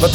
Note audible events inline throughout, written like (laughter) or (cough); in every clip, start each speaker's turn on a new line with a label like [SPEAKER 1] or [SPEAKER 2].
[SPEAKER 1] Wat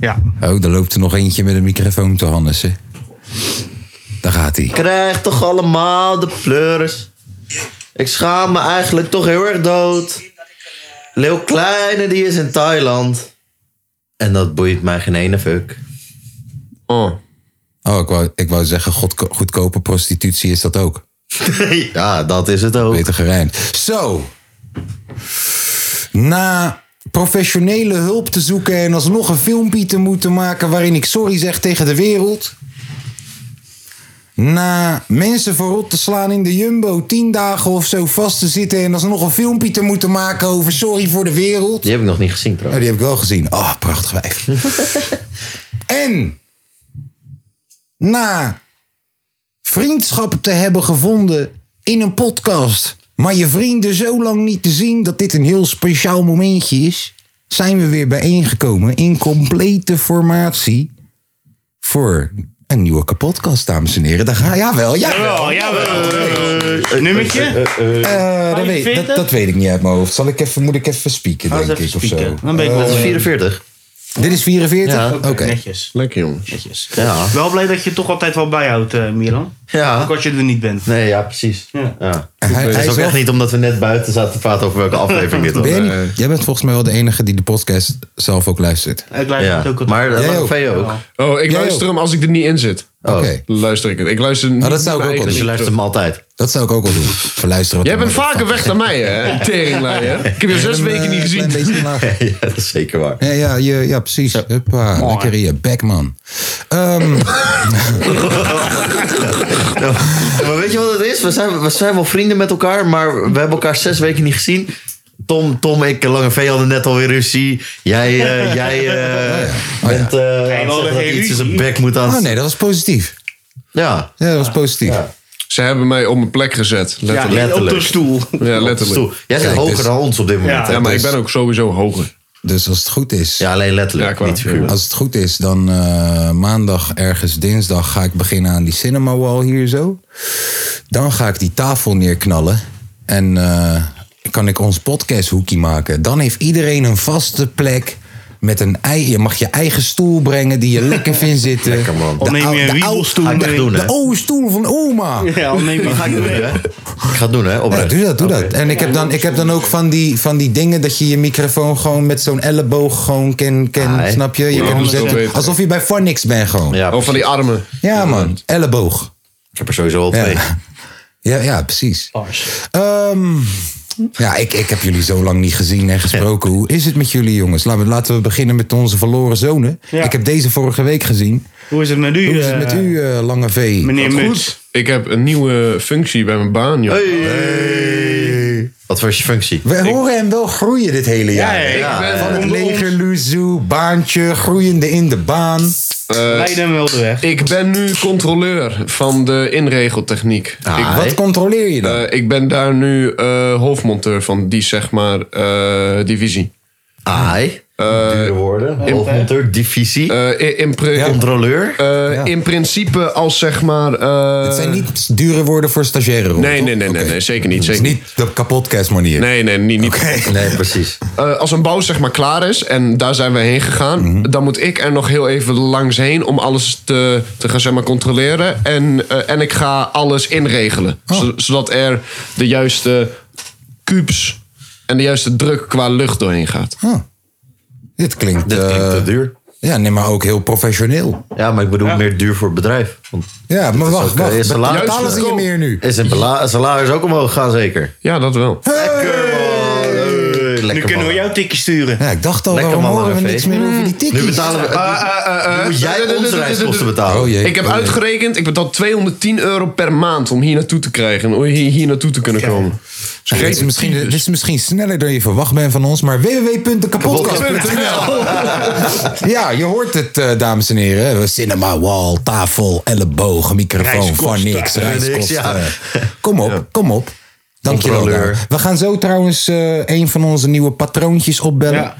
[SPEAKER 2] Ja.
[SPEAKER 1] Oh, er loopt er nog eentje met een microfoon te hannissen. Daar gaat hij.
[SPEAKER 3] Krijg toch allemaal de pleuris. Ik schaam me eigenlijk toch heel erg dood. Leeuw Kleine die is in Thailand. En dat boeit mij geen ene fuck. Oh.
[SPEAKER 1] Oh, ik wou, ik wou zeggen, godko- goedkope prostitutie is dat ook.
[SPEAKER 4] (laughs)
[SPEAKER 3] ja, dat is het ook.
[SPEAKER 1] Beter gerijmd. Zo. Na professionele hulp te zoeken en alsnog een filmpje te moeten maken waarin ik sorry zeg tegen de wereld. Na mensen voorop te slaan in de jumbo, tien dagen of zo vast te zitten en alsnog een filmpje te moeten maken over sorry voor de wereld.
[SPEAKER 3] Die heb ik nog niet gezien
[SPEAKER 1] Oh,
[SPEAKER 3] trouwens.
[SPEAKER 1] die heb ik wel gezien. Ah, prachtig wijf. en na vriendschap te hebben gevonden in een podcast, maar je vrienden zo lang niet te zien dat dit een heel speciaal momentje is, zijn we weer bijeengekomen in complete formatie voor een nieuwe podcast, dames en heren. Daar ga jawel, jawel.
[SPEAKER 2] Oh, jawel. Nummertje?
[SPEAKER 1] Eh, dat, weet, dat,
[SPEAKER 2] 45?
[SPEAKER 1] dat weet ik niet uit mijn hoofd. Zal ik even, moet ik even spieken, denk
[SPEAKER 2] even
[SPEAKER 1] ik,
[SPEAKER 2] spieken.
[SPEAKER 1] of zo.
[SPEAKER 2] Dan ben ik
[SPEAKER 3] Dat
[SPEAKER 2] wel
[SPEAKER 3] is
[SPEAKER 2] eh,
[SPEAKER 3] 44.
[SPEAKER 1] Dit is 44?
[SPEAKER 3] Ja.
[SPEAKER 1] Oké.
[SPEAKER 2] Netjes.
[SPEAKER 5] Lekker jongens.
[SPEAKER 2] Netjes.
[SPEAKER 3] Ja.
[SPEAKER 2] Wel blij dat je het toch altijd wel bijhoudt, eh, Milan. Ook
[SPEAKER 3] Ja.
[SPEAKER 2] als je er niet bent.
[SPEAKER 3] Nee, ja, precies.
[SPEAKER 2] Ja.
[SPEAKER 3] Ja.
[SPEAKER 1] Hij- hij
[SPEAKER 3] Het
[SPEAKER 1] is
[SPEAKER 3] is ook
[SPEAKER 1] wel-
[SPEAKER 3] echt niet omdat we net buiten zaten te praten over welke aflevering
[SPEAKER 1] (laughs)
[SPEAKER 3] dit was.
[SPEAKER 1] Ben jij, niet-
[SPEAKER 5] Eh.
[SPEAKER 1] jij bent volgens mij wel de enige die de podcast zelf ook luistert.
[SPEAKER 2] Ik blijf het
[SPEAKER 3] Ja.
[SPEAKER 2] ook altijd.
[SPEAKER 3] Maar
[SPEAKER 1] Jij
[SPEAKER 3] dat
[SPEAKER 1] ook.
[SPEAKER 3] van je ook.
[SPEAKER 5] Oh, ik
[SPEAKER 1] Jij
[SPEAKER 5] luister
[SPEAKER 1] ook?
[SPEAKER 5] hem als ik er niet in zit.
[SPEAKER 1] Oké, Ah,
[SPEAKER 5] Dan luister ik het. Ik luister niet
[SPEAKER 1] dat zou
[SPEAKER 5] naar
[SPEAKER 1] ik ook
[SPEAKER 5] mijn
[SPEAKER 1] wel
[SPEAKER 3] Dus je
[SPEAKER 5] eigen
[SPEAKER 3] luistert hem altijd.
[SPEAKER 1] dat zou ik ook wel doen. Voor luisteren wat
[SPEAKER 5] Jij
[SPEAKER 1] er
[SPEAKER 5] bent
[SPEAKER 1] maar-
[SPEAKER 5] vaker weg dan mij, hè?
[SPEAKER 3] (laughs)
[SPEAKER 1] (laughs)
[SPEAKER 5] Teringlaaier. Ik heb je al zes
[SPEAKER 1] Een,
[SPEAKER 5] weken niet
[SPEAKER 1] eh,
[SPEAKER 5] gezien.
[SPEAKER 1] klein
[SPEAKER 5] (laughs)
[SPEAKER 1] beetje omlaag.
[SPEAKER 3] ja, dat is zeker waar.
[SPEAKER 1] Ja, ja, ja, ja precies. Huppa, lekker in je bek, man. Ehm,
[SPEAKER 3] (laughs) Maar weet je wat het is? We zijn, we zijn wel vrienden met elkaar, maar we hebben elkaar zes weken niet gezien. Tom, Tom, ik en Lange V hadden net alweer ruzie. Jij, eh, jij (laughs) eh, bent eh, aan het
[SPEAKER 2] we hadden
[SPEAKER 3] zeggen dat
[SPEAKER 2] geen
[SPEAKER 3] hij iets in zijn
[SPEAKER 2] ruzie.
[SPEAKER 3] bek moet aan.
[SPEAKER 1] oh nee, dat was positief.
[SPEAKER 3] Ja,
[SPEAKER 1] Ja, dat was positief.
[SPEAKER 5] Ze hebben mij op mijn plek gezet.
[SPEAKER 2] ja,
[SPEAKER 5] Letterlijk.
[SPEAKER 2] op
[SPEAKER 3] letterlijk.
[SPEAKER 2] de stoel.
[SPEAKER 3] (laughs)
[SPEAKER 5] Ja,
[SPEAKER 3] stoel.
[SPEAKER 5] letterlijk.
[SPEAKER 3] Jij zit
[SPEAKER 1] Kijk,
[SPEAKER 3] hoger
[SPEAKER 1] dus-
[SPEAKER 3] dan ons op dit moment.
[SPEAKER 2] Ja.
[SPEAKER 3] hè?
[SPEAKER 5] Ja, maar ik ben ook sowieso hoger.
[SPEAKER 1] Dus als het goed is,
[SPEAKER 3] Ja, alleen letterlijk,
[SPEAKER 5] Ja, qua-
[SPEAKER 3] niet figuurlijk.
[SPEAKER 1] als het goed is, dan eh, maandag, ergens dinsdag, ga ik beginnen aan die cinema wall hier zo. Dan ga ik die tafel neerknallen. En eh, kan ik ons podcasthoekje maken. Dan heeft iedereen een vaste plek. Met een ei. Je mag je eigen stoel brengen die je lekker vindt zitten.
[SPEAKER 3] Lekker, man.
[SPEAKER 1] De
[SPEAKER 2] Of neem
[SPEAKER 1] ou-
[SPEAKER 2] je een
[SPEAKER 1] de ou-
[SPEAKER 2] wiebelstoel
[SPEAKER 3] Ga ik echt
[SPEAKER 2] mee.
[SPEAKER 3] doen, hè?
[SPEAKER 1] De oude stoel van oma.
[SPEAKER 2] Ja, al
[SPEAKER 3] (laughs)
[SPEAKER 2] neem je
[SPEAKER 3] Ga ik doen, hè? Ik ga het doen, hè?
[SPEAKER 1] Ja,
[SPEAKER 3] Oprecht.
[SPEAKER 1] doe dat, doe
[SPEAKER 3] Oké.
[SPEAKER 1] dat. En ik heb, dan, ik heb dan ook van die, van die dingen dat je je microfoon gewoon met zo'n elleboog gewoon kan, kan
[SPEAKER 3] Ah, hè?
[SPEAKER 1] snap je? Je kan hem
[SPEAKER 2] dat is wel
[SPEAKER 1] zetten.
[SPEAKER 5] beter.
[SPEAKER 1] Alsof je bij Phonics bent gewoon. Ja,
[SPEAKER 3] Ja,
[SPEAKER 5] Oh, van die armen.
[SPEAKER 1] man, elleboog.
[SPEAKER 3] ik heb er sowieso al twee. Oh,
[SPEAKER 1] Ja. Ja, ja, precies. Ehm, ja, ik, ik heb jullie zo lang niet gezien en gesproken. Hoe is het met jullie jongens? Laten we, laten we beginnen met onze verloren zonen.
[SPEAKER 2] Ja.
[SPEAKER 1] Ik heb deze vorige week gezien.
[SPEAKER 2] Hoe is het met u,
[SPEAKER 1] Hoe is het
[SPEAKER 2] eh,
[SPEAKER 1] met u, eh, Lange V?
[SPEAKER 2] meneer Muts?
[SPEAKER 5] Goed. Ik heb een nieuwe functie bij mijn baan, joh.
[SPEAKER 3] Wat was je functie?
[SPEAKER 1] We horen hem wel groeien dit hele jaar.
[SPEAKER 2] ik ben
[SPEAKER 1] Van het
[SPEAKER 2] onder ons.
[SPEAKER 1] leger, Luzu, baantje, groeiende in de baan.
[SPEAKER 2] Leid hem wel de weg.
[SPEAKER 5] Eh, Ik ben nu controleur van de inregeltechniek. Ik
[SPEAKER 1] Ah, Wat controleer je dan?
[SPEAKER 5] Eh, ik ben daar nu eh, hoofdmonteur van die, zeg maar, eh, divisie.
[SPEAKER 3] AI. Dure woorden. Hoofdmonteur, divisie.
[SPEAKER 5] Eh, in, in pri-
[SPEAKER 1] Ja.
[SPEAKER 3] controleur.
[SPEAKER 5] eh, in principe als, zeg maar... eh,
[SPEAKER 1] Het zijn niet dure woorden voor stagiaire. Roel,
[SPEAKER 5] Nee,
[SPEAKER 1] toch?
[SPEAKER 5] nee, nee, nee,
[SPEAKER 1] Oké.
[SPEAKER 5] nee, zeker niet.
[SPEAKER 1] Het is
[SPEAKER 5] Zeker. niet.
[SPEAKER 1] niet de kapotkast manier.
[SPEAKER 5] Nee, nee, niet. niet.
[SPEAKER 3] (laughs) Nee, precies.
[SPEAKER 5] Eh, als een bouw zeg maar klaar is en daar zijn we heen gegaan,
[SPEAKER 3] Mhm.
[SPEAKER 5] dan moet ik er nog heel even langs heen om alles te, te gaan zeg maar, controleren. En, eh, en ik ga alles inregelen.
[SPEAKER 3] Oh.
[SPEAKER 5] Zo- zodat er de juiste kubus en de juiste druk qua lucht doorheen gaat.
[SPEAKER 3] Oh.
[SPEAKER 1] Huh. Dit klinkt,
[SPEAKER 3] Dit klinkt te
[SPEAKER 1] eh,
[SPEAKER 3] duur.
[SPEAKER 1] ja, nee, maar ook heel professioneel.
[SPEAKER 3] Ja, maar ik bedoel meer duur voor het bedrijf. Want
[SPEAKER 1] Ja, maar
[SPEAKER 3] is
[SPEAKER 1] wacht,
[SPEAKER 3] ook, eh,
[SPEAKER 1] wacht.
[SPEAKER 3] salaris-
[SPEAKER 1] Betalen ze je
[SPEAKER 5] goedkoop.
[SPEAKER 1] meer nu?
[SPEAKER 3] is een bela- salaris ook omhoog gaan zeker?
[SPEAKER 5] Ja, dat wel.
[SPEAKER 3] Lekker man. Hey,
[SPEAKER 2] Nu
[SPEAKER 3] Lekker
[SPEAKER 2] kunnen we
[SPEAKER 3] man.
[SPEAKER 2] jou tikje sturen. Mm.
[SPEAKER 1] Ja, ik dacht al,
[SPEAKER 3] Lekker
[SPEAKER 1] waarom
[SPEAKER 3] man,
[SPEAKER 1] horen we
[SPEAKER 3] Lange V.
[SPEAKER 1] niks meer over die
[SPEAKER 3] Nu
[SPEAKER 1] tikkies?
[SPEAKER 3] betalen we...
[SPEAKER 5] Ah, eh,
[SPEAKER 3] nu moet jij onze reiskosten betalen.
[SPEAKER 1] Oh, jee.
[SPEAKER 5] Ik heb uitgerekend, ik betaal 210 euro per maand om hier naartoe te krijgen. Om hier, hier naartoe te kunnen komen. Dus
[SPEAKER 1] Dit is, misschien, dit is misschien sneller dan je verwacht bent van ons, maar www.kapotkast.nl Ja, je hoort het, eh, dames en heren. Cinema, wall, tafel, elleboog, microfoon,
[SPEAKER 3] Reiskosten.
[SPEAKER 1] van niks, reiskosten.
[SPEAKER 3] Ja.
[SPEAKER 1] Kom op, kom op. Dankjewel.
[SPEAKER 3] Controleur.
[SPEAKER 1] Daan. We gaan zo trouwens eh, een van onze nieuwe patroontjes opbellen.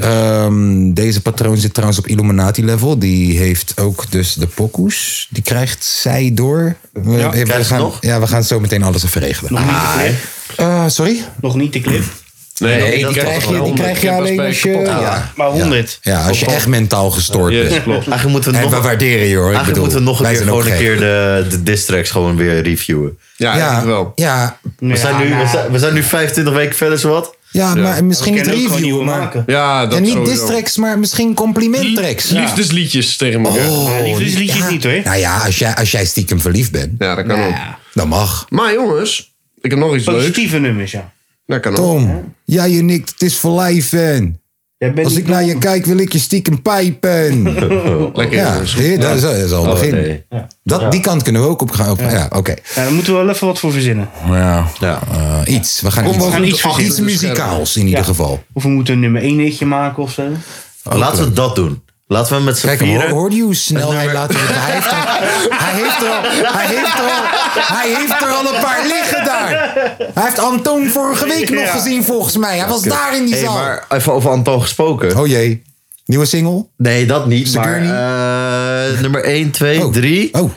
[SPEAKER 1] Ehm, deze patroon zit trouwens op Illuminati level. Die heeft ook dus de pokoes. Die krijgt zij door. We,
[SPEAKER 2] Ja,
[SPEAKER 1] we,
[SPEAKER 2] krijgt ze
[SPEAKER 1] gaan,
[SPEAKER 2] nog?
[SPEAKER 1] ja, we gaan zo meteen alles even regelen.
[SPEAKER 2] Nog niet de clip.
[SPEAKER 1] Eh, sorry?
[SPEAKER 2] Nog niet de clip.
[SPEAKER 1] Nee, die, krijg je, die krijg je alleen als je... Ja.
[SPEAKER 2] Maar 100.
[SPEAKER 1] Ja, als je echt mentaal gestoord
[SPEAKER 3] Ja,
[SPEAKER 1] bent.
[SPEAKER 3] klopt. Eigenlijk moeten we
[SPEAKER 1] en
[SPEAKER 3] nog-
[SPEAKER 1] eh, we waarderen je hoor. Ik
[SPEAKER 3] Eigenlijk
[SPEAKER 1] bedoel,
[SPEAKER 3] moeten we nog een
[SPEAKER 1] wij
[SPEAKER 3] keer,
[SPEAKER 1] zijn ook
[SPEAKER 3] gewoon een
[SPEAKER 1] gek.
[SPEAKER 3] keer de, de distracts gewoon weer reviewen.
[SPEAKER 5] Ja,
[SPEAKER 1] ja, Ja,
[SPEAKER 3] We zijn, nu, we,
[SPEAKER 2] nou,
[SPEAKER 3] zijn, we zijn nu 25 weken verder, zowat.
[SPEAKER 1] ja, maar misschien
[SPEAKER 2] we
[SPEAKER 1] niet
[SPEAKER 2] kunnen ook gewoon nieuwe
[SPEAKER 1] review. Maar,
[SPEAKER 2] maken.
[SPEAKER 5] Ja, dat
[SPEAKER 1] en niet
[SPEAKER 5] sowieso.
[SPEAKER 1] distracks, maar misschien compliment tracks. Ja.
[SPEAKER 5] Liefdesliedjes tegen elkaar.
[SPEAKER 2] Ja, liefdesliedjes niet hoor.
[SPEAKER 1] Nou Oh, ja, als jij, als jij stiekem verliefd bent,
[SPEAKER 5] Ja, dat kan ook.
[SPEAKER 1] dan mag.
[SPEAKER 5] Maar jongens, ik heb nog iets leuks.
[SPEAKER 2] Positieve nummers, ja.
[SPEAKER 5] Dat kan ook.
[SPEAKER 1] Tom, jij en ik, het is voor lijf, fan.
[SPEAKER 2] Jij bent
[SPEAKER 1] Als ik
[SPEAKER 2] niet-
[SPEAKER 1] naar je kijk, wil ik je stiekem (laughs) pijpen.
[SPEAKER 5] Lekker
[SPEAKER 1] Ja,
[SPEAKER 5] jongens.
[SPEAKER 1] zie je, dat is, dat is al het begin.
[SPEAKER 3] nee.
[SPEAKER 1] Dat, die kant kunnen we ook op gaan. op- ja, oké.
[SPEAKER 2] Ja, daar moeten we wel even wat voor verzinnen.
[SPEAKER 1] Ja.
[SPEAKER 3] Ja.
[SPEAKER 1] Eh, iets. We gaan
[SPEAKER 5] Kom,
[SPEAKER 1] iets,
[SPEAKER 5] we gaan
[SPEAKER 2] iets
[SPEAKER 1] iets,
[SPEAKER 2] verzinnen.
[SPEAKER 1] muzikaals in ieder geval.
[SPEAKER 2] Of we moeten een nummer 1 hitje maken of zo.
[SPEAKER 3] Laten we dat doen. Laten we met z'n
[SPEAKER 1] Kijk, hem, hoor,
[SPEAKER 3] vieren...
[SPEAKER 1] hoorde je hoe snel hij laat hij
[SPEAKER 6] (laughs)
[SPEAKER 1] heeft er- Hij heeft er al, hij heeft er al, hij heeft er al een paar liggen daar. Hij heeft Antoon vorige week nog gezien volgens mij. Hij was daar in die
[SPEAKER 3] Hey,
[SPEAKER 1] zaal.
[SPEAKER 3] maar even over Anton gesproken.
[SPEAKER 1] Oh jee, nieuwe single?
[SPEAKER 3] Nee, dat niet. Maar,
[SPEAKER 1] Security?
[SPEAKER 3] eh, nummer 1, 2, 3,
[SPEAKER 1] Oh,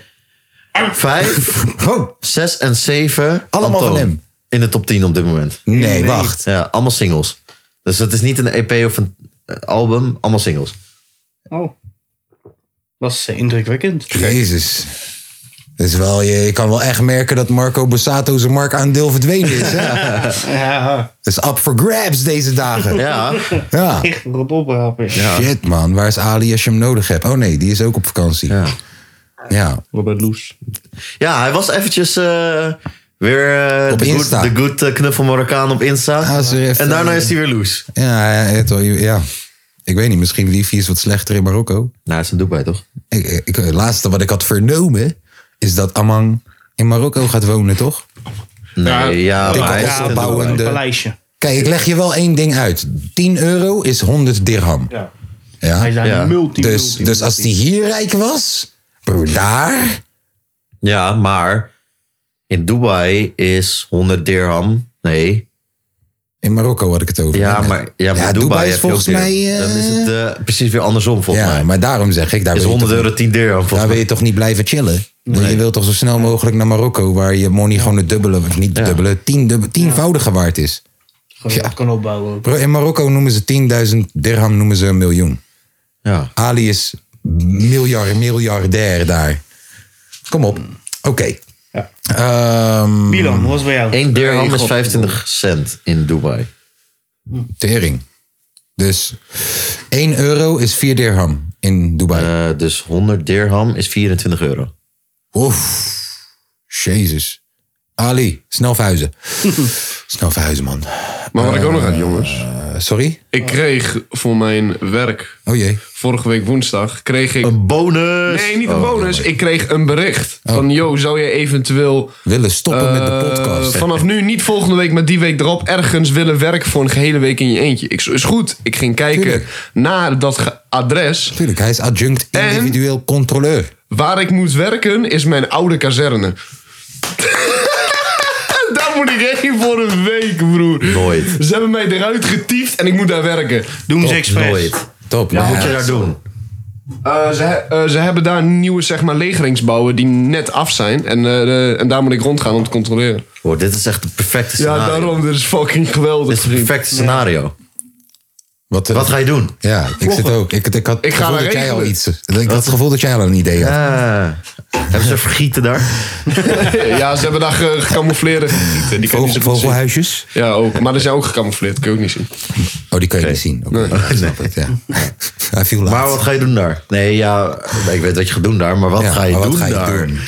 [SPEAKER 3] 5,
[SPEAKER 1] (laughs) oh.
[SPEAKER 3] 6 en 7.
[SPEAKER 1] Allemaal van hem.
[SPEAKER 3] In de top 10 op dit moment.
[SPEAKER 1] Nee, wacht.
[SPEAKER 3] Ja, allemaal singles. Dus het is niet een EP of een eh, album, allemaal singles.
[SPEAKER 2] Oh. Dat is eh, indrukwekkend.
[SPEAKER 1] Jezus. Dat is wel, je, je kan wel echt merken dat Marco Borsato zijn marktaandeel verdwenen is. Hè?
[SPEAKER 2] Ja,
[SPEAKER 1] Dat is up for grabs deze dagen.
[SPEAKER 3] Ja,
[SPEAKER 1] Ja.
[SPEAKER 2] (laughs) echt erop oprapen.
[SPEAKER 3] Ja.
[SPEAKER 1] Shit man, waar is Ali als je hem nodig hebt? Oh nee, die is ook op vakantie. Ja. ja.
[SPEAKER 2] Robert Loes.
[SPEAKER 3] ja hij was eventjes eh, weer eh,
[SPEAKER 1] Op
[SPEAKER 3] de good,
[SPEAKER 1] Insta.
[SPEAKER 3] de good eh, knuffel Marokkaan op Insta.
[SPEAKER 1] Ah, is er even-
[SPEAKER 3] en daarna is hij weer loose.
[SPEAKER 1] Ja, ja, ja, toch, ja. Ik weet niet, misschien Liefie is wat slechter in Marokko.
[SPEAKER 3] Nou, is een Dubai toch?
[SPEAKER 1] Ik, ik, het laatste wat ik had vernomen is dat Amang in Marokko gaat wonen, toch?
[SPEAKER 3] Nee, ja,
[SPEAKER 1] Ik
[SPEAKER 3] maar hij
[SPEAKER 1] had
[SPEAKER 3] is een
[SPEAKER 1] opbouwende-
[SPEAKER 3] Dubai.
[SPEAKER 2] Een paleisje.
[SPEAKER 1] Kijk, ik leg je wel één ding uit. 10 euro is 100 dirham.
[SPEAKER 2] Ja. Hij is
[SPEAKER 1] Ja?
[SPEAKER 2] daar
[SPEAKER 3] Ja.
[SPEAKER 2] multi,
[SPEAKER 1] Dus,
[SPEAKER 2] multi,
[SPEAKER 1] dus als
[SPEAKER 2] multi.
[SPEAKER 1] die hier rijk was, broer, daar...
[SPEAKER 3] Ja, maar in Dubai is 100 dirham. Nee.
[SPEAKER 1] In Marokko had ik het over.
[SPEAKER 3] Ja, maar, ja, maar Dubai,
[SPEAKER 1] is
[SPEAKER 3] heb je ook
[SPEAKER 1] volgens mij...
[SPEAKER 3] dirham.
[SPEAKER 1] eh,
[SPEAKER 3] Dan is het eh, precies weer andersom volgens
[SPEAKER 1] ja,
[SPEAKER 3] mij.
[SPEAKER 1] maar daarom zeg ik, daar
[SPEAKER 3] Is
[SPEAKER 1] wil, je
[SPEAKER 3] 100
[SPEAKER 1] toch,
[SPEAKER 3] euro 10 dirham
[SPEAKER 1] daar
[SPEAKER 3] volgens
[SPEAKER 1] wil
[SPEAKER 3] mij.
[SPEAKER 1] je toch niet blijven chillen? Je wilt toch zo snel mogelijk naar Marokko, waar je money gewoon het dubbele, of niet het dubbele, tien, dub- tienvoudige waard is.
[SPEAKER 2] Gewoon dat kan opbouwen.
[SPEAKER 1] Bro, in Marokko noemen ze 10.000 dirham noemen ze een miljoen.
[SPEAKER 3] Ja.
[SPEAKER 1] Ali is miljard, miljardair daar. Kom op. Oké.
[SPEAKER 2] Ja.
[SPEAKER 1] Ehm,
[SPEAKER 2] Milan, hoe was het bij jou?
[SPEAKER 3] 1 dirham
[SPEAKER 5] Nee,
[SPEAKER 3] is
[SPEAKER 5] God.
[SPEAKER 3] 25 cent in Dubai.
[SPEAKER 1] tering. Dus 1 euro is 4 dirham in Dubai.
[SPEAKER 3] Eh, dus 100 dirham is 24 euro.
[SPEAKER 1] Oef. Jezus. Ali, snel verhuizen.
[SPEAKER 3] (laughs)
[SPEAKER 1] snel verhuizen, man.
[SPEAKER 5] Maar wat ik ook nog had, jongens.
[SPEAKER 1] Eh, sorry?
[SPEAKER 5] Ik kreeg voor mijn werk,
[SPEAKER 1] Oh jee.
[SPEAKER 5] vorige week woensdag, kreeg ik...
[SPEAKER 3] Een bonus!
[SPEAKER 5] Nee,
[SPEAKER 1] Oh,
[SPEAKER 5] niet een bonus. Ik kreeg een bericht van... Yo, zou je eventueel
[SPEAKER 1] Willen stoppen met de
[SPEAKER 5] eh,
[SPEAKER 1] podcast.
[SPEAKER 5] vanaf nu, niet volgende week, maar die week erop... ergens willen werken voor een gehele week in je eentje? Ik, zo, is goed. Ik ging kijken
[SPEAKER 1] Tuurlijk.
[SPEAKER 5] naar dat ge- adres.
[SPEAKER 1] Tuurlijk, hij is adjunct
[SPEAKER 5] En?
[SPEAKER 1] individueel controleur.
[SPEAKER 5] Waar ik moet werken is mijn oude kazerne. daar (laughs) moet ik heen voor een week, broer.
[SPEAKER 3] Nooit.
[SPEAKER 5] Ze hebben mij eruit getiefd en ik moet daar werken.
[SPEAKER 2] Doen ze expres.
[SPEAKER 3] Nooit.
[SPEAKER 1] Top.
[SPEAKER 3] Wat
[SPEAKER 1] nou
[SPEAKER 3] moet je
[SPEAKER 1] ja.
[SPEAKER 3] daar doen?
[SPEAKER 5] Eh, ze, he- eh, ze hebben daar nieuwe zeg maar, legeringsbouwen die net af zijn. En, eh, eh, en daar moet ik rondgaan om te controleren.
[SPEAKER 1] Oh,
[SPEAKER 3] Hoor, dit is echt het
[SPEAKER 5] Ja,
[SPEAKER 3] perfecte scenario.
[SPEAKER 5] daarom. Dit is fucking geweldig.
[SPEAKER 3] Dit is het
[SPEAKER 5] vriend.
[SPEAKER 3] perfecte scenario.
[SPEAKER 1] Wat, eh,
[SPEAKER 3] Wat ga je doen?
[SPEAKER 1] Ja, ik zit ook. Ik, ik had het
[SPEAKER 5] Ik ga
[SPEAKER 1] gevoel
[SPEAKER 5] daar
[SPEAKER 1] dat jij al
[SPEAKER 5] regelen.
[SPEAKER 1] iets. Ik had het gevoel dat jij al een idee had.
[SPEAKER 3] Ah, hebben ze vergieten daar?
[SPEAKER 5] (laughs) ja, ze hebben daar ge- gecamoufleerde gebieden. Die kun je niet
[SPEAKER 1] Vogel,
[SPEAKER 5] zo goed zien.
[SPEAKER 1] vogelhuisjes?
[SPEAKER 5] Ja, ook. Maar er zijn ook gecamoufleerd. Kun je ook niet zien.
[SPEAKER 1] Oh, die kan je niet zien. Oké, (laughs) ik snap het, ja. (laughs) Hij viel eh, laat.
[SPEAKER 3] Maar wat ga je doen daar? Nee, ja, ik weet wat je gaat doen daar, maar wat
[SPEAKER 1] Ja,
[SPEAKER 3] ga je
[SPEAKER 1] maar wat
[SPEAKER 3] doen
[SPEAKER 1] ga je
[SPEAKER 3] daar?
[SPEAKER 1] doen?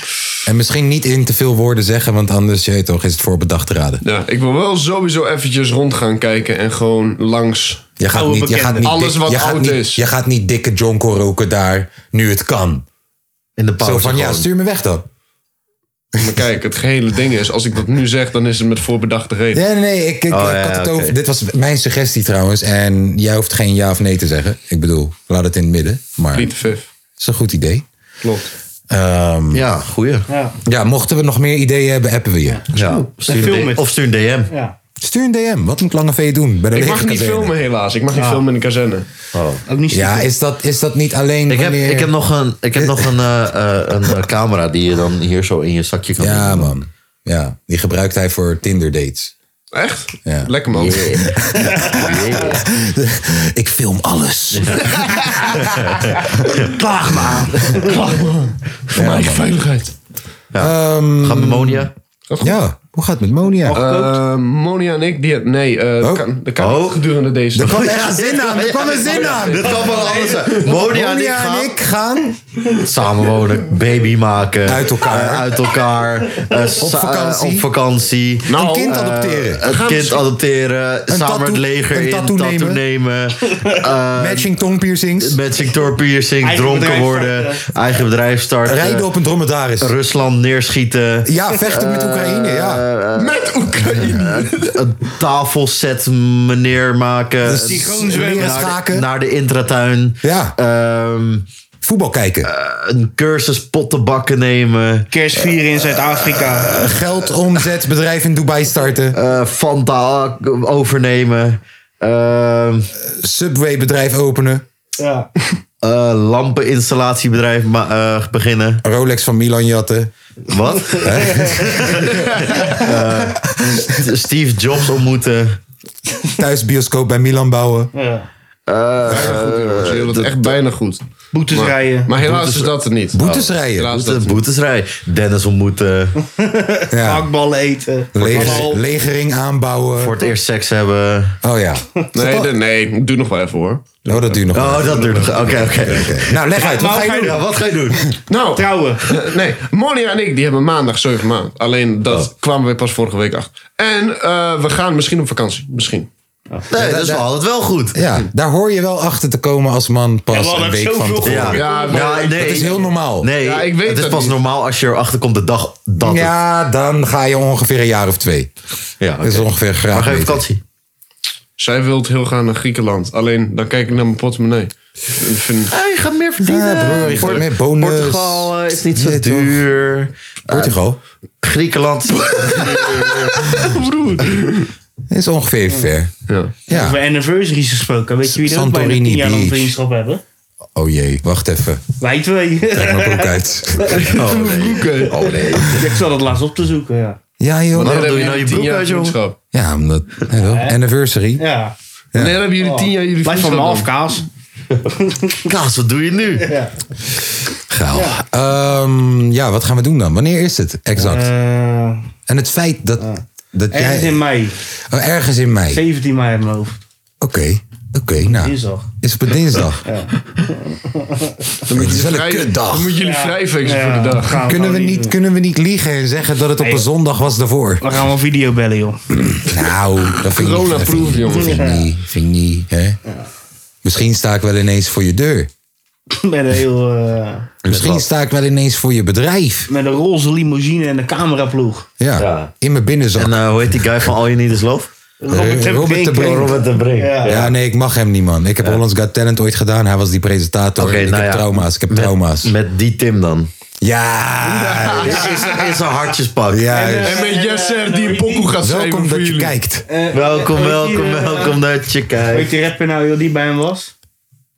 [SPEAKER 1] En misschien niet in te veel woorden zeggen, want anders je weet toch, is het voorbedacht raden.
[SPEAKER 5] Ja, ik wil wel sowieso eventjes rond gaan kijken en gewoon langs.
[SPEAKER 1] Je gaat
[SPEAKER 2] Oude
[SPEAKER 1] niet, je gaat
[SPEAKER 2] bekende.
[SPEAKER 1] niet
[SPEAKER 5] Alles
[SPEAKER 1] dik-
[SPEAKER 5] wat
[SPEAKER 1] je gaat
[SPEAKER 5] oud
[SPEAKER 1] niet-
[SPEAKER 5] is.
[SPEAKER 1] Je gaat niet dikke jonko roken daar, nu het kan.
[SPEAKER 3] In de pauze
[SPEAKER 1] Zo van, ja,
[SPEAKER 3] gewoon.
[SPEAKER 1] stuur me weg dan.
[SPEAKER 5] Maar kijk, het gehele ding is, als ik dat nu zeg, dan is het met voorbedachte reden.
[SPEAKER 1] Nee, nee, nee. Ik, ik,
[SPEAKER 3] Oh,
[SPEAKER 1] ik
[SPEAKER 3] ja,
[SPEAKER 1] had het
[SPEAKER 3] oké.
[SPEAKER 1] over. Dit was mijn suggestie trouwens. En jij hoeft geen ja of nee te zeggen. Ik bedoel, laat het in het midden. Maar
[SPEAKER 5] Niet
[SPEAKER 1] het
[SPEAKER 5] te vif.
[SPEAKER 1] is een goed idee.
[SPEAKER 5] Klopt.
[SPEAKER 1] Ehm,
[SPEAKER 3] Ja, goeie.
[SPEAKER 2] Ja,
[SPEAKER 1] ja, mochten we nog meer ideeën hebben, appen we je.
[SPEAKER 3] Ja. Stuur
[SPEAKER 2] film
[SPEAKER 3] een D-
[SPEAKER 2] het.
[SPEAKER 3] of stuur een DM.
[SPEAKER 2] ja.
[SPEAKER 1] Stuur een DM. Wat moet Lange V doen? Bij de
[SPEAKER 5] Ik
[SPEAKER 1] lege
[SPEAKER 5] mag niet
[SPEAKER 1] kazerne?
[SPEAKER 5] filmen helaas. Ik mag niet filmen in de kazerne.
[SPEAKER 2] Ook niet
[SPEAKER 1] Ja,
[SPEAKER 2] stiekem.
[SPEAKER 1] is dat, is dat niet alleen
[SPEAKER 3] Oh. Ik heb,
[SPEAKER 1] wanneer...
[SPEAKER 3] ik heb nog, een, ik heb nog een, eh, eh, een eh, camera die je dan hier zo in je zakje kan
[SPEAKER 1] Ja,
[SPEAKER 3] doen.
[SPEAKER 1] man. Ja, die gebruikt hij voor Tinder dates.
[SPEAKER 5] Echt?
[SPEAKER 1] Ja.
[SPEAKER 5] Lekker man.
[SPEAKER 1] ik film alles. (laughs)
[SPEAKER 3] Klaag maar.
[SPEAKER 5] Voor mijn eigen veiligheid.
[SPEAKER 3] Gaan we Monia?
[SPEAKER 1] Ehm, Ja, hoe gaat het met Monia?
[SPEAKER 5] Eh, Monia en ik, die... Nee, eh dat kan, dat kan
[SPEAKER 3] Oh.
[SPEAKER 5] niet gedurende deze dag.
[SPEAKER 1] Oh. kwam echt Oh, zin aan, er kwam een zin aan.
[SPEAKER 3] Dit kan wel alles zijn. Monia en ik
[SPEAKER 1] Monia en
[SPEAKER 3] gaan
[SPEAKER 1] ik gaan
[SPEAKER 3] samenwonen, baby maken.
[SPEAKER 1] Uit elkaar.
[SPEAKER 3] eh, uit elkaar. eh, sa- eh,
[SPEAKER 1] vakantie.
[SPEAKER 3] op vakantie.
[SPEAKER 1] een
[SPEAKER 5] Nou,
[SPEAKER 1] kind
[SPEAKER 5] eh,
[SPEAKER 1] adopteren.
[SPEAKER 3] Het
[SPEAKER 5] gaan
[SPEAKER 3] kind
[SPEAKER 5] misschien-
[SPEAKER 3] adopteren, samen
[SPEAKER 1] tattoo-
[SPEAKER 3] het leger
[SPEAKER 1] een
[SPEAKER 3] in,
[SPEAKER 1] tattoo
[SPEAKER 3] tattoo,
[SPEAKER 1] nemen. (laughs)
[SPEAKER 3] nemen,
[SPEAKER 1] Matching tongpiercings.
[SPEAKER 3] met sector piercing,
[SPEAKER 2] Eigen
[SPEAKER 3] dronken
[SPEAKER 2] bedrijf
[SPEAKER 3] worden,
[SPEAKER 2] starten.
[SPEAKER 3] eigen bedrijf starten,
[SPEAKER 1] Rijden op een dromedaris.
[SPEAKER 3] Rusland neerschieten, Eh,
[SPEAKER 1] Ja, vechten met Oekraïne, ja.
[SPEAKER 5] Met Oekraïne.
[SPEAKER 3] (laughs) een tafelset meneer maken,
[SPEAKER 2] synchroon zwemmen.
[SPEAKER 1] leren
[SPEAKER 3] naar, de,
[SPEAKER 1] schaken.
[SPEAKER 3] naar de intratuin,
[SPEAKER 1] Ja.
[SPEAKER 3] Ehm, eh,
[SPEAKER 1] Voetbal kijken.
[SPEAKER 3] een cursus pottenbakken nemen,
[SPEAKER 2] Kerst vieren in Zuid-Afrika.
[SPEAKER 1] Eh, Geld, omzet, bedrijf in Dubai starten.
[SPEAKER 3] eh Fanta overnemen, ehm,
[SPEAKER 1] Subway bedrijf openen.
[SPEAKER 2] Ja.
[SPEAKER 3] eh, lampeninstallatiebedrijf ma- eh, beginnen.
[SPEAKER 1] Rolex van Milan jatten.
[SPEAKER 3] Wat? (laughs) Eh, (laughs) St- Steve Jobs ontmoeten.
[SPEAKER 1] Thuis bioscoop bij Milan bouwen.
[SPEAKER 2] ja.
[SPEAKER 5] Ze deden
[SPEAKER 3] Eh,
[SPEAKER 5] het echt bijna goed.
[SPEAKER 2] Boetes rijden.
[SPEAKER 5] Maar helaas is dat het niet. Nou,
[SPEAKER 1] Boetes rijden.
[SPEAKER 5] Helaas dat
[SPEAKER 3] De boetesrij. Dennis ontmoeten.
[SPEAKER 1] (laughs) Ja.
[SPEAKER 2] Hakballen eten.
[SPEAKER 1] Leger- legering
[SPEAKER 3] Voor
[SPEAKER 1] aanbouwen.
[SPEAKER 3] het eerst seks hebben.
[SPEAKER 1] Oh ja.
[SPEAKER 5] Nee, nee, nee, doe nog wel even hoor.
[SPEAKER 1] Nou, dat duurt nog wel.
[SPEAKER 3] Oh, dat duurt nog. Oké, oké.
[SPEAKER 1] Nou, leg uit. Wat
[SPEAKER 2] Nou,
[SPEAKER 1] ga je
[SPEAKER 2] ga je
[SPEAKER 1] doen?
[SPEAKER 3] Ja, wat ga je doen?
[SPEAKER 5] Nou,
[SPEAKER 2] Trouwen.
[SPEAKER 5] eh, nee, Monia en ik die hebben maandag 7 maand. Alleen
[SPEAKER 1] Oh.
[SPEAKER 5] dat kwamen we pas vorige week achter. En eh, we gaan misschien op vakantie. Misschien.
[SPEAKER 3] Nee, dat is wel altijd wel goed.
[SPEAKER 1] Ja, daar hoor je wel achter te komen als man pas
[SPEAKER 2] we hadden
[SPEAKER 1] een
[SPEAKER 2] ook
[SPEAKER 1] week van
[SPEAKER 2] zoveel
[SPEAKER 1] tevoren.
[SPEAKER 3] Ja,
[SPEAKER 5] Ja, maar-
[SPEAKER 3] nee,
[SPEAKER 1] Dat is heel normaal.
[SPEAKER 3] Nee,
[SPEAKER 5] Ja, ik weet
[SPEAKER 3] het is
[SPEAKER 5] dat
[SPEAKER 3] pas
[SPEAKER 5] niet.
[SPEAKER 3] normaal als je erachter komt de dag dat het-
[SPEAKER 1] Ja, dan ga je ongeveer een jaar of twee.
[SPEAKER 3] Ja,
[SPEAKER 1] Dat is
[SPEAKER 3] oké.
[SPEAKER 1] ongeveer
[SPEAKER 3] Maar
[SPEAKER 1] graag.
[SPEAKER 3] ga je op
[SPEAKER 1] weten.
[SPEAKER 3] vakantie?
[SPEAKER 5] Zij wil heel graag naar Griekenland. Alleen dan kijk ik naar mijn portemonnee. Ik vind-
[SPEAKER 3] Ah, je gaat meer verdienen.
[SPEAKER 1] Ja, broer, je gaat meer bonus.
[SPEAKER 3] Portugal eh, is niet zo
[SPEAKER 1] Nee, toch?
[SPEAKER 3] duur.
[SPEAKER 1] Portugal
[SPEAKER 3] Griekenland.
[SPEAKER 1] (laughs) is ongeveer even ver.
[SPEAKER 5] Ja.
[SPEAKER 1] Ja.
[SPEAKER 2] Over anniversaries gesproken. Weet je wie er ook bijna
[SPEAKER 1] Santorini
[SPEAKER 2] 10 jaar lang
[SPEAKER 1] Beach.
[SPEAKER 2] vriendschap hebben?
[SPEAKER 1] Oh jee, wacht even.
[SPEAKER 2] Wij twee.
[SPEAKER 1] Trek mijn broek uit.
[SPEAKER 3] Oh,
[SPEAKER 2] (laughs)
[SPEAKER 3] nee. Oh, nee.
[SPEAKER 2] ik zal dat laatst op te zoeken, ja.
[SPEAKER 1] Ja joh.
[SPEAKER 3] Waarom doe je
[SPEAKER 5] Hebben
[SPEAKER 3] nou je
[SPEAKER 5] jullie tien
[SPEAKER 3] broek
[SPEAKER 5] jaar
[SPEAKER 3] uit, jongen?
[SPEAKER 5] vriendschap?
[SPEAKER 1] Ja, omdat, ja, wel, anniversary.
[SPEAKER 2] Ja.
[SPEAKER 5] Nee, dan hebben jullie tien jaar jullie
[SPEAKER 2] Blijf van me
[SPEAKER 5] vriendschap.
[SPEAKER 2] af,
[SPEAKER 5] dan.
[SPEAKER 2] Kaas.
[SPEAKER 5] (laughs)
[SPEAKER 3] Kaas, wat doe je nu?
[SPEAKER 2] Ja.
[SPEAKER 1] Gaal. Ehm, ja, wat gaan we doen dan? Wanneer is het exact?
[SPEAKER 2] Eh,
[SPEAKER 1] En het feit dat, dat
[SPEAKER 2] ergens in
[SPEAKER 1] jij...
[SPEAKER 2] mei.
[SPEAKER 1] Oh, ergens in mei. Oké,
[SPEAKER 2] 17 mei in mijn hoofd.
[SPEAKER 1] oké. nou,
[SPEAKER 2] Dinsdag.
[SPEAKER 1] is op een dinsdag. (laughs)
[SPEAKER 5] Dan moet
[SPEAKER 1] Het is wel een
[SPEAKER 5] vrij-
[SPEAKER 1] kutdag.
[SPEAKER 5] Dan moeten jullie vrij fixen
[SPEAKER 2] Ja,
[SPEAKER 5] voor de dag.
[SPEAKER 2] gaan we
[SPEAKER 1] Kunnen we,
[SPEAKER 2] gewoon
[SPEAKER 1] niet,
[SPEAKER 2] doen.
[SPEAKER 1] kunnen we niet liegen en zeggen dat het op een
[SPEAKER 2] Nee.
[SPEAKER 1] zondag was daarvoor?
[SPEAKER 2] Dan gaan we video bellen, joh.
[SPEAKER 1] (clears throat) Nou, dat vind ik niet- dat vind
[SPEAKER 5] Corona-proof,
[SPEAKER 1] ik
[SPEAKER 5] jongen.
[SPEAKER 1] niet. Vind ik niet, vind ik niet, hè? Misschien sta ik wel ineens voor je deur.
[SPEAKER 2] (laughs) Met een heel... eh,
[SPEAKER 1] Misschien sta ik wel ineens voor je bedrijf.
[SPEAKER 2] met een roze limousine en een cameraploeg.
[SPEAKER 1] Ja,
[SPEAKER 3] Ja.
[SPEAKER 1] in mijn binnenzak.
[SPEAKER 3] En eh, hoe heet die guy van All You Need Is Love?
[SPEAKER 1] Eh,
[SPEAKER 2] Robert,
[SPEAKER 1] Robert de Brink.
[SPEAKER 3] Robert de Brink.
[SPEAKER 2] Ja.
[SPEAKER 1] Ja, nee, ik mag hem niet, man. Ik heb Hollands Got Talent ooit gedaan. Hij was die presentator.
[SPEAKER 3] Oké,
[SPEAKER 1] ik
[SPEAKER 3] nou
[SPEAKER 1] heb
[SPEAKER 3] ja.
[SPEAKER 1] trauma's. Ik heb
[SPEAKER 3] Met-
[SPEAKER 1] trauma's.
[SPEAKER 3] Met die Tim dan.
[SPEAKER 1] Ja!
[SPEAKER 3] Is is een hartjespak. eh,
[SPEAKER 1] Juist.
[SPEAKER 5] En met Jesser die een pokoe gaat schrijven
[SPEAKER 1] Welkom
[SPEAKER 5] voor
[SPEAKER 1] dat je
[SPEAKER 5] jullie.
[SPEAKER 1] kijkt.
[SPEAKER 2] Eh,
[SPEAKER 3] Welkom, welkom, welkom dat je
[SPEAKER 2] Weet
[SPEAKER 3] kijkt.
[SPEAKER 2] die rapper nou joh, die bij hem was?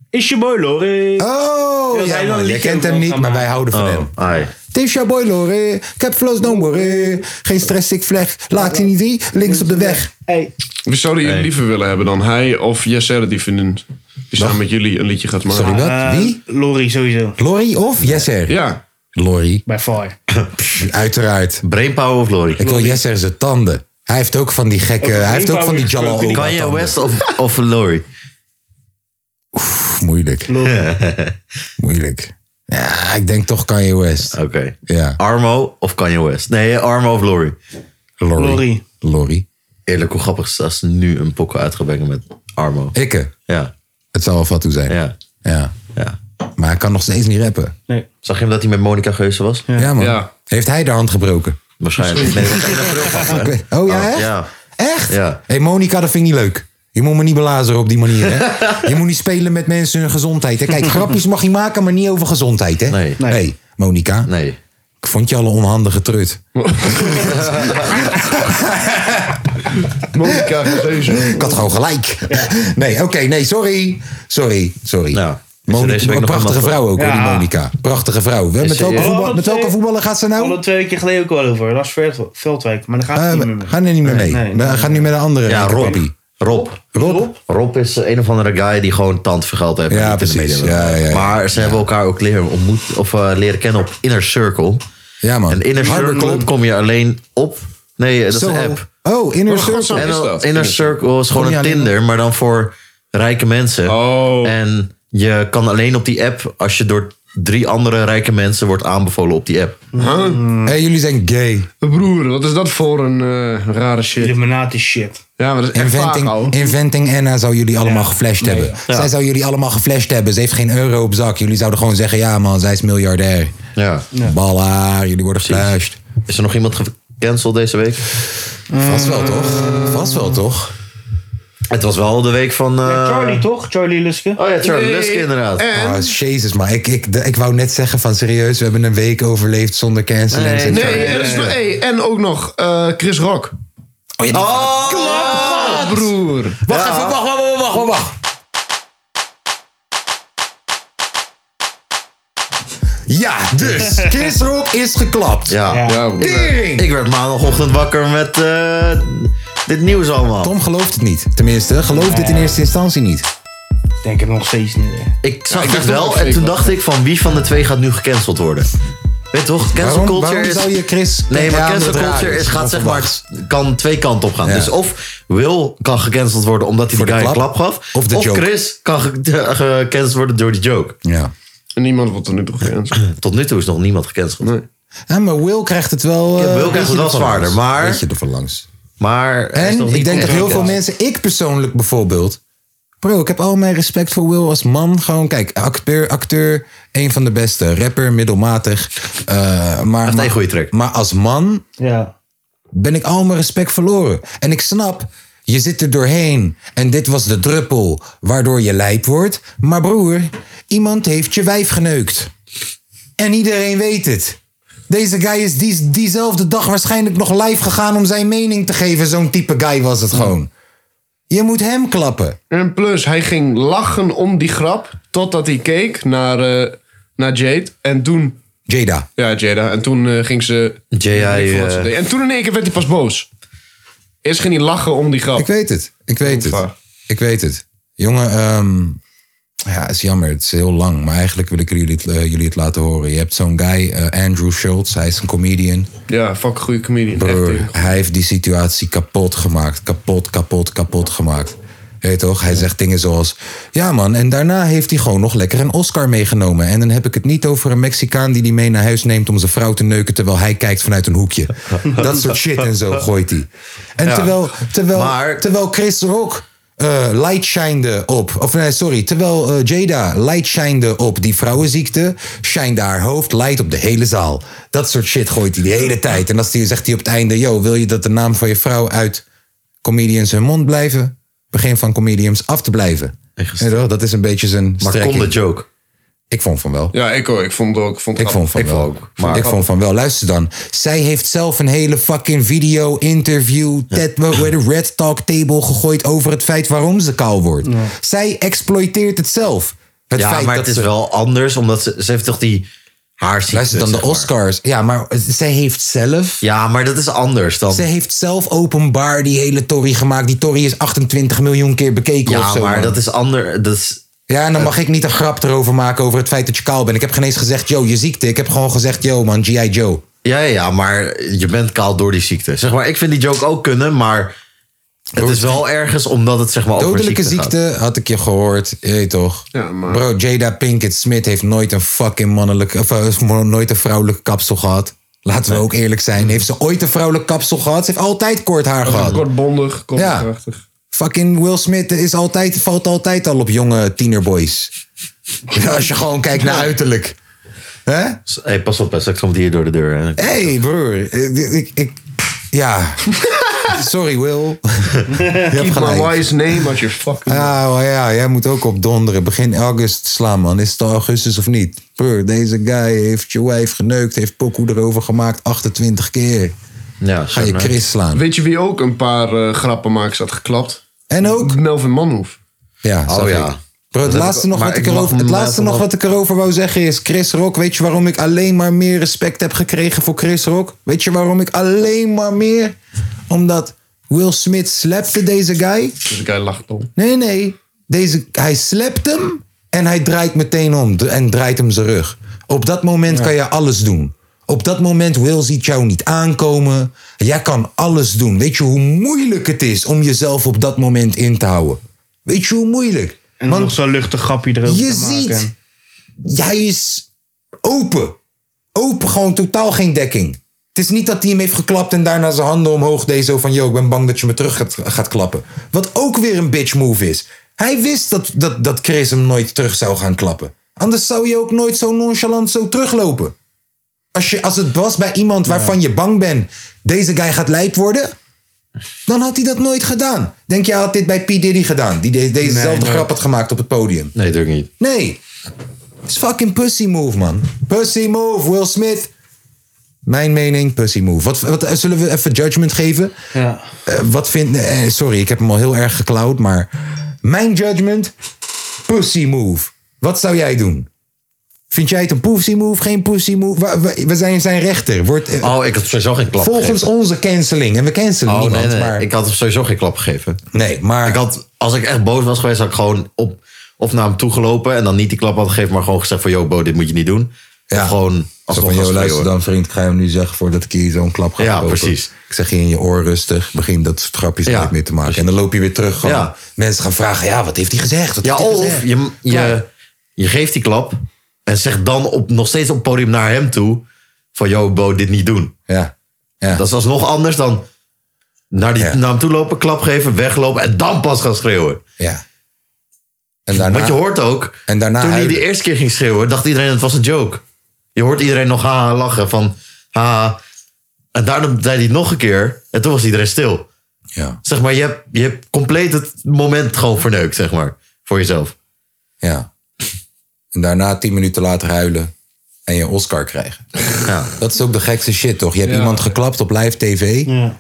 [SPEAKER 2] Is je boy, Loris.
[SPEAKER 1] Oh,
[SPEAKER 2] hij
[SPEAKER 1] ja,
[SPEAKER 2] wel
[SPEAKER 1] man.
[SPEAKER 2] een
[SPEAKER 1] Je
[SPEAKER 2] liedje
[SPEAKER 1] kent hem
[SPEAKER 2] wil
[SPEAKER 1] niet,
[SPEAKER 2] gaan
[SPEAKER 1] maar wij
[SPEAKER 2] maken.
[SPEAKER 1] houden van
[SPEAKER 3] Oh,
[SPEAKER 1] hem.
[SPEAKER 3] ai.
[SPEAKER 1] Het is jouw boy, Lore. Ik heb flows, no more. Geen stress, ik vleg. Laat je niet die, links op de weg.
[SPEAKER 2] Hey.
[SPEAKER 5] Wie zouden jullie liever willen hebben dan? Hij of Jesser die vriendin die samen met jullie een liedje gaat maken?
[SPEAKER 1] Sorry, wat?
[SPEAKER 2] eh,
[SPEAKER 1] Wie?
[SPEAKER 2] Lori, sowieso.
[SPEAKER 1] Lori of Jesser?
[SPEAKER 5] Ja.
[SPEAKER 1] Lori,
[SPEAKER 2] By far.
[SPEAKER 1] uiteraard.
[SPEAKER 3] Brainpower of Lori?
[SPEAKER 1] Ik wil Jesser zijn tanden. Hij heeft ook van die gekke... Hij heeft ook van die Jalal Oba
[SPEAKER 3] Kan je
[SPEAKER 1] tanden.
[SPEAKER 3] West of, of Lori?
[SPEAKER 1] Pff, Moeilijk, (laughs) moeilijk. Ja, ik denk toch Kanye West.
[SPEAKER 3] Oké.
[SPEAKER 1] Ja,
[SPEAKER 3] Armo of Kanye West? Nee, Armo of Lori.
[SPEAKER 1] Lori. Lori.
[SPEAKER 2] Lori.
[SPEAKER 3] Eerlijk, hoe grappig is het als ze nu een pokkel uit gaan brengen met Armo?
[SPEAKER 1] Ikke.
[SPEAKER 3] Ja,
[SPEAKER 1] Het zal wel Fatou zijn. Ja.
[SPEAKER 3] ja, ja.
[SPEAKER 1] Maar hij kan nog steeds niet rappen.
[SPEAKER 2] Nee.
[SPEAKER 3] Zag je hem dat hij met Monica Geuze was?
[SPEAKER 1] Ja, man.
[SPEAKER 5] Ja.
[SPEAKER 1] Heeft hij de hand gebroken?
[SPEAKER 3] Waarschijnlijk. Nee, dat is geen april
[SPEAKER 1] Ik weet- Oh ja, echt?
[SPEAKER 3] Ja.
[SPEAKER 1] Echt?
[SPEAKER 3] Ja.
[SPEAKER 1] hey, Monica, dat vind ik niet leuk. Je moet me niet belazeren op die manier,
[SPEAKER 3] (laughs)
[SPEAKER 1] hè? je moet niet spelen met mensen hun gezondheid, hè? Kijk, grapjes mag je maken, maar niet over gezondheid, hè?
[SPEAKER 3] Nee.
[SPEAKER 1] Nee,
[SPEAKER 2] Nee.
[SPEAKER 1] Monica,
[SPEAKER 3] Nee.
[SPEAKER 1] ik vond je al een onhandige
[SPEAKER 3] (laughs)
[SPEAKER 1] trut.
[SPEAKER 5] Monica Geuze.
[SPEAKER 1] Ik had gewoon gelijk. Nee, oké, nee, sorry. Sorry, sorry.
[SPEAKER 3] Nou, is er
[SPEAKER 1] Moni-
[SPEAKER 3] deze week
[SPEAKER 1] een
[SPEAKER 3] nog
[SPEAKER 1] prachtige
[SPEAKER 3] allemaal-
[SPEAKER 1] vrouw ook, hoor, die
[SPEAKER 2] Ja.
[SPEAKER 1] Monica. Prachtige vrouw. Hè, Met
[SPEAKER 3] ze-
[SPEAKER 1] welke,
[SPEAKER 3] ja.
[SPEAKER 1] voetbal- met welke
[SPEAKER 2] Oh,
[SPEAKER 1] voetballer gaat ze
[SPEAKER 2] Al
[SPEAKER 1] nou?
[SPEAKER 2] een twee keer geleden ook al over. Lars Veld- Veldwijk. Maar daar gaat
[SPEAKER 1] Eh,
[SPEAKER 2] het niet meer
[SPEAKER 1] we
[SPEAKER 2] mee.
[SPEAKER 1] gaan er niet meer mee.
[SPEAKER 2] nee,
[SPEAKER 1] we
[SPEAKER 2] nee.
[SPEAKER 1] gaan nu met een andere
[SPEAKER 3] Ja,
[SPEAKER 1] reden,
[SPEAKER 3] Rob.
[SPEAKER 1] papi.
[SPEAKER 3] Rob.
[SPEAKER 1] Eh, Rob?
[SPEAKER 3] Rob is een of andere guy die gewoon tandvergeld heeft.
[SPEAKER 1] Ja,
[SPEAKER 3] en niet in de
[SPEAKER 1] precies.
[SPEAKER 3] media wil.
[SPEAKER 1] Ja, ja, ja.
[SPEAKER 3] Maar ze hebben elkaar ook leren, ontmoet, of, eh, leren kennen op Inner Circle.
[SPEAKER 1] Ja, man.
[SPEAKER 3] En Inner
[SPEAKER 1] Harbor
[SPEAKER 3] Circle
[SPEAKER 1] Club.
[SPEAKER 3] kom je alleen op. Nee, eh, dat is
[SPEAKER 1] Soho.
[SPEAKER 3] een app.
[SPEAKER 1] Oh, Inner
[SPEAKER 5] Oh,
[SPEAKER 1] Circle.
[SPEAKER 5] godzo.
[SPEAKER 3] En
[SPEAKER 5] is
[SPEAKER 3] dan-
[SPEAKER 5] dat?
[SPEAKER 3] Inner Circle is gewoon
[SPEAKER 1] Kom je
[SPEAKER 3] een
[SPEAKER 1] alleen
[SPEAKER 3] Tinder, maar dan voor rijke mensen.
[SPEAKER 5] Oh.
[SPEAKER 3] En je kan alleen op die app als je door drie andere rijke mensen wordt aanbevolen op die app.
[SPEAKER 1] Hey, jullie zijn gay.
[SPEAKER 5] Broer, wat is dat voor een eh, rare shit?
[SPEAKER 2] Illuminati shit.
[SPEAKER 5] Ja, maar dat is echt vaag, ouwe.
[SPEAKER 1] Inventing, Inventing Anna zou jullie allemaal
[SPEAKER 2] Ja.
[SPEAKER 1] geflasht
[SPEAKER 2] Nee.
[SPEAKER 1] hebben. Zij zou jullie allemaal geflasht hebben. Ze heeft geen euro op zak. Jullie zouden gewoon zeggen, ja man, zij is miljardair.
[SPEAKER 3] Ja.
[SPEAKER 1] Balla, jullie worden geflasht.
[SPEAKER 3] Is er nog iemand gecanceld deze week?
[SPEAKER 1] Vast wel toch? Vast wel toch?
[SPEAKER 3] Het was wel de week van... eh,
[SPEAKER 2] Charlie toch? Charlie Luske?
[SPEAKER 3] Oh ja, Charlie
[SPEAKER 5] Nee.
[SPEAKER 3] Luske inderdaad.
[SPEAKER 5] En?
[SPEAKER 1] Ah, jezus, maar ik, ik, de- ik wou net zeggen van serieus, we hebben een week overleefd zonder cancel.
[SPEAKER 3] Nee,
[SPEAKER 1] en-
[SPEAKER 3] nee.
[SPEAKER 5] Nee, en, dat is- hey, en ook nog eh, Chris Rock.
[SPEAKER 1] Oh, ja, die-
[SPEAKER 5] Oh, broer.
[SPEAKER 1] Wacht even, wacht, wacht, wacht, wacht, wacht, wacht. Ja, dus (laughs) Chris Rock is geklapt.
[SPEAKER 3] Ja.
[SPEAKER 2] Ja.
[SPEAKER 5] Ja, broer.
[SPEAKER 1] Tering!
[SPEAKER 3] Ik werd maandagochtend wakker met eh, dit nieuws allemaal.
[SPEAKER 1] Tom gelooft het niet. Tenminste, gelooft dit in eerste instantie niet.
[SPEAKER 2] Ik denk het nog steeds niet. hè.
[SPEAKER 3] Ik zag
[SPEAKER 5] ik
[SPEAKER 3] het
[SPEAKER 5] dacht ook
[SPEAKER 3] wel
[SPEAKER 5] dat
[SPEAKER 3] en
[SPEAKER 5] ik
[SPEAKER 3] toen
[SPEAKER 5] was.
[SPEAKER 3] dacht ik van wie van de twee gaat nu gecanceld worden? Weet toch, cancel
[SPEAKER 1] Waarom,
[SPEAKER 3] culture
[SPEAKER 1] waarom
[SPEAKER 3] is...
[SPEAKER 1] zou je Chris...
[SPEAKER 3] Nee, maar
[SPEAKER 1] Ja,
[SPEAKER 3] cancel
[SPEAKER 1] omdat het raar
[SPEAKER 3] culture is, gaat zeg maar,
[SPEAKER 1] onverwachts.
[SPEAKER 3] kan twee kanten op gaan.
[SPEAKER 1] Ja.
[SPEAKER 3] Dus of Will kan gecanceld worden omdat hij
[SPEAKER 1] Voor
[SPEAKER 3] de
[SPEAKER 1] de
[SPEAKER 3] guy een
[SPEAKER 1] klap.
[SPEAKER 3] klap gaf.
[SPEAKER 1] Of de joke.
[SPEAKER 3] Chris kan ge- (laughs) eh, gecanceld worden door die joke.
[SPEAKER 1] Ja.
[SPEAKER 5] En niemand wordt er nu toch gecanceld.
[SPEAKER 3] (clears throat) Tot nu toe is nog niemand gecanceld.
[SPEAKER 5] Nee.
[SPEAKER 1] Ja, maar Will krijgt het wel... eh,
[SPEAKER 3] Will krijgt
[SPEAKER 1] weet
[SPEAKER 3] het
[SPEAKER 1] je
[SPEAKER 3] wel
[SPEAKER 1] ervan
[SPEAKER 3] zwaarder,
[SPEAKER 1] langs.
[SPEAKER 3] maar-
[SPEAKER 1] Weet je ervan langs.
[SPEAKER 3] Maar hij is nog
[SPEAKER 1] En
[SPEAKER 3] niet
[SPEAKER 1] ik denk dat heel veel
[SPEAKER 3] gecanceld.
[SPEAKER 1] mensen, ik persoonlijk bijvoorbeeld. Bro, ik heb al mijn respect voor Will als man. Gewoon, kijk, acteur, acteur een van de beste. Rapper, middelmatig. Eh, maar,
[SPEAKER 3] een
[SPEAKER 1] maar,
[SPEAKER 3] goede track.
[SPEAKER 1] maar als man
[SPEAKER 2] Ja.
[SPEAKER 1] ben ik al mijn respect verloren. En ik snap, je zit er doorheen. En dit was de druppel waardoor je lijp wordt. Maar broer, iemand heeft je wijf geneukt. En iedereen weet het. Deze guy is die, diezelfde dag waarschijnlijk nog live gegaan om zijn mening te geven. Zo'n type guy was het gewoon. Je moet hem klappen.
[SPEAKER 5] En plus, hij ging lachen om die grap totdat hij keek naar, eh, naar Jade. En toen,
[SPEAKER 1] Jada.
[SPEAKER 5] ja, Jada. En toen eh, ging ze...
[SPEAKER 3] J.I.,
[SPEAKER 5] Ik vond wat ze
[SPEAKER 3] eh,
[SPEAKER 5] deed. En toen in één keer werd hij pas boos. Eerst ging hij lachen om die grap.
[SPEAKER 1] Ik weet het. Ik weet het.
[SPEAKER 5] Ongevaar.
[SPEAKER 1] Ik weet het. Jongen, ehm, ja, het is jammer. Het is heel lang. Maar eigenlijk wil ik jullie het, eh, jullie het laten horen. Je hebt zo'n guy, eh, Andrew Schultz. Hij is een comedian.
[SPEAKER 5] Ja, fuck goede comedian. Echt,
[SPEAKER 1] Broer,
[SPEAKER 5] eh.
[SPEAKER 1] hij heeft die situatie kapot gemaakt. Kapot, kapot, kapot gemaakt. Weet je toch? Hij zegt dingen zoals... Ja man, en daarna heeft hij gewoon nog lekker een Oscar meegenomen. En dan heb ik het niet over een Mexicaan die die mee naar huis neemt... om zijn vrouw te neuken terwijl hij kijkt vanuit een hoekje. (laughs) Dat soort shit en zo gooit hij. En terwijl, terwijl,
[SPEAKER 3] maar-
[SPEAKER 1] terwijl Chris Rock... eh light shinede op. Of nee, sorry. Terwijl eh, Jada light shinede op die vrouwenziekte. Shinede haar hoofd, light op de hele zaal. Dat soort shit gooit hij de hele tijd. En als die, zegt hij op het einde: Yo, wil je dat de naam van je vrouw uit comedians hun mond blijven? Begin van comedians af te blijven. Weet je wel, Dat is een beetje zijn
[SPEAKER 3] maar kon
[SPEAKER 1] strekking.
[SPEAKER 3] de joke.
[SPEAKER 1] Ik vond van wel.
[SPEAKER 5] Ja, ik ook. Ik vond het ook. Ik vond het
[SPEAKER 1] Ik vond van wel.
[SPEAKER 3] maar-
[SPEAKER 1] ik vond van wel. Luister dan. Zij heeft zelf een hele fucking video, interview, TED, waar de Red Talk table gegooid over het feit waarom ze kaal wordt. Zij exploiteert het zelf. Het
[SPEAKER 3] Ja,
[SPEAKER 1] feit
[SPEAKER 3] maar
[SPEAKER 1] dat
[SPEAKER 3] het is
[SPEAKER 1] ze-
[SPEAKER 3] wel anders, omdat ze, ze heeft toch die haarziekte.
[SPEAKER 1] Luister dan
[SPEAKER 3] zeg
[SPEAKER 1] de
[SPEAKER 3] maar.
[SPEAKER 1] Oscars. Ja, maar zij heeft zelf.
[SPEAKER 3] Ja, maar dat is anders dan...
[SPEAKER 1] Ze heeft zelf openbaar die hele Tory gemaakt. Die Tory is 28 miljoen keer bekeken
[SPEAKER 3] ja,
[SPEAKER 1] of zo.
[SPEAKER 3] maar
[SPEAKER 1] man.
[SPEAKER 3] dat is anders. Dat is,
[SPEAKER 1] Ja, en dan mag ik niet een grap erover maken over het feit dat je kaal bent. Ik heb geen eens gezegd, yo, je ziekte. Ik heb gewoon gezegd, yo man, G.I. Joe.
[SPEAKER 3] ja, ja, ja, maar je bent kaal door die ziekte. Zeg maar, ik vind die joke ook kunnen, maar het is wel ergens omdat het zeg maar over
[SPEAKER 1] Dodelijke
[SPEAKER 3] ziekte gaat.
[SPEAKER 1] ziekte had ik je gehoord. Je weet toch?
[SPEAKER 5] Ja, maar-
[SPEAKER 1] Bro, Jada Pinkett Smith heeft nooit een fucking mannelijke. Of, eh, mo- nooit een vrouwelijke kapsel gehad. Laten we ook eerlijk zijn. Heeft ze ooit een vrouwelijk kapsel gehad? Ze heeft altijd kort haar
[SPEAKER 5] Oh,
[SPEAKER 1] gehad.
[SPEAKER 5] Kortbondig, kortkrachtig.
[SPEAKER 1] Fucking Will Smith is altijd, (laughs) valt altijd al op jonge tienerboys. Als je gewoon kijkt naar uiterlijk. Hè?
[SPEAKER 3] hey, pas op, hè, straks komt hij hier door de deur. hè.
[SPEAKER 1] Hé, hey, broer. Ik, ik, ik-
[SPEAKER 5] (laughs)
[SPEAKER 1] ja. Sorry, Will. Je hebt
[SPEAKER 5] Keep my
[SPEAKER 1] gelijk.
[SPEAKER 5] wife's name as your fucking...
[SPEAKER 1] Ja, maar ja, jij moet ook op donderen. Begin augustus slaan, man. Is het al augustus of niet? Broer, deze guy heeft je wijf geneukt. Heeft pokoe erover gemaakt 28 keer.
[SPEAKER 3] Ja,
[SPEAKER 1] Ga je Chris slaan.
[SPEAKER 5] Weet je wie ook een paar eh, grappenmakers had geklapt?
[SPEAKER 1] En ook.
[SPEAKER 5] Melvin Manhoef.
[SPEAKER 1] Ja, zag
[SPEAKER 3] Oh, ja.
[SPEAKER 1] ik. Bro, het
[SPEAKER 3] Dat heb
[SPEAKER 1] laatste,
[SPEAKER 3] ik-
[SPEAKER 1] nog
[SPEAKER 3] maar
[SPEAKER 1] wat,
[SPEAKER 3] ik
[SPEAKER 1] ik
[SPEAKER 3] mag
[SPEAKER 1] erover, het
[SPEAKER 3] hem
[SPEAKER 1] laatste
[SPEAKER 3] even
[SPEAKER 1] nog
[SPEAKER 3] nog-
[SPEAKER 1] wat ik erover wou zeggen is... Chris Rock, weet je waarom ik alleen maar meer respect heb gekregen voor Chris Rock? Weet je waarom ik alleen maar meer? Omdat Will Smith slapte deze guy.
[SPEAKER 5] Dus de guy lacht om.
[SPEAKER 1] Nee, nee. Deze, hij slept hem en hij draait meteen om d- en draait hem zijn rug. Op dat moment kan je alles doen. Op dat moment wil ziet jou niet aankomen. Jij kan alles doen. Weet je hoe moeilijk het is om jezelf op dat moment in te houden? Weet je hoe moeilijk?
[SPEAKER 2] En
[SPEAKER 1] Want
[SPEAKER 2] nog zo'n luchtig grapje erover
[SPEAKER 1] je
[SPEAKER 2] te maken.
[SPEAKER 1] ziet, hij is open. Open, gewoon totaal geen dekking. Het is niet dat hij hem heeft geklapt en daarna zijn handen omhoog deed. Zo van, yo, ik ben bang dat je me terug gaat, gaat klappen. Wat ook weer een bitch move is. Hij wist dat, dat, dat Chris hem nooit terug zou gaan klappen. Anders zou je ook nooit zo nonchalant zo teruglopen. Als, je, als het was bij iemand waarvan je bang bent... deze guy gaat lijp worden... dan had hij dat nooit gedaan. Denk je, hij had dit bij P. Diddy gedaan... die de- dezezelfde grap had gemaakt op het podium.
[SPEAKER 3] Nee, natuurlijk niet.
[SPEAKER 1] Nee. Het is fucking pussy move, man. Pussy move, Will Smith. Mijn mening, pussy move. Wat, wat, eh, zullen we even judgment geven?
[SPEAKER 2] Ja.
[SPEAKER 1] Eh, wat vind... eh, sorry, ik heb hem al heel erg geklauwd, maar... Mijn judgment, pussy move. Wat zou jij doen? Vind jij het een pussy move, geen pussy move? Wa- wa- We zijn zijn rechter. Wordt, eh,
[SPEAKER 3] Oh, ik had sowieso geen klap
[SPEAKER 1] volgens
[SPEAKER 3] gegeven.
[SPEAKER 1] onze canceling. En we cancelen
[SPEAKER 3] Oh,
[SPEAKER 1] niemand,
[SPEAKER 3] nee, nee.
[SPEAKER 1] maar...
[SPEAKER 3] Ik had hem sowieso geen klap gegeven.
[SPEAKER 1] nee, maar...
[SPEAKER 3] Ik had, als ik echt boos was geweest, had ik gewoon op, of naar hem toe gelopen en dan niet die klap had gegeven, maar gewoon gezegd van, yo, Bo, dit moet je niet doen.
[SPEAKER 1] Ja.
[SPEAKER 3] Of gewoon als
[SPEAKER 1] Zo van,
[SPEAKER 3] een
[SPEAKER 1] joh,
[SPEAKER 3] gast
[SPEAKER 1] luister
[SPEAKER 3] schreeuwen.
[SPEAKER 1] dan vriend, ik ga hem nu zeggen voordat ik hier zo'n klap ga
[SPEAKER 3] Ja,
[SPEAKER 1] kopen.
[SPEAKER 3] precies.
[SPEAKER 1] Ik zeg je in je oor rustig, begin dat soort grapjes
[SPEAKER 3] Ja,
[SPEAKER 1] nooit meer te maken. En dan loop je weer terug. Gewoon.
[SPEAKER 3] Ja.
[SPEAKER 1] Mensen gaan vragen, ja, wat heeft hij gezegd? Wat
[SPEAKER 3] Ja,
[SPEAKER 1] heeft hij
[SPEAKER 3] of
[SPEAKER 1] gezegd?
[SPEAKER 3] je, je, je geeft die klap en zegt dan op, nog steeds op het podium naar hem toe van, yo, Bo, dit niet doen.
[SPEAKER 1] Ja, ja.
[SPEAKER 3] Dat is alsnog anders dan naar, die,
[SPEAKER 1] Ja.
[SPEAKER 3] naar hem toe lopen, klap geven, weglopen en dan pas gaan schreeuwen.
[SPEAKER 1] ja. En daarna,
[SPEAKER 3] Want je hoort ook,
[SPEAKER 1] En daarna
[SPEAKER 3] toen hij
[SPEAKER 1] huilen.
[SPEAKER 3] de eerste keer ging schreeuwen, dacht iedereen het was een joke. Je hoort iedereen nog haha lachen van haha. En daarna zei hij het nog een keer en toen was iedereen stil.
[SPEAKER 1] ja,
[SPEAKER 3] Zeg maar, je hebt, je hebt compleet het moment gewoon verneukt, zeg maar, voor jezelf.
[SPEAKER 1] ja. En daarna tien minuten later huilen en je Oscar krijgen.
[SPEAKER 3] Ja.
[SPEAKER 1] Dat is ook de gekste shit, toch? Je hebt iemand geklapt op live tv
[SPEAKER 2] Ja.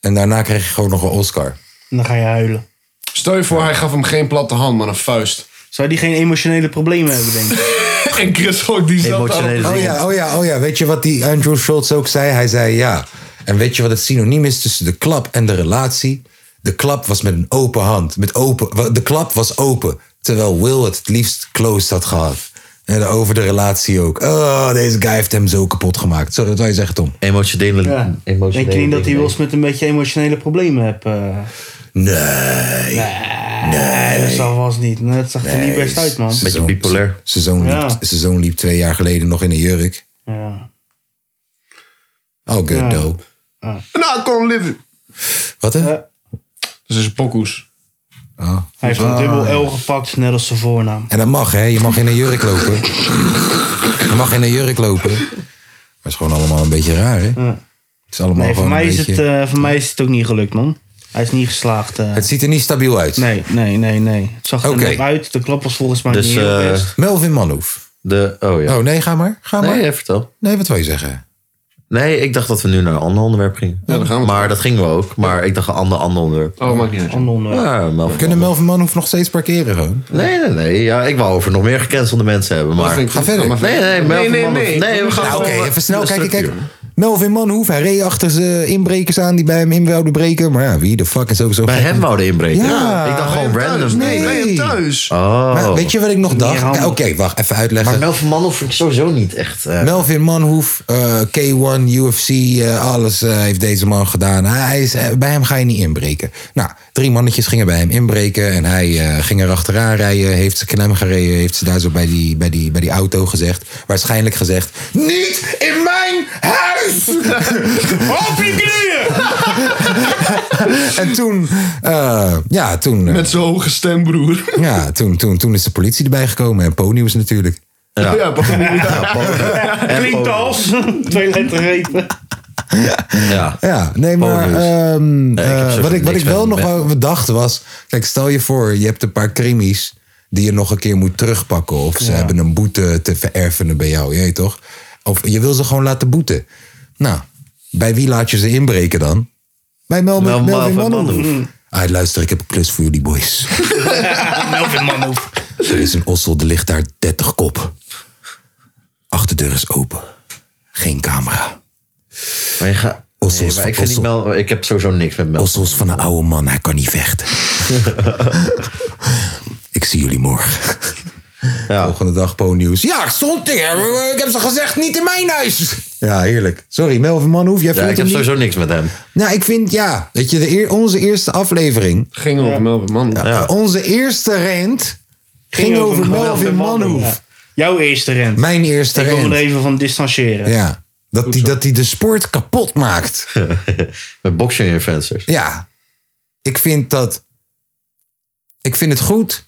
[SPEAKER 1] en daarna krijg je gewoon nog een Oscar.
[SPEAKER 2] En dan ga je huilen.
[SPEAKER 5] Stel je voor, hij gaf hem geen platte hand, maar een vuist.
[SPEAKER 2] Zou die geen emotionele problemen hebben, denk ik?
[SPEAKER 5] (laughs) en Chris ook die zat
[SPEAKER 3] Emotionele
[SPEAKER 1] Oh
[SPEAKER 3] dingen.
[SPEAKER 1] ja, oh ja, oh ja. Weet je wat die Andrew Schultz ook zei? Hij zei ja. En weet je wat het synoniem is tussen de klap en de relatie? De klap was met een open hand. Met open, de klap was open. Terwijl Will het het liefst closed had gehad. En over de relatie ook. Oh, deze guy heeft hem zo kapot gemaakt. Sorry, wat wil je zeggen, Tom?
[SPEAKER 3] Emotionele,
[SPEAKER 2] Ja.
[SPEAKER 3] emotionele
[SPEAKER 2] Denk je niet dat hij
[SPEAKER 3] dingen.
[SPEAKER 2] Will Smith een beetje emotionele problemen heeft? eh?
[SPEAKER 1] Nee.
[SPEAKER 2] Nee, dat zal vast niet. Nee, Dat zag er niet best uit, man.
[SPEAKER 3] Beetje
[SPEAKER 1] Zoon-
[SPEAKER 3] bipolair.
[SPEAKER 1] Zijn zoon, liep,
[SPEAKER 2] Ja.
[SPEAKER 1] zijn zoon liep twee jaar geleden nog in een jurk.
[SPEAKER 2] Ja.
[SPEAKER 1] Oh, good though.
[SPEAKER 5] Nou, kom live.
[SPEAKER 1] Wat hè?
[SPEAKER 2] Ja.
[SPEAKER 5] Dat is een pokoes.
[SPEAKER 1] Oh.
[SPEAKER 2] Eh. Hij heeft een dubbel L gepakt, net als zijn voornaam.
[SPEAKER 1] En dat mag, hè? Je mag in een jurk lopen. Je mag in een jurk lopen. Maar het is gewoon allemaal een beetje raar, hè? Het is allemaal
[SPEAKER 2] Nee, voor
[SPEAKER 1] gewoon
[SPEAKER 2] mij,
[SPEAKER 1] een
[SPEAKER 2] is het,
[SPEAKER 1] beetje...
[SPEAKER 2] eh, voor mij is het ook niet gelukt, man. Hij is niet geslaagd. eh.
[SPEAKER 1] Het ziet er niet stabiel uit.
[SPEAKER 2] Nee, nee, nee, nee. Het zag er
[SPEAKER 1] Oké.
[SPEAKER 2] net uit. De klap was volgens mij
[SPEAKER 3] Dus,
[SPEAKER 2] niet heel
[SPEAKER 3] eh,
[SPEAKER 2] best.
[SPEAKER 1] Melvin Manhoef.
[SPEAKER 3] De, oh ja.
[SPEAKER 1] Oh, nee, ga maar. Ga maar.
[SPEAKER 3] nee,
[SPEAKER 1] Nee,
[SPEAKER 3] ja, vertel.
[SPEAKER 1] wat wil je zeggen?
[SPEAKER 3] Nee, ik dacht dat we nu naar een ander onderwerp gingen.
[SPEAKER 5] daar gaan we.
[SPEAKER 3] maar dat gingen we ook. Maar ik dacht een ander, ander onderwerp.
[SPEAKER 5] Oh, maakt niet uit.
[SPEAKER 2] Ander onderwerp.
[SPEAKER 3] Ja, maar-
[SPEAKER 1] Kunnen Melvin Manhoef nog steeds parkeren, gewoon?
[SPEAKER 3] Nee, nee, nee. Ja, ik wou over nog meer gecancelde mensen hebben. Maar...
[SPEAKER 5] Vind ik-
[SPEAKER 1] Ga verder.
[SPEAKER 5] maar
[SPEAKER 3] Nee, nee,
[SPEAKER 5] nee,
[SPEAKER 3] Melvin
[SPEAKER 5] nee,
[SPEAKER 3] Manhoef.
[SPEAKER 5] nee.
[SPEAKER 3] Nee, we gaan
[SPEAKER 1] Nou, Oké,
[SPEAKER 3] over-
[SPEAKER 1] even snel
[SPEAKER 3] de
[SPEAKER 1] kijken. Kijk,
[SPEAKER 3] structuur.
[SPEAKER 1] Melvin Manhoef, hij reed achter zijn inbrekers aan die bij hem in wilden breken. Maar ja, wie de fuck is ook zo...
[SPEAKER 3] Bij hem wouden inbreken.
[SPEAKER 1] Ja.
[SPEAKER 3] ik dacht gewoon random.
[SPEAKER 5] Nee,
[SPEAKER 1] Nee.
[SPEAKER 5] ben je thuis?
[SPEAKER 3] Oh.
[SPEAKER 1] Maar weet je wat ik nog dacht? Oké,
[SPEAKER 2] handig.
[SPEAKER 1] wacht, even uitleggen.
[SPEAKER 3] Maar Melvin Manhoef vind ik sowieso niet echt. eh,
[SPEAKER 1] Melvin Manhoef, eh, K1, UFC, eh, alles eh, heeft deze man gedaan. Hij is, eh, bij hem ga je niet inbreken. Nou, drie mannetjes gingen bij hem inbreken en hij eh, ging er achteraan rijden. Heeft ze klem gereden, heeft ze daar zo bij die, bij, die, bij die auto gezegd. Waarschijnlijk gezegd, niet in mijn huis!
[SPEAKER 2] (laughs) Op je knieën!
[SPEAKER 1] (laughs) en toen, eh, ja, toen... eh,
[SPEAKER 5] Met zo'n hoge stem, broer.
[SPEAKER 1] Ja, toen, toen, toen is de politie erbij gekomen en Ponyus natuurlijk.
[SPEAKER 3] Ja.
[SPEAKER 2] (laughs) Klinkt als. (laughs) Twee lettergrepen.
[SPEAKER 3] Ja.
[SPEAKER 1] Ja, nee, maar
[SPEAKER 3] Bonus.
[SPEAKER 1] ehm,
[SPEAKER 3] Ja, ik heb
[SPEAKER 1] eh,
[SPEAKER 3] sowieso
[SPEAKER 1] wat, ik, wat
[SPEAKER 3] niks
[SPEAKER 1] ik wel
[SPEAKER 3] met-
[SPEAKER 1] nog
[SPEAKER 3] met-
[SPEAKER 1] wel bedacht was... Kijk, stel je voor, je hebt een paar krimis die je nog een keer moet terugpakken. Of ze hebben een boete te verervenen bij jou, je weet toch? Of je wil ze gewoon laten boeten. Nou, bij wie laat je ze inbreken dan? Bij Mel
[SPEAKER 3] Wel,
[SPEAKER 1] Melvin
[SPEAKER 3] Melvin
[SPEAKER 1] Manhoef.
[SPEAKER 3] Manhoef.
[SPEAKER 1] Ah, luister, ik heb een klus voor jullie boys.
[SPEAKER 2] Melvin Manhoef.
[SPEAKER 1] Er is een ossel, er ligt daar 30 kop. Achterdeur is open. Geen camera.
[SPEAKER 3] Maar je gaat...
[SPEAKER 1] Ossels
[SPEAKER 3] Nee, maar
[SPEAKER 1] van
[SPEAKER 3] ik, vind niet
[SPEAKER 1] Ossel.
[SPEAKER 3] Mel, ik heb sowieso niks met Mel.
[SPEAKER 1] Ossels van een oude man, hij kan niet
[SPEAKER 3] (laughs)
[SPEAKER 1] vechten. ik zie jullie morgen.
[SPEAKER 3] Ja.
[SPEAKER 1] Volgende dag po nieuws. Ja, ik stond er. Ik heb ze gezegd, niet in mijn huis. Ja, heerlijk. Sorry, Melvin Manhoef, jij
[SPEAKER 3] ja,
[SPEAKER 1] vindt
[SPEAKER 3] ik
[SPEAKER 1] hem
[SPEAKER 3] heb
[SPEAKER 1] niet...
[SPEAKER 3] sowieso niks met hem.
[SPEAKER 1] Nou, ik vind, ja, weet je, de eer- onze eerste aflevering,
[SPEAKER 5] Ging over Melbourne, man.
[SPEAKER 3] Ja.
[SPEAKER 1] onze eerste rent, ging, over Melvin Manhoef.
[SPEAKER 2] Ja. Jouw eerste rent.
[SPEAKER 1] Mijn eerste
[SPEAKER 2] Ik wil
[SPEAKER 1] rent.
[SPEAKER 2] er even van distancieren.
[SPEAKER 1] Ja, dat die, dat die de sport kapot maakt.
[SPEAKER 3] (laughs) Met boxing influencers.
[SPEAKER 1] Ja, ik vind dat. Ik vind het goed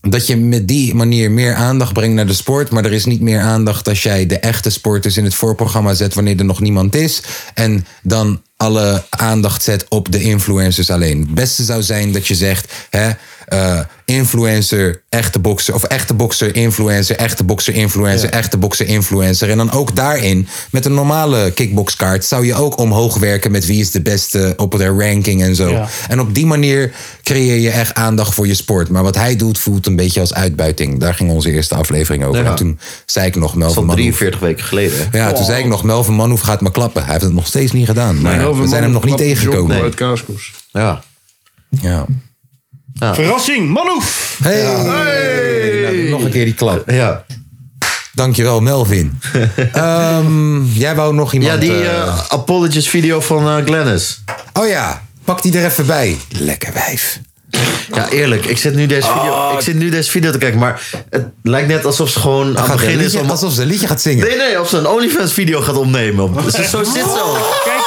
[SPEAKER 1] dat je met die manier meer aandacht brengt naar de sport. Maar er is niet meer aandacht als jij de echte sporters in het voorprogramma zet wanneer er nog niemand is. En dan alle aandacht zet op de influencers alleen. Het beste zou zijn dat je zegt: hè, eh, influencer, echte bokser. Of echte bokser, influencer, echte bokser, influencer, echte bokser, influencer. En dan ook daarin, met een normale kickboxkaart, zou je ook omhoog werken met wie is de beste op de ranking en zo.
[SPEAKER 2] Ja.
[SPEAKER 1] En op die manier creëer je echt aandacht voor je sport. Maar wat hij doet, voelt een beetje als uitbuiting. Daar ging onze eerste aflevering over.
[SPEAKER 3] Ja.
[SPEAKER 1] En toen zei ik nog Melvin
[SPEAKER 3] Van
[SPEAKER 1] Manhoef.
[SPEAKER 3] 43 weken geleden. hè? Oh.
[SPEAKER 1] Ja, toen zei ik nog Melvin Manhoef gaat me klappen. Hij heeft het nog steeds niet gedaan. Maar we zijn hem nog niet tegengekomen.
[SPEAKER 5] Uit Kaaskoes.
[SPEAKER 3] Ja.
[SPEAKER 1] Ja.
[SPEAKER 2] Verrassing, Manhoef!
[SPEAKER 1] Hey. Nou, nog een keer die klap.
[SPEAKER 3] Ja,
[SPEAKER 1] Dankjewel,
[SPEAKER 3] (laughs)
[SPEAKER 1] Melvin. Ehm, jij wou nog iemand...
[SPEAKER 3] ja die
[SPEAKER 1] eh,
[SPEAKER 3] eh Apologies video van eh, Glennis.
[SPEAKER 1] Oh ja, pak die er even bij. Lekker wijf.
[SPEAKER 3] Ja, eerlijk. Ik zit, nu deze video, ik zit nu deze video te kijken, maar het lijkt net alsof ze gewoon aan
[SPEAKER 1] Gaat
[SPEAKER 3] het
[SPEAKER 1] een
[SPEAKER 3] begin is
[SPEAKER 1] liedje,
[SPEAKER 3] om...
[SPEAKER 1] alsof ze een liedje gaat zingen.
[SPEAKER 3] Nee, nee, of ze een OnlyFans video gaat opnemen. Ze zo zit zo.
[SPEAKER 2] Kijk,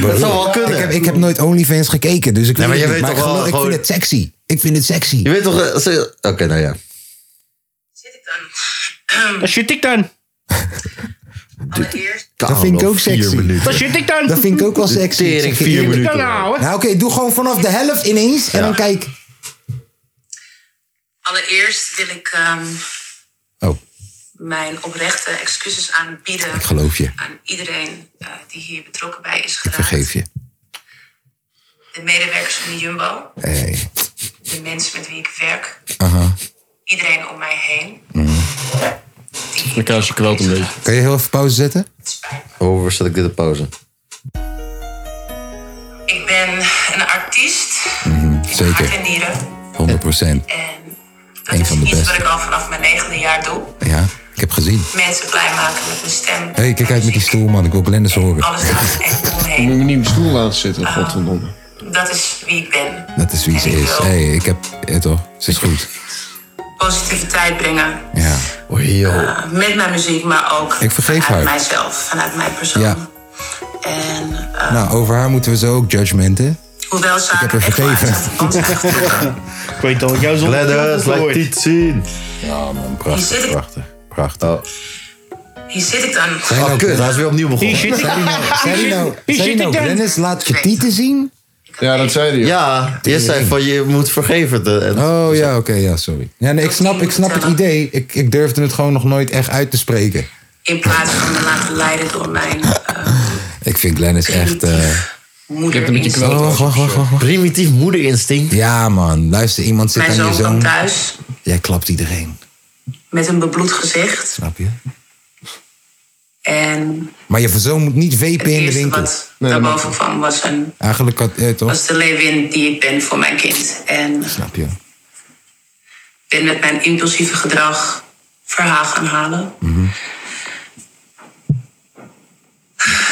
[SPEAKER 3] Dat zou wel
[SPEAKER 1] Ik heb,
[SPEAKER 3] kunnen.
[SPEAKER 1] ik heb nooit OnlyFans gekeken, dus ik,
[SPEAKER 3] Nee,
[SPEAKER 1] weet
[SPEAKER 3] maar
[SPEAKER 1] het
[SPEAKER 3] je
[SPEAKER 1] niet.
[SPEAKER 3] weet
[SPEAKER 1] ik
[SPEAKER 3] toch wel
[SPEAKER 1] geloof- ik
[SPEAKER 3] gewoon-
[SPEAKER 1] vind het sexy. Ik vind het sexy.
[SPEAKER 3] Je weet toch... eh, ze- Oké, nou ja.
[SPEAKER 7] zit ik dan?
[SPEAKER 2] dat shit ik dan.
[SPEAKER 7] Allereerst
[SPEAKER 3] Oh,
[SPEAKER 1] Dat vind ik ook sexy.
[SPEAKER 2] Dat shit ik dan.
[SPEAKER 1] Dat vind ik ook wel sexy. Ik
[SPEAKER 3] Tering,
[SPEAKER 1] zeg je
[SPEAKER 3] vier
[SPEAKER 1] eerlijk.
[SPEAKER 3] minuten.
[SPEAKER 2] Nou, hè.
[SPEAKER 1] Nou oké, doe gewoon vanaf de helft ineens en dan kijk.
[SPEAKER 7] Allereerst wil ik ehm,
[SPEAKER 1] Oh,
[SPEAKER 7] mijn oprechte excuses aanbieden
[SPEAKER 1] ik geloof je.
[SPEAKER 7] aan iedereen eh, die hier betrokken bij is
[SPEAKER 1] Ik
[SPEAKER 7] geraakt.
[SPEAKER 1] vergeef je.
[SPEAKER 7] De medewerkers van de Jumbo,
[SPEAKER 1] Hey.
[SPEAKER 7] de mensen met wie ik werk,
[SPEAKER 1] Aha.
[SPEAKER 7] iedereen om mij heen.
[SPEAKER 2] Mijn kaarsje kwelt een beetje.
[SPEAKER 1] Kan je heel even pauze zetten?
[SPEAKER 7] Het spijt me.
[SPEAKER 3] Oh, waar zet ik dit op pauze?
[SPEAKER 7] Ik ben een artiest,
[SPEAKER 3] Hm.
[SPEAKER 7] in hart en
[SPEAKER 1] Zeker,
[SPEAKER 7] nieren.
[SPEAKER 1] 100
[SPEAKER 7] En dat
[SPEAKER 1] Eén
[SPEAKER 7] is
[SPEAKER 1] van de
[SPEAKER 7] iets
[SPEAKER 1] beste.
[SPEAKER 7] wat ik al vanaf mijn negende jaar doe.
[SPEAKER 1] Ja, ik heb gezien.
[SPEAKER 7] Mensen blij maken met mijn stem.
[SPEAKER 1] Hé, hey, kijk uit met die stoel, man. Ik wil Glennis horen.
[SPEAKER 7] Alles gaat echt
[SPEAKER 5] Je moet
[SPEAKER 7] omheen.
[SPEAKER 5] me niet op de stoel laten zitten, godverdomme.
[SPEAKER 7] Dat is wie ik ben.
[SPEAKER 1] Dat is wie ze
[SPEAKER 7] En ik
[SPEAKER 1] is. Hé,
[SPEAKER 7] wil
[SPEAKER 1] hey, ik heb... eh, toch, ze is goed.
[SPEAKER 7] Positiviteit brengen.
[SPEAKER 1] Ja.
[SPEAKER 3] Oh, joh.
[SPEAKER 7] Uh, met mijn muziek, maar ook
[SPEAKER 1] Ik vergeef
[SPEAKER 7] vanuit
[SPEAKER 1] haar.
[SPEAKER 7] mijzelf, vanuit mijn persoon.
[SPEAKER 1] Ja.
[SPEAKER 7] En eh,
[SPEAKER 1] Nou, over haar moeten we zo ook judgmenten.
[SPEAKER 7] hoewel zaken
[SPEAKER 1] haar
[SPEAKER 7] Ah, echt wel uit
[SPEAKER 1] vergeven.
[SPEAKER 7] de hand zijn getrokken,
[SPEAKER 2] (laughs) Ik weet al, jouw zon.
[SPEAKER 3] Glennis, laat dit zien.
[SPEAKER 1] Prachtig, prachtig, prachtig.
[SPEAKER 3] Oh,
[SPEAKER 7] hier zit ik dan.
[SPEAKER 1] Zijn
[SPEAKER 3] oh
[SPEAKER 1] ook-
[SPEAKER 3] kut. Hij is weer opnieuw
[SPEAKER 2] Die
[SPEAKER 3] begonnen.
[SPEAKER 2] shit
[SPEAKER 7] (laughs)
[SPEAKER 2] ik dan.
[SPEAKER 1] Zei die nou, zei die nou Glennis, laat je tieten zien?
[SPEAKER 5] Ja, dat zei hij.
[SPEAKER 3] Ja, je zei van je moet vergeven. De, en-
[SPEAKER 1] Oh ja, oké, ja, sorry. Ja, nee, ik, snap, ik snap het idee. Ik, ik durfde het gewoon nog nooit echt uit te spreken.
[SPEAKER 7] In plaats van me laten leiden door mijn eh,
[SPEAKER 1] Ik vind Glennis echt... eh,
[SPEAKER 7] moeder. in-
[SPEAKER 1] wacht, wacht, wacht, wacht.
[SPEAKER 3] Primitief moederinstinct.
[SPEAKER 1] Ja, man. Luister, iemand zit
[SPEAKER 7] Mijn
[SPEAKER 1] aan je
[SPEAKER 7] zoon kwam
[SPEAKER 1] zoon.
[SPEAKER 7] thuis
[SPEAKER 1] Jij klapt iedereen,
[SPEAKER 7] met een bebloed gezicht.
[SPEAKER 1] snap je?
[SPEAKER 7] En
[SPEAKER 1] Maar je zoon moet niet
[SPEAKER 7] het
[SPEAKER 1] wepen in de
[SPEAKER 7] eerste
[SPEAKER 1] winkel.
[SPEAKER 7] wat daarboven kwam was, een,
[SPEAKER 1] Eigenlijk had... eh, toch?
[SPEAKER 7] was de leeuwin die ik ben voor mijn kind. En
[SPEAKER 1] Snap je?
[SPEAKER 7] ben met mijn impulsieve gedrag verhaal gaan halen.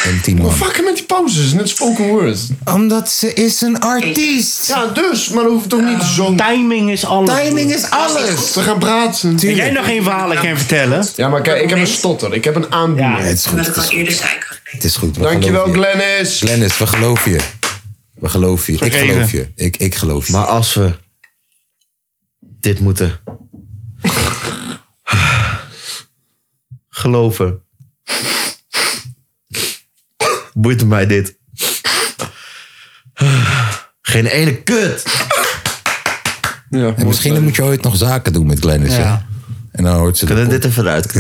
[SPEAKER 1] En tien man.
[SPEAKER 5] Fuck met die pauzes, net spoken word.
[SPEAKER 1] Omdat ze is een artiest.
[SPEAKER 5] Ja, dus, maar dan hoef je toch niet zo
[SPEAKER 2] Timing is alles.
[SPEAKER 1] Timing is alles.
[SPEAKER 5] te gaan praten.
[SPEAKER 2] Kun jij nog geen verhalen kan vertellen?
[SPEAKER 5] Ja, maar kijk, ik heb een stotter. Ik heb een
[SPEAKER 1] Ja,
[SPEAKER 5] aanbieding.
[SPEAKER 1] het is goed,
[SPEAKER 7] Wat ik
[SPEAKER 1] het is
[SPEAKER 7] al
[SPEAKER 1] goed.
[SPEAKER 7] eerder zei. ik had
[SPEAKER 1] Het is goed. we
[SPEAKER 5] Dankjewel,
[SPEAKER 1] geloven je.
[SPEAKER 5] Glennis.
[SPEAKER 1] Glennis, we geloven je. We geloven je. Ik
[SPEAKER 2] Vergeven.
[SPEAKER 1] geloof je. Ik, ik geloof je.
[SPEAKER 3] Maar als we dit moeten Geloven. Boeit mij dit. Geen ene kut.
[SPEAKER 5] Ja,
[SPEAKER 1] En misschien moet je ooit nog zaken doen met Glennis.
[SPEAKER 2] Ja.
[SPEAKER 1] hè? En dan hoort ze de
[SPEAKER 3] Kunnen we
[SPEAKER 1] pot.
[SPEAKER 3] dit
[SPEAKER 1] (laughs)
[SPEAKER 3] even eruit?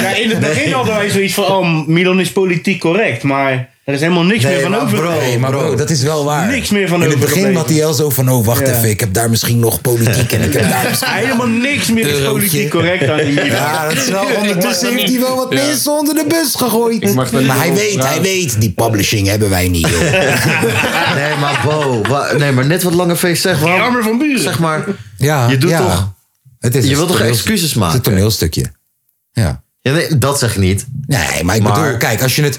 [SPEAKER 2] Ja, in het begin hadden wij zoiets van, oh, Milan is politiek correct, maar er is helemaal niks meer van
[SPEAKER 3] maar
[SPEAKER 2] over.
[SPEAKER 3] bro.
[SPEAKER 1] Nee, maar bro, dat is wel waar.
[SPEAKER 2] Niks meer van
[SPEAKER 1] In het
[SPEAKER 2] over
[SPEAKER 1] begin
[SPEAKER 2] gebleven.
[SPEAKER 1] had hij al zo van, oh wacht
[SPEAKER 2] Ja.
[SPEAKER 1] even, ik heb daar misschien nog politiek en ik heb
[SPEAKER 6] (laughs)
[SPEAKER 1] daar misschien...
[SPEAKER 2] Helemaal niks meer is
[SPEAKER 1] Eurotje.
[SPEAKER 2] politiek correct aan die Milan.
[SPEAKER 1] Ja, dat is wel. Ondertussen heeft hij wel wat mensen onder de bus gegooid.
[SPEAKER 5] mag dat niet
[SPEAKER 1] Maar hij
[SPEAKER 5] op
[SPEAKER 1] weet,
[SPEAKER 5] praten.
[SPEAKER 1] hij weet, die publishing hebben wij niet.
[SPEAKER 3] (laughs)
[SPEAKER 1] joh.
[SPEAKER 3] (laughs) Nee, maar Bo. wa- nee, maar net wat Lange Feest zegt.
[SPEAKER 2] Die
[SPEAKER 3] Waarom,
[SPEAKER 2] armen van buren.
[SPEAKER 3] zeg maar,
[SPEAKER 1] Ja,
[SPEAKER 3] Je doet
[SPEAKER 1] Ah, ja.
[SPEAKER 3] toch-
[SPEAKER 1] Het is
[SPEAKER 3] je
[SPEAKER 1] een
[SPEAKER 3] wilt toch
[SPEAKER 1] toneel-
[SPEAKER 3] excuses
[SPEAKER 1] Het is
[SPEAKER 3] maken?
[SPEAKER 1] een toneelstukje. Ja.
[SPEAKER 3] ja, nee, dat zeg ik niet.
[SPEAKER 1] Nee, maar ik
[SPEAKER 3] Maar-
[SPEAKER 1] bedoel, kijk, als je het...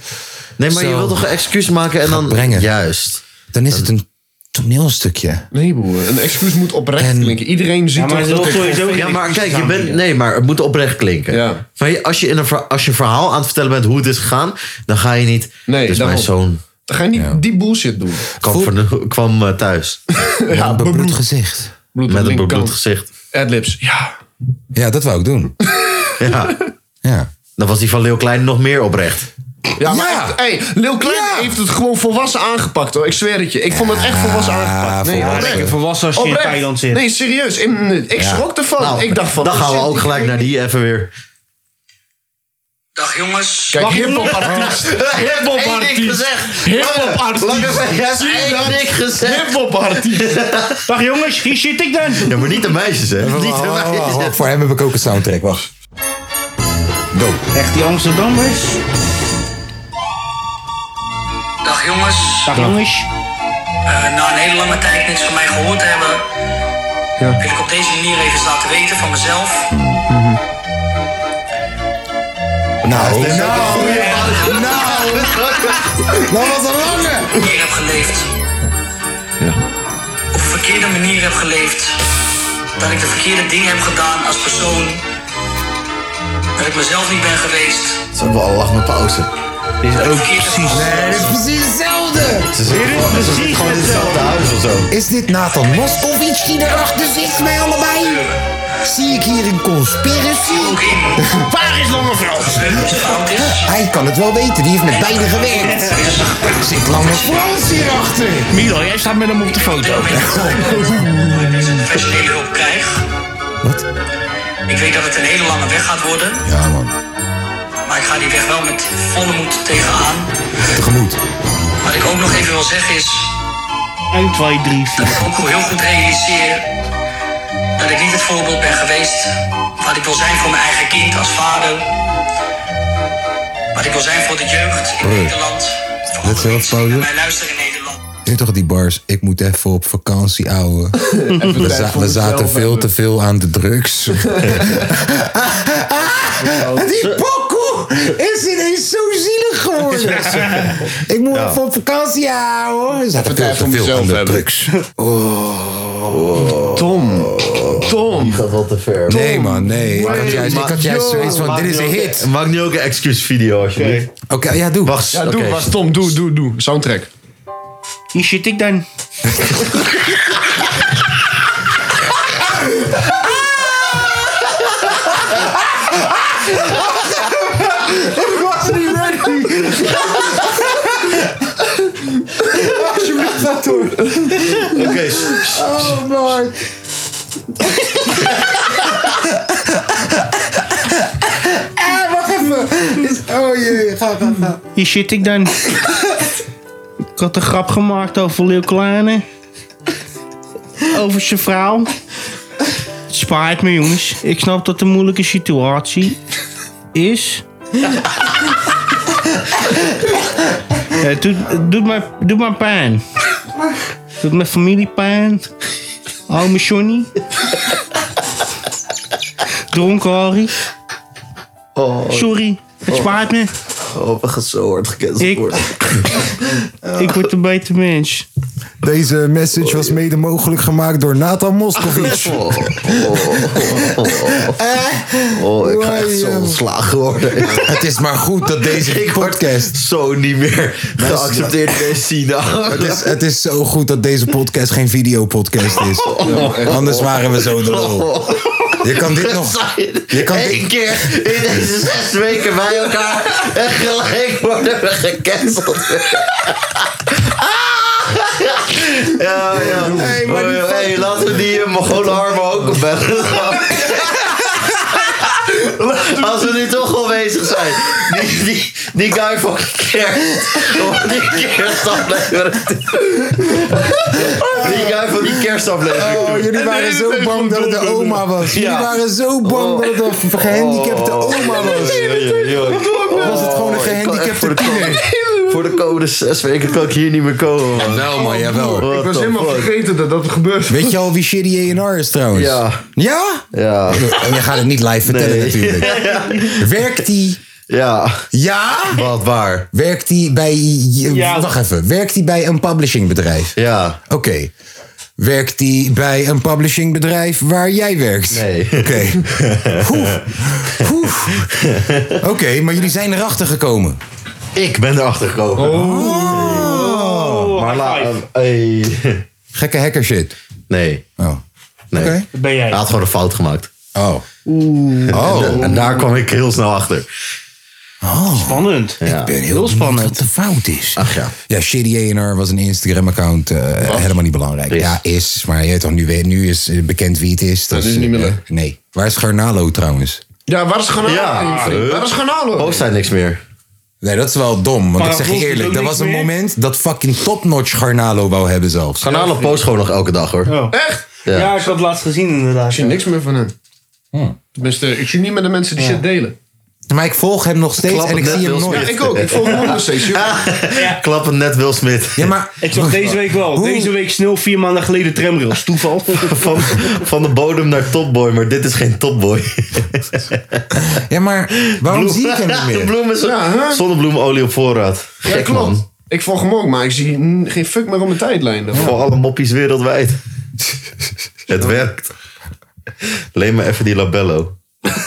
[SPEAKER 3] Nee, maar
[SPEAKER 1] Zo.
[SPEAKER 3] je wilt toch een excuus maken en dan...
[SPEAKER 1] brengen.
[SPEAKER 3] Juist.
[SPEAKER 1] Dan is het een toneelstukje.
[SPEAKER 5] Nee, broer. Een excuus moet oprecht
[SPEAKER 1] En-
[SPEAKER 5] klinken. Iedereen ziet
[SPEAKER 2] Ja, maar
[SPEAKER 5] toch
[SPEAKER 2] ze
[SPEAKER 5] dat
[SPEAKER 2] wil
[SPEAKER 5] ik-
[SPEAKER 2] sowieso geen
[SPEAKER 3] Ja, maar
[SPEAKER 2] excuses
[SPEAKER 3] kijk, je
[SPEAKER 2] aan
[SPEAKER 3] bent,
[SPEAKER 2] bieden.
[SPEAKER 3] nee, maar het moet oprecht klinken.
[SPEAKER 5] Ja.
[SPEAKER 3] Maar je- als je, in een, ver- als je een verhaal aan het vertellen bent hoe het is gegaan, dan ga je niet.
[SPEAKER 5] Nee,
[SPEAKER 3] dus
[SPEAKER 5] daarom.
[SPEAKER 3] mijn zoon
[SPEAKER 5] Dan ga je niet die bullshit doen.
[SPEAKER 3] kwam, van de- kwam eh,
[SPEAKER 5] (laughs)
[SPEAKER 3] thuis
[SPEAKER 1] Ja, een bebloed gezicht.
[SPEAKER 5] Bloed
[SPEAKER 3] met een bebloed
[SPEAKER 5] gezicht.
[SPEAKER 3] gezicht.
[SPEAKER 5] Adlibs. Ja.
[SPEAKER 1] Ja, dat wou ik doen.
[SPEAKER 3] (laughs) Ja,
[SPEAKER 1] Ja.
[SPEAKER 3] dan was die van Leeuw Klein nog meer oprecht.
[SPEAKER 5] Ja, maar
[SPEAKER 1] Ja.
[SPEAKER 5] echt, hey, Lil Klein
[SPEAKER 1] Ja.
[SPEAKER 5] heeft het gewoon volwassen aangepakt hoor. Ik zweer het je. Ik vond het echt volwassen aangepakt. Nee,
[SPEAKER 1] volwassen.
[SPEAKER 5] oprecht.
[SPEAKER 2] Lekker volwassen als je in
[SPEAKER 5] Oprecht.
[SPEAKER 2] Thailand zit.
[SPEAKER 5] Nee, serieus. Ik- ik schrok ervan.
[SPEAKER 3] Nou,
[SPEAKER 5] ik dacht van...
[SPEAKER 3] Dan gaan we
[SPEAKER 5] shit,
[SPEAKER 3] ook
[SPEAKER 5] ik-
[SPEAKER 3] gelijk naar die even weer.
[SPEAKER 8] Dag jongens.
[SPEAKER 5] Kijk, hiphop artiest.
[SPEAKER 3] Hip-hop
[SPEAKER 5] artiest.
[SPEAKER 3] gezegd.
[SPEAKER 5] Hiphop
[SPEAKER 3] Lange Vest
[SPEAKER 5] artiest.
[SPEAKER 3] heeft één ding gezegd.
[SPEAKER 5] Hiphop
[SPEAKER 1] (laughs)
[SPEAKER 5] artiest.
[SPEAKER 2] Dag jongens, hier zit ik dan.
[SPEAKER 3] Ja, maar niet de
[SPEAKER 1] (laughs)
[SPEAKER 3] meisjes, hè? Niet de
[SPEAKER 1] Wacht, wacht, wacht,
[SPEAKER 3] meisjes.
[SPEAKER 1] oh, Voor hem heb ik ook een soundtrack, wacht. Go.
[SPEAKER 2] Echt die Amsterdammers.
[SPEAKER 8] Dag jongens.
[SPEAKER 2] Dag jongens.
[SPEAKER 8] Eh, na een hele lange tijd niks van mij gehoord te hebben, wil ik op deze manier even eens laten weten van mezelf.
[SPEAKER 2] Mhm.
[SPEAKER 1] Nou, nou, nou. Dat was een lange.
[SPEAKER 8] manier heb geleefd. Op een verkeerde manier heb geleefd. Dat ik de verkeerde dingen heb gedaan als persoon. Dat ik mezelf niet ben geweest.
[SPEAKER 3] Ze hebben al lach met pauze.
[SPEAKER 2] Dit is
[SPEAKER 8] Dat ik
[SPEAKER 2] ook
[SPEAKER 8] verkeerd heb
[SPEAKER 2] precies.
[SPEAKER 8] gehandeld.
[SPEAKER 1] Precies hetzelfde.
[SPEAKER 3] Ze zitten gewoon- ze zitten
[SPEAKER 2] precies
[SPEAKER 3] gewoon in hetzelfde
[SPEAKER 2] hetzelfde.
[SPEAKER 3] huis of zo.
[SPEAKER 1] Is dit Nathan Moskovic die erachter zit bij allebei? Zie ik hier een conspiracy?
[SPEAKER 8] Ook in.
[SPEAKER 2] Waar is Langeveld?
[SPEAKER 8] Dat het iets fout is.
[SPEAKER 1] Hij kan het wel weten, die heeft met beide gewerkt. Zit Lange Frans hierachter?
[SPEAKER 2] Milan, jij staat met hem op de foto.
[SPEAKER 8] Dat ik deze professionele hulp krijg.
[SPEAKER 1] Wat?
[SPEAKER 8] Ik weet dat het een hele lange weg gaat worden.
[SPEAKER 1] Ja, man.
[SPEAKER 8] Maar ik ga die weg wel met volle moed tegenaan.
[SPEAKER 1] Tegemoet.
[SPEAKER 8] Wat ik ook nog even wil zeggen is...
[SPEAKER 2] 1, 2, 3, 4.
[SPEAKER 8] ik ook heel goed realiseer dat ik niet het voorbeeld ben geweest wat ik wil zijn voor mijn eigen kind als vader. Wat ik wil zijn voor de jeugd in
[SPEAKER 1] Hoi.
[SPEAKER 8] Nederland. Voor
[SPEAKER 1] Dit is
[SPEAKER 8] alle
[SPEAKER 1] heel
[SPEAKER 8] mensen die
[SPEAKER 1] pauze.
[SPEAKER 8] naar mij luisteren in Nederland.
[SPEAKER 1] Je toch die bars, ik moet even op vakantie,
[SPEAKER 3] (laughs)
[SPEAKER 1] ouwe. We,
[SPEAKER 5] tijd
[SPEAKER 1] za-
[SPEAKER 5] voor
[SPEAKER 1] we zaten
[SPEAKER 5] mezelf
[SPEAKER 1] veel
[SPEAKER 5] hebben.
[SPEAKER 1] te veel aan de
[SPEAKER 3] (laughs)
[SPEAKER 1] drugs. (laughs) die pokoe is ineens zo zielig geworden. ik moet even op vakantie, ouwe. We zaten veel
[SPEAKER 5] tijd
[SPEAKER 1] te
[SPEAKER 5] voor
[SPEAKER 1] veel
[SPEAKER 5] mezelf
[SPEAKER 1] aan de
[SPEAKER 5] hebben.
[SPEAKER 1] drugs.
[SPEAKER 2] Oh.
[SPEAKER 5] Tom. Tom.
[SPEAKER 3] Dat wel te ver.
[SPEAKER 1] Nee man, nee. Ik had juist, ik had juist zoiets van, dit is een hit.
[SPEAKER 3] Maak nu ook een excuus video alsjeblieft.
[SPEAKER 1] Oké, ja doe.
[SPEAKER 3] Wacht,
[SPEAKER 5] Ja, doe
[SPEAKER 3] oké.
[SPEAKER 5] maar. Tom, doe, doe, doe. Soundtrack.
[SPEAKER 2] Hier zit ik dan.
[SPEAKER 3] Oké, s- s-
[SPEAKER 1] Oh man. ah, wacht even. Dit is- Oh jee, ga, ga, ga.
[SPEAKER 2] Hier zit ik dan. Ik had een grap gemaakt over Leeuw Kleine. Over zijn vrouw. Het spijt me jongens. Ik snap dat het een moeilijke situatie is. Ja, het doet, het doet, mij, doet mij pijn. Het doet mijn familie pijn. Ome Johnny. Dronken Harry. Sorry, het spijt me. (laughs)
[SPEAKER 3] oh, we gaan zo hard gecanceld
[SPEAKER 2] Ik-
[SPEAKER 3] worden.
[SPEAKER 2] Ik word een beter mens.
[SPEAKER 1] Deze message was mede mogelijk gemaakt door Nathan
[SPEAKER 6] (laughs)
[SPEAKER 1] Moskovic.
[SPEAKER 3] Oh, oh, oh, oh. Oh, ik ga echt zo ontslagen worden.
[SPEAKER 1] Het is maar goed dat deze
[SPEAKER 3] (laughs) Ik word
[SPEAKER 1] podcast...
[SPEAKER 3] zo niet meer geaccepteerd in China.
[SPEAKER 1] Het is, het is zo goed dat deze podcast geen videopodcast is. Anders waren we zo de lol. Je kan dit nog... Je kan
[SPEAKER 3] Eén
[SPEAKER 1] dit,
[SPEAKER 3] keer in deze zes weken bij elkaar en gelijk worden we gecanceld. Ja, ja. Hey,
[SPEAKER 1] maar die
[SPEAKER 3] hey, laten we die uh, armen ook opbellen. Als we nu toch al bezig zijn. Die, die, die guy van kerst. Die kerstaflevering. Die guy van die kerstaflevering.
[SPEAKER 1] Oh, jullie waren zo bang dat het de oma was. Jullie
[SPEAKER 3] Ja. Oh.
[SPEAKER 1] waren zo bang dat het een gehandicapte oma was.
[SPEAKER 3] Of
[SPEAKER 1] was het gewoon een gehandicapte tiener?
[SPEAKER 3] Voor de code zes weken kan ik hier niet meer komen. man.
[SPEAKER 1] Wel man, jawel.
[SPEAKER 3] What
[SPEAKER 5] Ik was
[SPEAKER 3] the
[SPEAKER 5] helemaal
[SPEAKER 3] fuck?
[SPEAKER 5] vergeten dat dat gebeurde.
[SPEAKER 1] Weet je al wie Shitty A&R is trouwens?
[SPEAKER 3] Ja.
[SPEAKER 1] Ja?
[SPEAKER 3] Ja.
[SPEAKER 1] En je gaat het niet live vertellen
[SPEAKER 3] Nee. (laughs)
[SPEAKER 1] natuurlijk. Werkt die?
[SPEAKER 3] Ja.
[SPEAKER 1] Ja?
[SPEAKER 3] Wat waar?
[SPEAKER 1] Werkt die bij...
[SPEAKER 2] Ja.
[SPEAKER 1] Wacht even. Werkt die bij een publishingbedrijf?
[SPEAKER 3] Ja.
[SPEAKER 1] Oké. Werkt die bij een publishingbedrijf waar jij werkt?
[SPEAKER 3] Nee.
[SPEAKER 1] Oké.
[SPEAKER 3] (laughs)
[SPEAKER 1] Oeh. Oeh. Oké, maar jullie zijn erachter gekomen.
[SPEAKER 3] Ik ben erachter gekomen.
[SPEAKER 2] Oh,
[SPEAKER 3] maar la-
[SPEAKER 2] high
[SPEAKER 3] eh,
[SPEAKER 2] five.
[SPEAKER 3] hey.
[SPEAKER 1] Gekke hacker shit.
[SPEAKER 3] Nee.
[SPEAKER 1] Oh.
[SPEAKER 3] Nee.
[SPEAKER 1] Oké.
[SPEAKER 2] Dat ben
[SPEAKER 3] Hij
[SPEAKER 2] jij.
[SPEAKER 3] had gewoon een fout gemaakt.
[SPEAKER 1] Oh. Oh.
[SPEAKER 3] En daar kwam ik heel snel achter.
[SPEAKER 2] Spannend.
[SPEAKER 1] Ik ben heel, spannend. Wat de fout is.
[SPEAKER 3] Ach ja.
[SPEAKER 1] Ja, Shady A&R was een Instagram-account. eh, helemaal niet belangrijk.
[SPEAKER 3] Is.
[SPEAKER 1] Ja, is. Maar je weet toch, nu, weet- nu is eh, bekend wie het is.
[SPEAKER 5] Dat is niet meer
[SPEAKER 1] eh,
[SPEAKER 5] leuk.
[SPEAKER 1] nee. Waar is Garnalo trouwens?
[SPEAKER 5] Ja, waar is Garnalo?
[SPEAKER 3] Ja.
[SPEAKER 5] vriend? Waar is Garnalo?
[SPEAKER 3] Ook zijn niks meer.
[SPEAKER 1] Nee, dat is wel dom. Want ik zeg je
[SPEAKER 2] Paragon doet
[SPEAKER 1] eerlijk,
[SPEAKER 2] ook
[SPEAKER 1] dat
[SPEAKER 2] niks
[SPEAKER 1] was een
[SPEAKER 2] meer.
[SPEAKER 1] moment dat fucking topnotch Garnalo wou hebben zelfs.
[SPEAKER 3] Garnalen post gewoon nog elke dag hoor.
[SPEAKER 2] Oh.
[SPEAKER 5] Echt?
[SPEAKER 3] Ja.
[SPEAKER 2] Ja. ik had het laatst gezien inderdaad.
[SPEAKER 5] Ik zie niks meer van hem. Tenminste, ik zie niet meer de mensen die shit delen.
[SPEAKER 1] Hm. Maar ik volg hem nog steeds
[SPEAKER 3] Klap
[SPEAKER 1] en
[SPEAKER 3] het
[SPEAKER 1] ik
[SPEAKER 3] net,
[SPEAKER 1] zie hem
[SPEAKER 3] Will Smith.
[SPEAKER 1] nooit.
[SPEAKER 5] Ja, ik ook. Ik volg hem ook nog
[SPEAKER 1] (laughs)
[SPEAKER 5] steeds. joh.
[SPEAKER 3] (laughs) Klappen net Will Smith.
[SPEAKER 1] Ja, maar...
[SPEAKER 2] Ik zag deze week wel.
[SPEAKER 1] Hoe?
[SPEAKER 2] Deze week snel vier maanden geleden tramrails. Toeval.
[SPEAKER 3] (laughs) Van, van de bodem naar topboy, maar dit is geen topboy.
[SPEAKER 1] Ja, maar waarom zie ik hem
[SPEAKER 3] (laughs)
[SPEAKER 1] niet
[SPEAKER 3] De
[SPEAKER 1] meer?
[SPEAKER 3] bloem is
[SPEAKER 5] Ja, hè?
[SPEAKER 3] zonnebloemolie op voorraad. Gek
[SPEAKER 5] Ja,
[SPEAKER 3] man.
[SPEAKER 5] klopt. Ik volg hem ook, maar ik zie mm, geen fuck meer op mijn tijdlijn. daarvan.
[SPEAKER 3] Voor alle moppies
[SPEAKER 5] (laughs)
[SPEAKER 3] wereldwijd. Het werkt. Leen me even die labello. (laughs)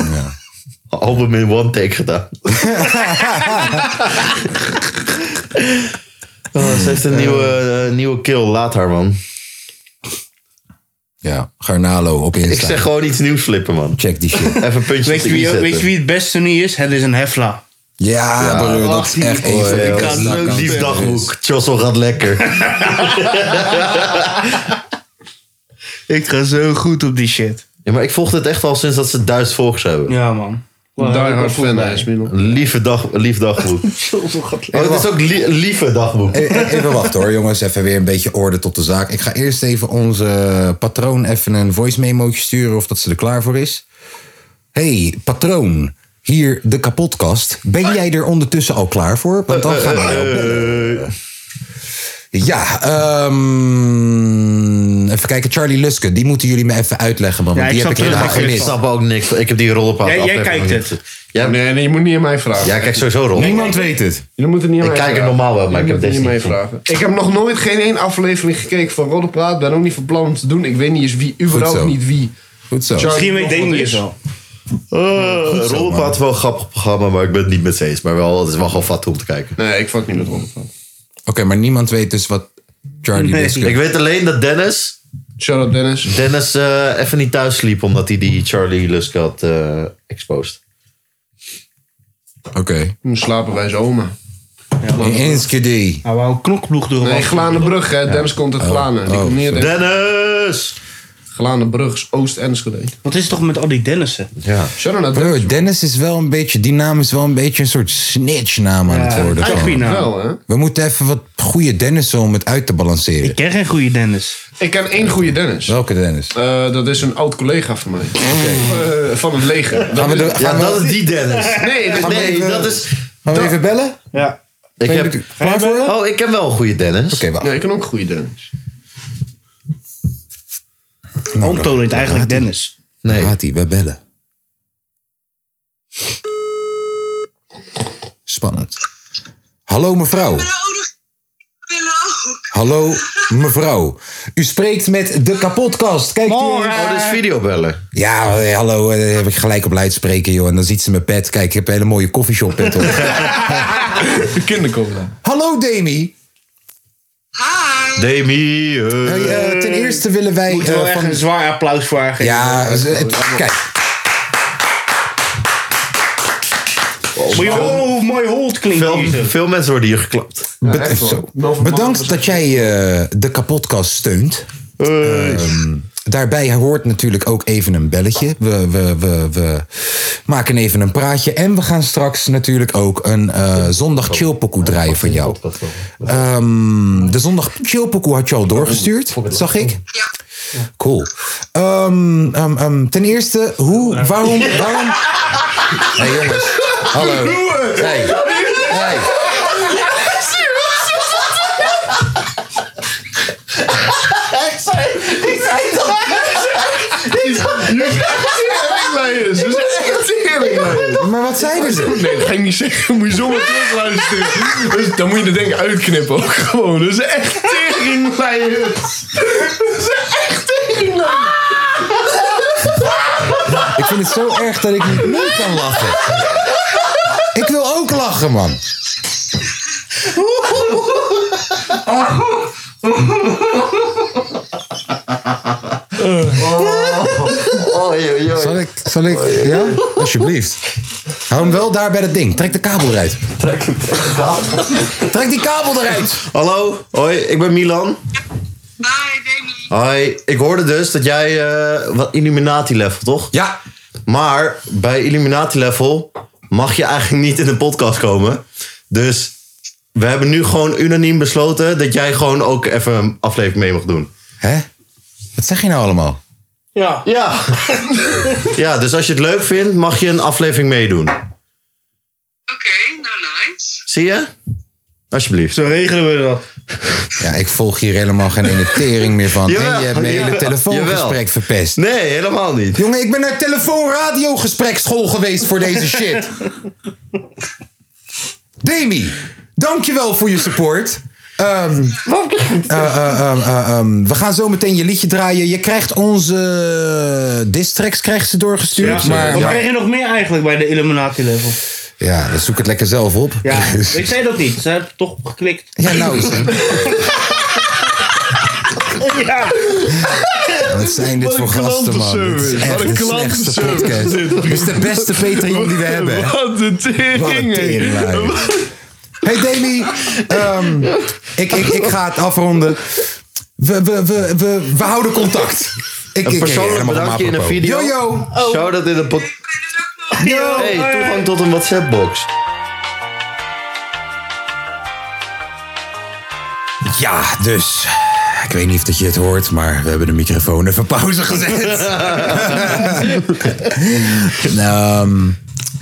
[SPEAKER 3] Album in one take gedaan. Oh, ze heeft een nieuwe, eh, nieuwe kill. Laat haar, man.
[SPEAKER 1] Ja, Garnalo op
[SPEAKER 3] Ik
[SPEAKER 1] Insta.
[SPEAKER 3] zeg gewoon iets nieuws flippen, man.
[SPEAKER 1] Check die shit.
[SPEAKER 3] Even een puntje
[SPEAKER 2] Weet je, wie, weet je wie het beste nu is? Het is een hefla.
[SPEAKER 1] Ja, broer, dat is
[SPEAKER 2] die-
[SPEAKER 1] echt een van de
[SPEAKER 3] Oh,
[SPEAKER 1] beste
[SPEAKER 3] ja,
[SPEAKER 1] accounts.
[SPEAKER 3] lief dagboek. Chossel gaat lekker.
[SPEAKER 2] (laughs) Ik ga zo goed op die shit.
[SPEAKER 3] Ja, maar ik volg dit echt al sinds dat ze duizend volgers hebben.
[SPEAKER 2] Ja, man.
[SPEAKER 5] Die hard fan hij is, Milan.
[SPEAKER 3] Lieve dag, lief
[SPEAKER 1] (laughs)
[SPEAKER 3] dagboek. Oh, het is ook li- lieve dagboek.
[SPEAKER 1] E- Even wachten
[SPEAKER 3] (laughs)
[SPEAKER 1] hoor, jongens. Even weer een beetje orde tot de zaak. Ik ga eerst even onze patroon even een voice memootje sturen of dat ze er klaar voor is. Hey, patroon. Hier de kapotkast. Ben jij er ondertussen al klaar voor? Want dan gaan wij op. Ja, ehm, even kijken. Charlie Luske, die moeten jullie me even uitleggen. Man, want
[SPEAKER 2] Ja, ik
[SPEAKER 1] die heb ik
[SPEAKER 2] snap
[SPEAKER 1] helemaal
[SPEAKER 2] terug,
[SPEAKER 1] gemist.
[SPEAKER 3] Ik snap ook niks. van. Ik heb die rol op
[SPEAKER 2] Jij- jij kijkt
[SPEAKER 3] Jij,
[SPEAKER 5] Nee, nee, je moet niet aan mij vragen.
[SPEAKER 3] jij kijkt sowieso rol.
[SPEAKER 1] Niemand weet het.
[SPEAKER 5] Je moet het niet aan
[SPEAKER 3] Ik
[SPEAKER 5] mij
[SPEAKER 3] kijk er
[SPEAKER 5] vragen.
[SPEAKER 3] normaal wel,
[SPEAKER 5] Je
[SPEAKER 3] maar ik heb
[SPEAKER 5] moet het
[SPEAKER 3] deze
[SPEAKER 5] niet aan
[SPEAKER 3] niet
[SPEAKER 5] mij vragen. Ik heb nog nooit geen één aflevering gekeken van Rodde Praat. Ben ook niet van plan om te doen. Ik weet niet eens wie, überhaupt
[SPEAKER 1] zo.
[SPEAKER 5] niet wie.
[SPEAKER 1] Goed zo.
[SPEAKER 5] Charlie
[SPEAKER 2] Misschien weet
[SPEAKER 5] nog
[SPEAKER 2] Deen
[SPEAKER 5] wat
[SPEAKER 2] je
[SPEAKER 5] is.
[SPEAKER 2] zo.
[SPEAKER 3] Uh,
[SPEAKER 1] zo,
[SPEAKER 3] Rollenpaad
[SPEAKER 1] man.
[SPEAKER 3] is wel een grappig programma, maar ik ben het niet met ze eens. Maar wel, het is wel gewoon fat om te kijken.
[SPEAKER 5] Nee, ik fuck niet met Rodde Praat.
[SPEAKER 1] Oké, maar niemand weet dus wat Charlie
[SPEAKER 2] Nee.
[SPEAKER 1] Luske...
[SPEAKER 3] Ik weet alleen dat Dennis,
[SPEAKER 5] Shout out Dennis.
[SPEAKER 3] Dennis eh, even niet thuis sliep omdat hij die Charlie Lusk had eh, exposed.
[SPEAKER 1] Oké.
[SPEAKER 5] Toen slapen wij zijn oma.
[SPEAKER 1] In Enschede.
[SPEAKER 2] Hij wou een knokploeg door.
[SPEAKER 5] Nee, Glanenbrug, hè. Dennis komt uit Glanen. Die
[SPEAKER 1] Oh,
[SPEAKER 5] komt neer.
[SPEAKER 3] Dennis!
[SPEAKER 5] Glanenbrug is Oost-Enschede.
[SPEAKER 2] Wat is het toch met al die Dennissen?
[SPEAKER 3] Ja.
[SPEAKER 5] Shout out naar Dennis.
[SPEAKER 1] Broer, Dennis is wel een beetje, die naam is wel een beetje een soort snitchnaam aan het worden. gewoon.
[SPEAKER 2] Agpina.
[SPEAKER 5] Wel, hè.
[SPEAKER 1] We moeten even wat goede Dennis om het uit te balanceren.
[SPEAKER 2] Ik ken geen goede Dennis.
[SPEAKER 5] Ik ken één goede Dennis.
[SPEAKER 1] Welke Dennis?
[SPEAKER 5] Eh, dat is een oud collega van mij. Eh, van het leger.
[SPEAKER 1] Gaan we, de,
[SPEAKER 3] Ja,
[SPEAKER 1] gaan we,
[SPEAKER 3] dat is die Dennis.
[SPEAKER 5] Nee, dat- nee.
[SPEAKER 3] Nee,
[SPEAKER 1] even-
[SPEAKER 3] dat is...
[SPEAKER 1] gaan we even bellen?
[SPEAKER 2] Ja.
[SPEAKER 3] Ik
[SPEAKER 1] Ben je
[SPEAKER 3] heb,
[SPEAKER 1] er klaar voor? Oké,
[SPEAKER 3] oh, ik heb wel een goede Dennis.
[SPEAKER 1] wacht.
[SPEAKER 5] Nee, ik ken ook een goede Dennis.
[SPEAKER 2] Anton heet eigenlijk Dennis.
[SPEAKER 3] Nee.
[SPEAKER 1] Gaat ie, we bellen. Spannend. Hallo mevrouw.
[SPEAKER 9] Hallo, Willo.
[SPEAKER 1] Hallo, mevrouw. U spreekt met de kapotkast. Kijkt u eens-
[SPEAKER 3] Oh, dus videobellen.
[SPEAKER 1] Ja, hé, hallo, eh, heb ik gelijk op luidspreken, joh. En dan ziet ze mijn pet. Kijk, ik heb een hele mooie koffieshop pet op.
[SPEAKER 9] De kindercola.
[SPEAKER 1] (laughs) hallo, Demi.
[SPEAKER 3] Demi. eh.
[SPEAKER 1] Eh, ten eerste willen wij...
[SPEAKER 2] Moet wel
[SPEAKER 1] eh,
[SPEAKER 2] echt
[SPEAKER 1] van-
[SPEAKER 2] een zwaar applaus vragen.
[SPEAKER 1] Ja, eh, het- kijk.
[SPEAKER 2] Moet je horen hoe mooi Holt klinkt.
[SPEAKER 3] veel,
[SPEAKER 2] hier, zo.
[SPEAKER 3] veel mensen worden hier geklapt.
[SPEAKER 1] Be- zo. Bedankt dat jij eh, de kapotkast steunt. Ehm, daarbij hoort natuurlijk ook even een belletje. We, we, we, we maken even een praatje. En we gaan straks natuurlijk ook een eh, zondag chillpokoe draaien van jou. Ehm, de zondag chillpokoe had je al doorgestuurd, zag ik. Cool. Ehm, ehm, ehm, ten eerste, hoe, waarom, waarom... Hé hey, jongens, hallo. Hey, hey.
[SPEAKER 5] Teringleiers. Dus echt teringleiers.
[SPEAKER 1] Maar wat zeiden ze?
[SPEAKER 5] Nee, dat ga ik niet zeggen. Moet je zomaar terugluisteren. Dus dan moet je er denk ik uitknippen ook gewoon. Dus echt teringleiers.
[SPEAKER 1] Ik vind het zo erg dat ik niet mee kan lachen. Ik wil ook lachen, man.
[SPEAKER 2] Oh.
[SPEAKER 3] (laughs) Oh,
[SPEAKER 1] Zal ik, zal ik, ja? Alsjeblieft. Hou hem wel daar bij dat ding. Trek de kabel eruit. Trek die kabel eruit.
[SPEAKER 3] Hallo, hoi, ik ben Milan.
[SPEAKER 7] Hi, Demi.
[SPEAKER 3] Hoi, ik hoorde dus dat jij eh, wat Illuminati level, toch?
[SPEAKER 1] Ja.
[SPEAKER 3] Maar bij Illuminati level mag je eigenlijk niet in de podcast komen. Dus we hebben nu gewoon unaniem besloten dat jij gewoon ook even een aflevering mee mag doen.
[SPEAKER 1] Hè? Wat zeg je nou allemaal?
[SPEAKER 2] Ja.
[SPEAKER 3] Ja. ja, dus als je het leuk vindt, mag je een aflevering meedoen.
[SPEAKER 7] Oké, nou nice.
[SPEAKER 3] Zie je? Alsjeblieft.
[SPEAKER 2] Zo regelen we dat.
[SPEAKER 1] Ja, ik volg hier helemaal geen ene tering meer van.
[SPEAKER 3] Jawel,
[SPEAKER 1] en je hebt mijn hele
[SPEAKER 3] jawel,
[SPEAKER 1] telefoongesprek
[SPEAKER 3] jawel.
[SPEAKER 1] verpest.
[SPEAKER 3] Nee, helemaal niet.
[SPEAKER 1] Jongen, ik ben naar telefoonradiogesprekschool geweest voor deze shit. Demi, dankjewel voor je support. Ehm, eh, eh, ehm, eh, ehm, we gaan zo meteen je liedje draaien. Je krijgt onze eh, distracks krijgt ze doorgestuurd. maar
[SPEAKER 2] Wat
[SPEAKER 1] ja.
[SPEAKER 2] krijg je nog meer eigenlijk bij de Illuminati level?
[SPEAKER 1] dan zoek het lekker zelf op. (laughs)
[SPEAKER 2] Ja, ik zei dat niet. Ze hebben toch geklikt.
[SPEAKER 1] Ja, nou is het.
[SPEAKER 2] Ja.
[SPEAKER 1] Wat zijn dit voor gasten, man? Dit is
[SPEAKER 5] klantenservice.
[SPEAKER 1] echt
[SPEAKER 5] Wat een
[SPEAKER 1] de slechtste
[SPEAKER 5] klantenservice.
[SPEAKER 1] podcast. Dit is de beste Patreon
[SPEAKER 6] (laughs)
[SPEAKER 1] die we hebben.
[SPEAKER 5] Wat een tering.
[SPEAKER 1] Teringlaaier. Hey Demi, ehm, ik, ik, ik ga het afronden. We, we, we, we, we houden contact. Ik,
[SPEAKER 3] Een
[SPEAKER 1] ik-
[SPEAKER 3] persoonlijk
[SPEAKER 1] helemaal
[SPEAKER 3] bedankje in een
[SPEAKER 1] apropos.
[SPEAKER 3] video.
[SPEAKER 1] Yo, yo.
[SPEAKER 3] Shout-out in de podcast.
[SPEAKER 7] Ik weet het ook nog.
[SPEAKER 3] Hey, toegang tot een WhatsApp-box.
[SPEAKER 1] Ja, dus. Ik weet niet of dat je het hoort, maar we hebben de microfoon even pauze
[SPEAKER 5] (laughs)
[SPEAKER 1] gezet. (laughs) Ehm,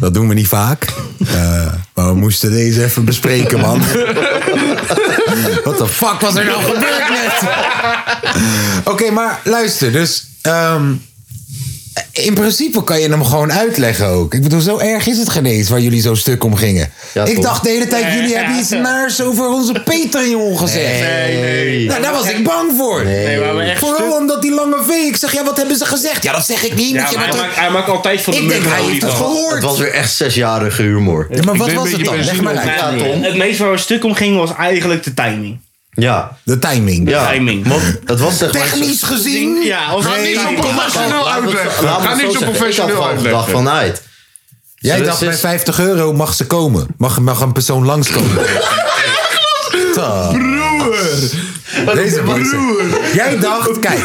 [SPEAKER 1] dat doen we niet vaak. Eh, maar we moesten deze even bespreken, man. (laughs) Wat de fuck was er nou gebeurd net? (laughs) Oké, maar luister, dus... ehm, in principe kan je hem gewoon uitleggen ook. Ik bedoel, zo erg is het geen eens waar jullie zo stuk om gingen.
[SPEAKER 3] Ja,
[SPEAKER 1] ik
[SPEAKER 3] toch.
[SPEAKER 1] dacht de hele tijd, jullie hebben iets naars over onze Patreon gezegd. Nou, daar was ik bang voor.
[SPEAKER 2] Nee, maar we echt
[SPEAKER 1] Vooral
[SPEAKER 2] stuk.
[SPEAKER 1] omdat die lange V. Ik zeg, ja, wat hebben ze gezegd? Ja, dat zeg ik niet.
[SPEAKER 2] Ja,
[SPEAKER 1] want je
[SPEAKER 2] maar hij,
[SPEAKER 1] bent
[SPEAKER 2] maakt,
[SPEAKER 1] ook-
[SPEAKER 2] hij maakt altijd van de
[SPEAKER 1] ik denk,
[SPEAKER 2] muggen
[SPEAKER 1] hij heeft het
[SPEAKER 2] oliebollen.
[SPEAKER 3] Het
[SPEAKER 1] gehoord.
[SPEAKER 3] was weer echt zesjarige humor.
[SPEAKER 1] Ja, maar
[SPEAKER 5] Ik
[SPEAKER 1] wat
[SPEAKER 5] ben een
[SPEAKER 1] was
[SPEAKER 5] beetje
[SPEAKER 1] het dan? Leg
[SPEAKER 5] benzine
[SPEAKER 1] maar
[SPEAKER 5] op
[SPEAKER 1] uit.
[SPEAKER 3] Ja,
[SPEAKER 2] Nee,
[SPEAKER 3] Tom.
[SPEAKER 2] Het meest waar we stuk om gingen was eigenlijk de timing.
[SPEAKER 3] Ja,
[SPEAKER 1] De timing.
[SPEAKER 3] ja.
[SPEAKER 2] Timing.
[SPEAKER 3] Want het was zeg maar...
[SPEAKER 1] Technisch gezien.
[SPEAKER 2] Ja, ons
[SPEAKER 1] Nee,
[SPEAKER 2] had niet Nou,
[SPEAKER 1] maar-
[SPEAKER 5] Professioneel
[SPEAKER 3] Laat me het-
[SPEAKER 5] uitleggen.
[SPEAKER 3] laat me
[SPEAKER 5] Ga
[SPEAKER 3] het
[SPEAKER 5] niet zo
[SPEAKER 3] zeggen.
[SPEAKER 5] professioneel
[SPEAKER 3] Ik had
[SPEAKER 5] uitleggen.
[SPEAKER 3] gewoon een dag vanuit.
[SPEAKER 1] Jij
[SPEAKER 3] Dus
[SPEAKER 1] dacht,
[SPEAKER 3] is-
[SPEAKER 1] bij 50 euro mag ze komen. Mag, mag een persoon
[SPEAKER 3] (laughs)
[SPEAKER 1] langskomen. Ta. Deze boys. Jij dacht, kijk,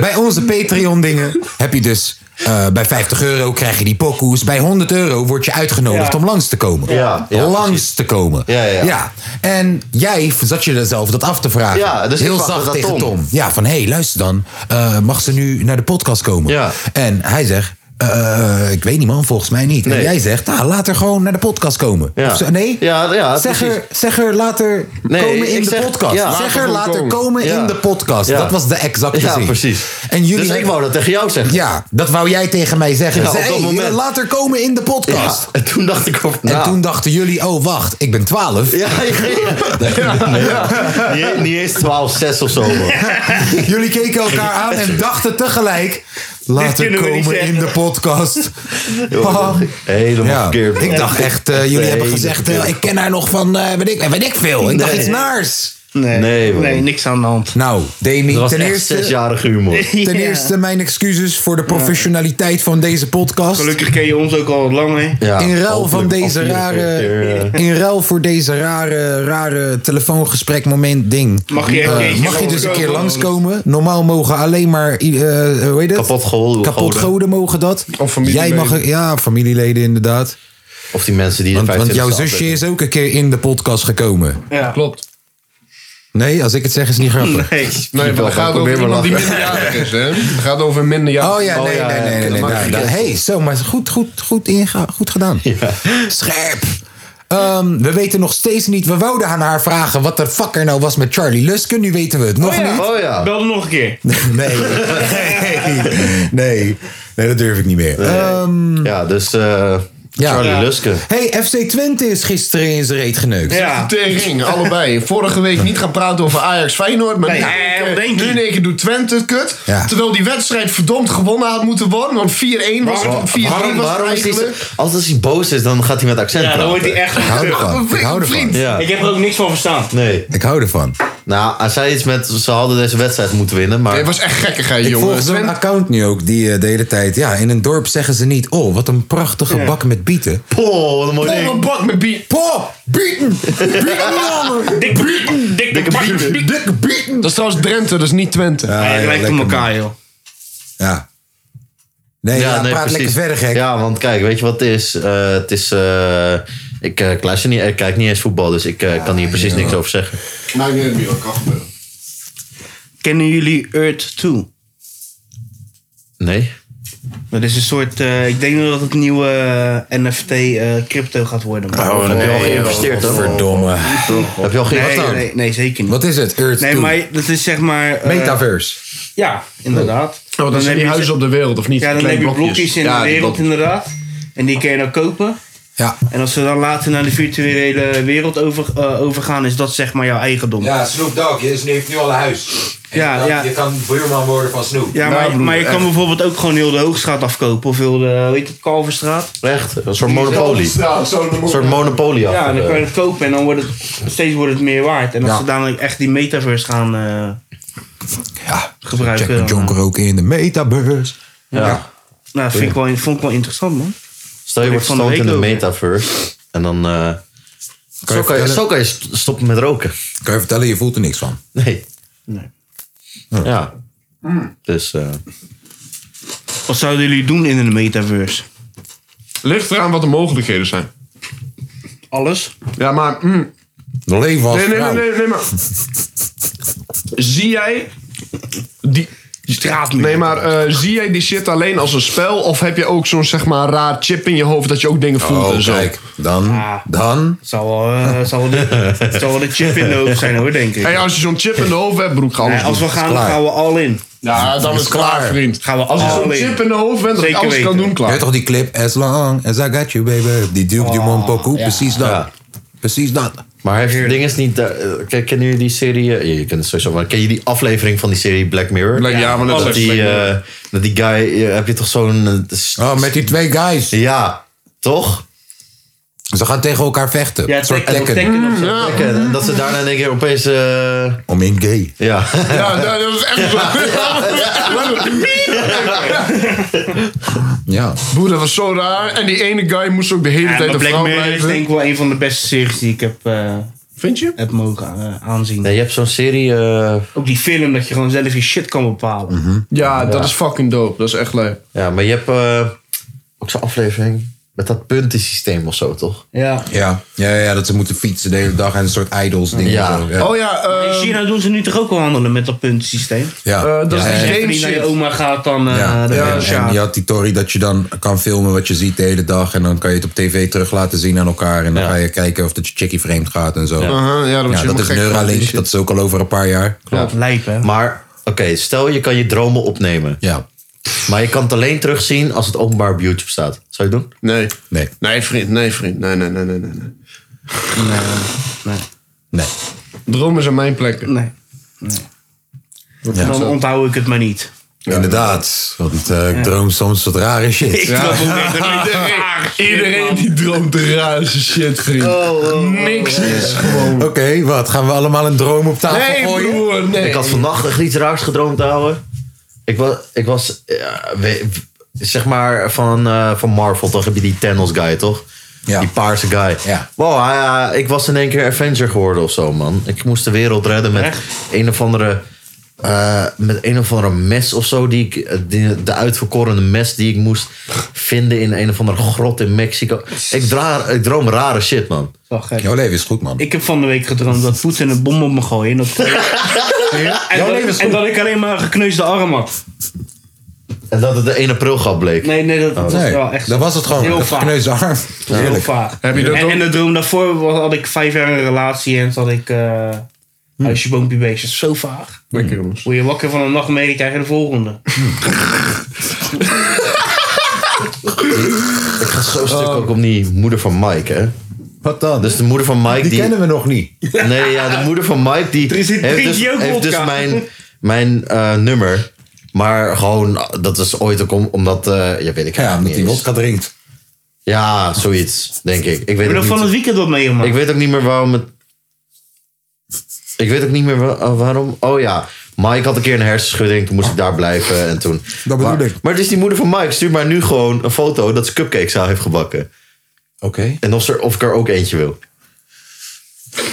[SPEAKER 1] bij onze Patreon-dingen heb je dus... eh, bij 50 euro krijg je die pokoes. Bij 100 euro word je uitgenodigd
[SPEAKER 2] Ja.
[SPEAKER 1] om langs te komen.
[SPEAKER 3] Ja, ja,
[SPEAKER 1] langs
[SPEAKER 3] precies.
[SPEAKER 1] te komen.
[SPEAKER 3] Ja, ja, ja.
[SPEAKER 1] En jij zat je er zelf dat af te vragen.
[SPEAKER 3] Ja, dus ik
[SPEAKER 1] Heel
[SPEAKER 3] vraag
[SPEAKER 1] zacht
[SPEAKER 3] dat aan
[SPEAKER 1] tegen Tom.
[SPEAKER 3] Tom.
[SPEAKER 1] Ja, van hé, hey, luister dan. eh, mag ze nu naar de podcast komen?
[SPEAKER 3] Ja.
[SPEAKER 1] En hij zegt, eh, ik weet niet man, volgens mij niet. En
[SPEAKER 3] Nee.
[SPEAKER 1] jij zegt, ah, laat er gewoon naar de podcast komen.
[SPEAKER 3] Ja.
[SPEAKER 1] Of zo, nee?
[SPEAKER 3] Ja, ja,
[SPEAKER 1] zeg,
[SPEAKER 3] precies.
[SPEAKER 1] er, zeg er, laat er
[SPEAKER 3] Nee,
[SPEAKER 1] komen in
[SPEAKER 3] ik
[SPEAKER 1] de
[SPEAKER 3] zeg-
[SPEAKER 1] podcast.
[SPEAKER 3] ja.
[SPEAKER 1] Zeg
[SPEAKER 3] Laat
[SPEAKER 5] er
[SPEAKER 1] er,
[SPEAKER 5] gewoon
[SPEAKER 1] laat er
[SPEAKER 5] komen.
[SPEAKER 1] komen
[SPEAKER 3] Ja.
[SPEAKER 1] in de podcast.
[SPEAKER 3] Ja.
[SPEAKER 1] Dat was de exacte
[SPEAKER 3] Ja,
[SPEAKER 1] zin.
[SPEAKER 3] precies.
[SPEAKER 1] En jullie
[SPEAKER 3] Dus ik
[SPEAKER 1] hebben-
[SPEAKER 3] wou dat tegen jou zeggen.
[SPEAKER 1] Ja, dat wou jij tegen mij zeggen.
[SPEAKER 3] Ja,
[SPEAKER 1] Zei,
[SPEAKER 3] op dat
[SPEAKER 1] hey,
[SPEAKER 3] moment.
[SPEAKER 1] laat er komen in de podcast.
[SPEAKER 3] Ja, En toen dacht ik over
[SPEAKER 1] En
[SPEAKER 3] na.
[SPEAKER 1] toen dachten jullie, oh wacht, ik ben 12.
[SPEAKER 3] Ja, ja, ja. Niet, niet eens 12, 6 of zo. man.
[SPEAKER 1] (laughs) Jullie keken elkaar aan en dachten tegelijk. Laat er
[SPEAKER 2] kunnen we niet
[SPEAKER 1] komen in
[SPEAKER 2] zeggen.
[SPEAKER 1] de
[SPEAKER 3] (laughs)
[SPEAKER 1] podcast. Oh.
[SPEAKER 3] Joh, Helemaal
[SPEAKER 1] Ja,
[SPEAKER 3] verkeerd. man.
[SPEAKER 1] ik dacht echt, eh, jullie
[SPEAKER 3] Nee,
[SPEAKER 1] hebben
[SPEAKER 3] dat
[SPEAKER 1] gezegd, eh,
[SPEAKER 3] verkeerd.
[SPEAKER 1] ik ken haar nog van, eh weet, ik, eh, weet ik veel. Ik dacht
[SPEAKER 3] Nee.
[SPEAKER 1] iets naars.
[SPEAKER 2] Nee,
[SPEAKER 3] Nee, man.
[SPEAKER 2] nee niks aan de hand.
[SPEAKER 1] Nou, Demi,
[SPEAKER 3] Dat was
[SPEAKER 1] ten
[SPEAKER 3] echt
[SPEAKER 1] eerste,
[SPEAKER 3] zesjarige humor.
[SPEAKER 1] ten
[SPEAKER 2] (laughs) Ja.
[SPEAKER 1] eerste mijn excuses voor de professionaliteit van deze podcast.
[SPEAKER 2] Gelukkig ken je ons ook al wat lang, hè?
[SPEAKER 3] Ja,
[SPEAKER 1] In ruil van
[SPEAKER 3] hopelijk
[SPEAKER 1] deze
[SPEAKER 3] af-
[SPEAKER 1] rare...
[SPEAKER 3] keer, eh,
[SPEAKER 1] In ruil voor deze rare, rare telefoongesprek moment ding.
[SPEAKER 2] Mag je,
[SPEAKER 1] Eh,
[SPEAKER 2] een keertje
[SPEAKER 1] mag je dus een keer
[SPEAKER 2] langskomen?
[SPEAKER 1] langskomen. Normaal mogen alleen maar, eh, eh, hoe heet het?
[SPEAKER 3] Kapot geholpen.
[SPEAKER 1] Kapot goden mogen dat.
[SPEAKER 5] Of familieleden.
[SPEAKER 1] Jij mag, ja, familieleden inderdaad.
[SPEAKER 3] Of die mensen die
[SPEAKER 1] Want,
[SPEAKER 3] de
[SPEAKER 1] want jouw
[SPEAKER 3] 25e
[SPEAKER 1] zusje is ook een keer in de podcast gekomen.
[SPEAKER 2] Ja.
[SPEAKER 5] Klopt.
[SPEAKER 1] Nee, als ik het zeg is het niet grappig.
[SPEAKER 2] Nee.
[SPEAKER 5] Nee, maar
[SPEAKER 3] wel,
[SPEAKER 5] het
[SPEAKER 3] maar
[SPEAKER 5] gaat
[SPEAKER 3] probeer
[SPEAKER 5] over iemand
[SPEAKER 3] maar
[SPEAKER 5] die
[SPEAKER 3] lachen.
[SPEAKER 5] minderjarig is, hè? Het gaat over een minderjarig.
[SPEAKER 1] (laughs) Oh ja,
[SPEAKER 3] Oh
[SPEAKER 1] nee,
[SPEAKER 3] ja,
[SPEAKER 1] nee, nee.
[SPEAKER 3] ja,
[SPEAKER 1] nee,
[SPEAKER 3] dat
[SPEAKER 1] nee,
[SPEAKER 3] mag
[SPEAKER 1] daar-
[SPEAKER 3] ik
[SPEAKER 1] daar-
[SPEAKER 3] niet.
[SPEAKER 1] hey, zo, maar goed, goed, goed, inga, goed gedaan. Scherp. Ehm, we weten nog steeds niet. We wouden aan haar vragen wat de fuck er nou was met Charlie Luske. Nu weten we het nog niet.
[SPEAKER 3] Oh ja.
[SPEAKER 2] Bel er nog een keer.
[SPEAKER 1] (laughs)
[SPEAKER 3] (laughs)
[SPEAKER 1] Nee. nee. Nee. Nee, dat durf ik niet meer. Ehm,
[SPEAKER 3] Ja, dus eh,
[SPEAKER 1] Ja.
[SPEAKER 3] Charlie
[SPEAKER 1] Ja.
[SPEAKER 3] Luske.
[SPEAKER 1] hey, FC Twente is gisteren in zijn reet geneukt.
[SPEAKER 2] Ja.
[SPEAKER 5] Tering, allebei. Vorige week niet gaan praten over Ajax Feyenoord. Maar
[SPEAKER 2] Nee,
[SPEAKER 5] nu in één
[SPEAKER 2] eh,
[SPEAKER 5] keer-
[SPEAKER 2] denk
[SPEAKER 5] nu
[SPEAKER 2] je.
[SPEAKER 5] in één keer doet Twente het kut.
[SPEAKER 1] Ja.
[SPEAKER 5] Terwijl die wedstrijd verdomd gewonnen had moeten worden. Want 4-1 was het. 4-3
[SPEAKER 3] Waarom,
[SPEAKER 5] was het
[SPEAKER 3] waarom is hij zo-
[SPEAKER 5] eigenlijk.
[SPEAKER 3] Altijd als hij boos is, dan gaat hij met accent
[SPEAKER 2] Ja, dan wordt
[SPEAKER 3] praten.
[SPEAKER 2] hij echt
[SPEAKER 1] Ik hou ervan. Ik hou ervan.
[SPEAKER 3] Ja.
[SPEAKER 2] Ik heb er ook niks van verstaan.
[SPEAKER 3] Nee.
[SPEAKER 1] Ik hou ervan.
[SPEAKER 3] Nou, hij zei iets met, ze hadden deze wedstrijd moeten winnen, maar...
[SPEAKER 5] Nee, het was echt gekkigheid,
[SPEAKER 1] Ik
[SPEAKER 5] jongen.
[SPEAKER 1] volg zo'n
[SPEAKER 5] Twente-
[SPEAKER 1] account nu ook, die eh, de hele tijd... Ja, in een dorp zeggen ze niet... Oh, wat een prachtige bak met bieten.
[SPEAKER 3] Poh, wat een mooi
[SPEAKER 5] Oh,
[SPEAKER 3] ding.
[SPEAKER 5] een bak met bier.
[SPEAKER 1] Pop, bieten! Bieten, jongen!
[SPEAKER 2] Dikke bieten. Dikke bieten.
[SPEAKER 1] Dikke bieten!
[SPEAKER 5] Dat is trouwens Drenthe, dat is niet Twente.
[SPEAKER 2] Hij lijkt op elkaar, joh.
[SPEAKER 1] Ja. Nee, ja,
[SPEAKER 3] nee,
[SPEAKER 1] praat lekker verder, gek.
[SPEAKER 3] Ja, want kijk, weet je wat het is? Eh, het is... eh, ik, eh, ik luister niet, ik kijk niet eens voetbal, dus ik eh, kan hier precies niks over zeggen.
[SPEAKER 5] Nou, ik weet het niet, dat kan gebeuren.
[SPEAKER 2] Kennen jullie Earth 2?
[SPEAKER 3] Nee?
[SPEAKER 2] Dat is een soort, eh, ik denk dat het nieuwe eh, NFT eh, crypto gaat worden. maar-
[SPEAKER 3] Oh, dan heb je al geïnvesteerd, hoor.
[SPEAKER 1] Verdomme.
[SPEAKER 3] Heb je al
[SPEAKER 2] nee,
[SPEAKER 3] geïnvesteerd?
[SPEAKER 2] nee, nee, zeker niet.
[SPEAKER 1] Wat is het? Earth
[SPEAKER 2] nee,
[SPEAKER 1] 2.
[SPEAKER 2] maar dat is zeg maar... eh,
[SPEAKER 1] Metaverse.
[SPEAKER 2] Ja, inderdaad.
[SPEAKER 5] Oh, dat zijn die
[SPEAKER 2] je-
[SPEAKER 5] huizen op de wereld, of niet?
[SPEAKER 2] Ja, dan
[SPEAKER 5] Kleine
[SPEAKER 2] heb je blokjes in
[SPEAKER 5] Ja,
[SPEAKER 2] de
[SPEAKER 5] die
[SPEAKER 2] wereld
[SPEAKER 5] blokjes.
[SPEAKER 2] inderdaad. En die kun je dan kopen.
[SPEAKER 1] Ja.
[SPEAKER 2] En als ze dan later naar de virtuele wereld over, eh, overgaan, is dat zeg maar jouw eigendom. Ja,
[SPEAKER 1] Snoop Dogg is, heeft nu al een huis.
[SPEAKER 2] En Ja, je kan- ja. je
[SPEAKER 1] buurman worden van Snoep.
[SPEAKER 2] maar, maar je kan bijvoorbeeld ook gewoon heel de Hoogstraat afkopen. Of heel de, weet je het, Kalverstraat.
[SPEAKER 3] Echt? Een soort monopolie.
[SPEAKER 5] Ja, zo noem
[SPEAKER 3] Een
[SPEAKER 5] ik-
[SPEAKER 3] soort monopolie.
[SPEAKER 2] Ja,
[SPEAKER 3] achter,
[SPEAKER 2] dan kan
[SPEAKER 3] eh.
[SPEAKER 2] je het kopen en dan wordt het, steeds wordt het meer waard. En als
[SPEAKER 1] Ja.
[SPEAKER 2] ze dadelijk echt die metaverse gaan eh,
[SPEAKER 1] Ja.
[SPEAKER 2] gebruiken.
[SPEAKER 1] Check de
[SPEAKER 2] dan,
[SPEAKER 1] jonker ook in de metaverse.
[SPEAKER 3] Ja.
[SPEAKER 2] eh, nou, dat vind ik wel, vond ik wel interessant, man.
[SPEAKER 3] Stel je
[SPEAKER 2] Ik
[SPEAKER 3] wordt
[SPEAKER 2] van de
[SPEAKER 3] gestand in
[SPEAKER 2] week
[SPEAKER 3] de
[SPEAKER 2] over.
[SPEAKER 3] metaverse en dan... eh,
[SPEAKER 1] Kan
[SPEAKER 3] zo,
[SPEAKER 1] je
[SPEAKER 3] kan je,
[SPEAKER 1] vertellen-
[SPEAKER 3] zo kan je st- stoppen met roken.
[SPEAKER 1] Kan je vertellen, je voelt er niks van.
[SPEAKER 3] Nee.
[SPEAKER 2] Nee.
[SPEAKER 3] Ja. Dus eh,
[SPEAKER 2] Hmm. Wat zouden jullie doen in een metaverse?
[SPEAKER 5] Ligt eraan wat de mogelijkheden zijn.
[SPEAKER 2] Alles?
[SPEAKER 5] Ja, maar... mm,
[SPEAKER 1] De leven als
[SPEAKER 5] Nee, nee, nee,
[SPEAKER 1] vrouw.
[SPEAKER 5] nee, nee, maar... Zie jij... Die...
[SPEAKER 2] Straatmuur.
[SPEAKER 5] Nee, maar eh, zie jij die shit alleen als een spel? Of heb je ook zo'n zeg maar raar chip in je hoofd dat je ook dingen voelt en
[SPEAKER 1] Oh,
[SPEAKER 5] zo?
[SPEAKER 1] kijk. Dan,
[SPEAKER 2] Ah.
[SPEAKER 1] dan.
[SPEAKER 2] Zal wel, eh, zal wel, de,
[SPEAKER 3] (laughs)
[SPEAKER 2] zal wel de chip in de hoofd zijn, hoor, denk ik.
[SPEAKER 5] Hey, als je zo'n chip in de hoofd hebt, broek, ga alles
[SPEAKER 2] Nee, als we
[SPEAKER 5] doen.
[SPEAKER 2] gaan,
[SPEAKER 1] klaar.
[SPEAKER 2] dan gaan we al in.
[SPEAKER 5] Ja, dan is het klaar, vriend.
[SPEAKER 2] Gaan we
[SPEAKER 5] Als je
[SPEAKER 2] all
[SPEAKER 5] zo'n
[SPEAKER 2] in.
[SPEAKER 5] chip in de hoofd bent, dat je
[SPEAKER 2] Zeker
[SPEAKER 5] alles kan
[SPEAKER 2] weten.
[SPEAKER 5] doen,
[SPEAKER 1] Je
[SPEAKER 5] klaar.
[SPEAKER 1] hebt toch die clip? As long as I got you, baby. Die Duke
[SPEAKER 2] Oh,
[SPEAKER 1] Dumont Poku. Precies dat.
[SPEAKER 3] Ja.
[SPEAKER 1] Precies dat.
[SPEAKER 3] maar heeft het ding is niet... eh, ken- kennen jullie die serie... eh, je kent het sowieso, maar ken je die aflevering van die serie Black Mirror?
[SPEAKER 5] Black- ja, maar dat
[SPEAKER 3] dat
[SPEAKER 5] is
[SPEAKER 3] die,
[SPEAKER 5] Black Mirror.
[SPEAKER 3] eh, dat die guy... eh, heb je toch zo'n... eh, s-
[SPEAKER 1] Oh, met die twee guys.
[SPEAKER 3] Ja, toch?
[SPEAKER 1] Ze gaan tegen elkaar vechten.
[SPEAKER 2] Ja,
[SPEAKER 1] een soort
[SPEAKER 2] Tekken-
[SPEAKER 1] Tekken.
[SPEAKER 2] Tekken of zo.
[SPEAKER 3] Kijk, en dat ze daarna in één keer opeens... eh,
[SPEAKER 1] Om in gay.
[SPEAKER 3] ja. (laughs)
[SPEAKER 5] Ja, ja, dat is echt zo.
[SPEAKER 1] Ja.
[SPEAKER 5] Broer, dat was zo raar. En die ene guy moest ook de hele
[SPEAKER 2] Ja,
[SPEAKER 5] tijd
[SPEAKER 2] maar
[SPEAKER 5] een
[SPEAKER 2] Black
[SPEAKER 5] vrouw
[SPEAKER 2] Mirror is
[SPEAKER 5] blijven.
[SPEAKER 2] denk ik wel een van de beste series die ik heb, eh,
[SPEAKER 5] Vind je?
[SPEAKER 2] heb mogen eh, aanzien.
[SPEAKER 3] Nee, je hebt zo'n serie... eh,
[SPEAKER 2] Ook die film dat je gewoon zelf je shit kan bepalen.
[SPEAKER 5] Ja, dat is fucking dope. Dat is echt leuk.
[SPEAKER 3] ja, maar je hebt eh, ook zo'n aflevering... Met dat puntensysteem of zo, toch?
[SPEAKER 9] Ja.
[SPEAKER 1] Ja. Ja, ja, dat ze moeten fietsen de hele dag en een soort idols ding.
[SPEAKER 3] Ja.
[SPEAKER 1] Zo, ja.
[SPEAKER 5] Oh ja, eh,
[SPEAKER 2] In China doen ze nu toch ook wel handelen met dat puntensysteem?
[SPEAKER 1] ja.
[SPEAKER 5] eh, dat is
[SPEAKER 1] Ja,
[SPEAKER 5] die
[SPEAKER 1] en-
[SPEAKER 5] game
[SPEAKER 2] Even die naar je
[SPEAKER 5] shit.
[SPEAKER 2] oma gaat dan eh
[SPEAKER 1] Ja,
[SPEAKER 2] de
[SPEAKER 1] ja,
[SPEAKER 2] ja,
[SPEAKER 1] en je had die Tory dat je dan kan filmen wat je ziet de hele dag. En dan kan je het op tv terug laten zien aan elkaar. En dan ga je kijken of dat je chickie vreemd gaat en zo. Ja,
[SPEAKER 5] Aha, ja, dat, was
[SPEAKER 1] dat is Neuralink.
[SPEAKER 5] Dat...
[SPEAKER 1] Dat is ook al over een paar jaar.
[SPEAKER 2] Klopt, lijp hè.
[SPEAKER 3] Maar, oké, stel je kan je dromen opnemen.
[SPEAKER 1] Ja.
[SPEAKER 3] Maar je kan het alleen terugzien als het openbaar op YouTube staat. Zou je het doen?
[SPEAKER 5] Nee.
[SPEAKER 1] Nee.
[SPEAKER 5] Nee, vriend. Nee, vriend. Nee, nee, nee, nee, nee. nee.
[SPEAKER 1] Nee.
[SPEAKER 5] Dromen zijn mijn plekken.
[SPEAKER 2] Nee. Dan onthoud ik het maar niet.
[SPEAKER 1] Inderdaad. Want eh, ik droom soms wat rare
[SPEAKER 3] (laughs)
[SPEAKER 1] shit. (laughs)
[SPEAKER 5] (laughs) Iedereen die droomt de raarste shit, vriend.
[SPEAKER 3] Oh,
[SPEAKER 5] Niks is gewoon...
[SPEAKER 1] Oké, wat? Gaan we allemaal een droom op tafel
[SPEAKER 5] Nee,
[SPEAKER 1] gooien?
[SPEAKER 5] broer, nee.
[SPEAKER 3] Ik had vannacht echt iets raars gedroomd, ouwe. Ik was, ik was ja, we- zeg maar, van, eh, van Marvel, toch heb je die Thanos guy, toch?
[SPEAKER 1] Ja.
[SPEAKER 3] Die paarse guy.
[SPEAKER 1] Ja.
[SPEAKER 3] Wow, hij, hij- eh, ik was in één keer Avenger geworden of zo, man. Ik moest de wereld redden met
[SPEAKER 2] Echt?
[SPEAKER 3] een of andere... eh, met een of andere mes of zo. Die ik, eh, die- de uitverkorene mes die ik moest vinden in een of andere grot in Mexico. Ik, dra- ik droom rare shit, man.
[SPEAKER 2] Wacht even.
[SPEAKER 1] Jouw leven is goed, man.
[SPEAKER 2] Ik heb van de week gedroomd dat Poetin een bom op me gooien. En
[SPEAKER 5] (laughs)
[SPEAKER 2] dat, en, dat-
[SPEAKER 1] leven is
[SPEAKER 2] en dat ik alleen maar een gekneusde arm had.
[SPEAKER 3] En dat het de 1 april grap bleek.
[SPEAKER 2] Nee, nee, dat, was
[SPEAKER 1] Oh, nee,
[SPEAKER 2] wel echt
[SPEAKER 1] dat was het gewoon.
[SPEAKER 2] Heel
[SPEAKER 1] Een
[SPEAKER 2] vaak.
[SPEAKER 1] gekneusde arm.
[SPEAKER 2] Heel
[SPEAKER 1] Heerlijk.
[SPEAKER 2] vaag.
[SPEAKER 5] Heb je dat
[SPEAKER 2] en,
[SPEAKER 5] ook?
[SPEAKER 2] en de droom daarvoor was- had ik vijf jaar een relatie en zat ik eh
[SPEAKER 1] Hm.
[SPEAKER 2] huisje, boompje, beestje. Zo vaag.
[SPEAKER 1] Hmm.
[SPEAKER 5] Lekker, jongens.
[SPEAKER 2] Word je wakker van een nachtmerrie, krijg je de volgende.
[SPEAKER 3] Ik ga zo stuk ook om die moeder van Mike, hè.
[SPEAKER 1] Oh. Wat dan?
[SPEAKER 3] Dus de moeder van Mike
[SPEAKER 1] die,
[SPEAKER 3] die...
[SPEAKER 1] kennen we nog niet.
[SPEAKER 3] (laughs) Nee, ja, de moeder van Mike die
[SPEAKER 2] Er zit
[SPEAKER 3] heeft
[SPEAKER 2] drie
[SPEAKER 3] dus,
[SPEAKER 2] jeugdwodka.
[SPEAKER 3] heeft dus mijn, mijn eh, nummer. Maar gewoon, ah, dat was ooit ook om, omdat, eh, ja weet ik
[SPEAKER 1] Ja,
[SPEAKER 3] eigenlijk
[SPEAKER 1] omdat
[SPEAKER 3] niet
[SPEAKER 1] die
[SPEAKER 3] eens.
[SPEAKER 1] wodka drinkt.
[SPEAKER 3] Ja, zoiets, denk ik. Ik weet,
[SPEAKER 2] Maar
[SPEAKER 3] ook
[SPEAKER 2] dan
[SPEAKER 3] niet,
[SPEAKER 2] van het weekend wat mee, man.
[SPEAKER 3] ik weet ook niet meer waarom het... Ik weet ook niet meer wa- ah, waarom... Oh ja, Mike had een keer een hersenschudding, toen moest ik daar blijven en toen...
[SPEAKER 1] Dat bedoel
[SPEAKER 3] maar,
[SPEAKER 1] ik.
[SPEAKER 3] Maar het is die moeder van Mike, stuur mij nu gewoon een foto dat ze cupcakes aan heeft gebakken.
[SPEAKER 1] Oké.
[SPEAKER 3] En of, ze, er- of ik er ook eentje wil.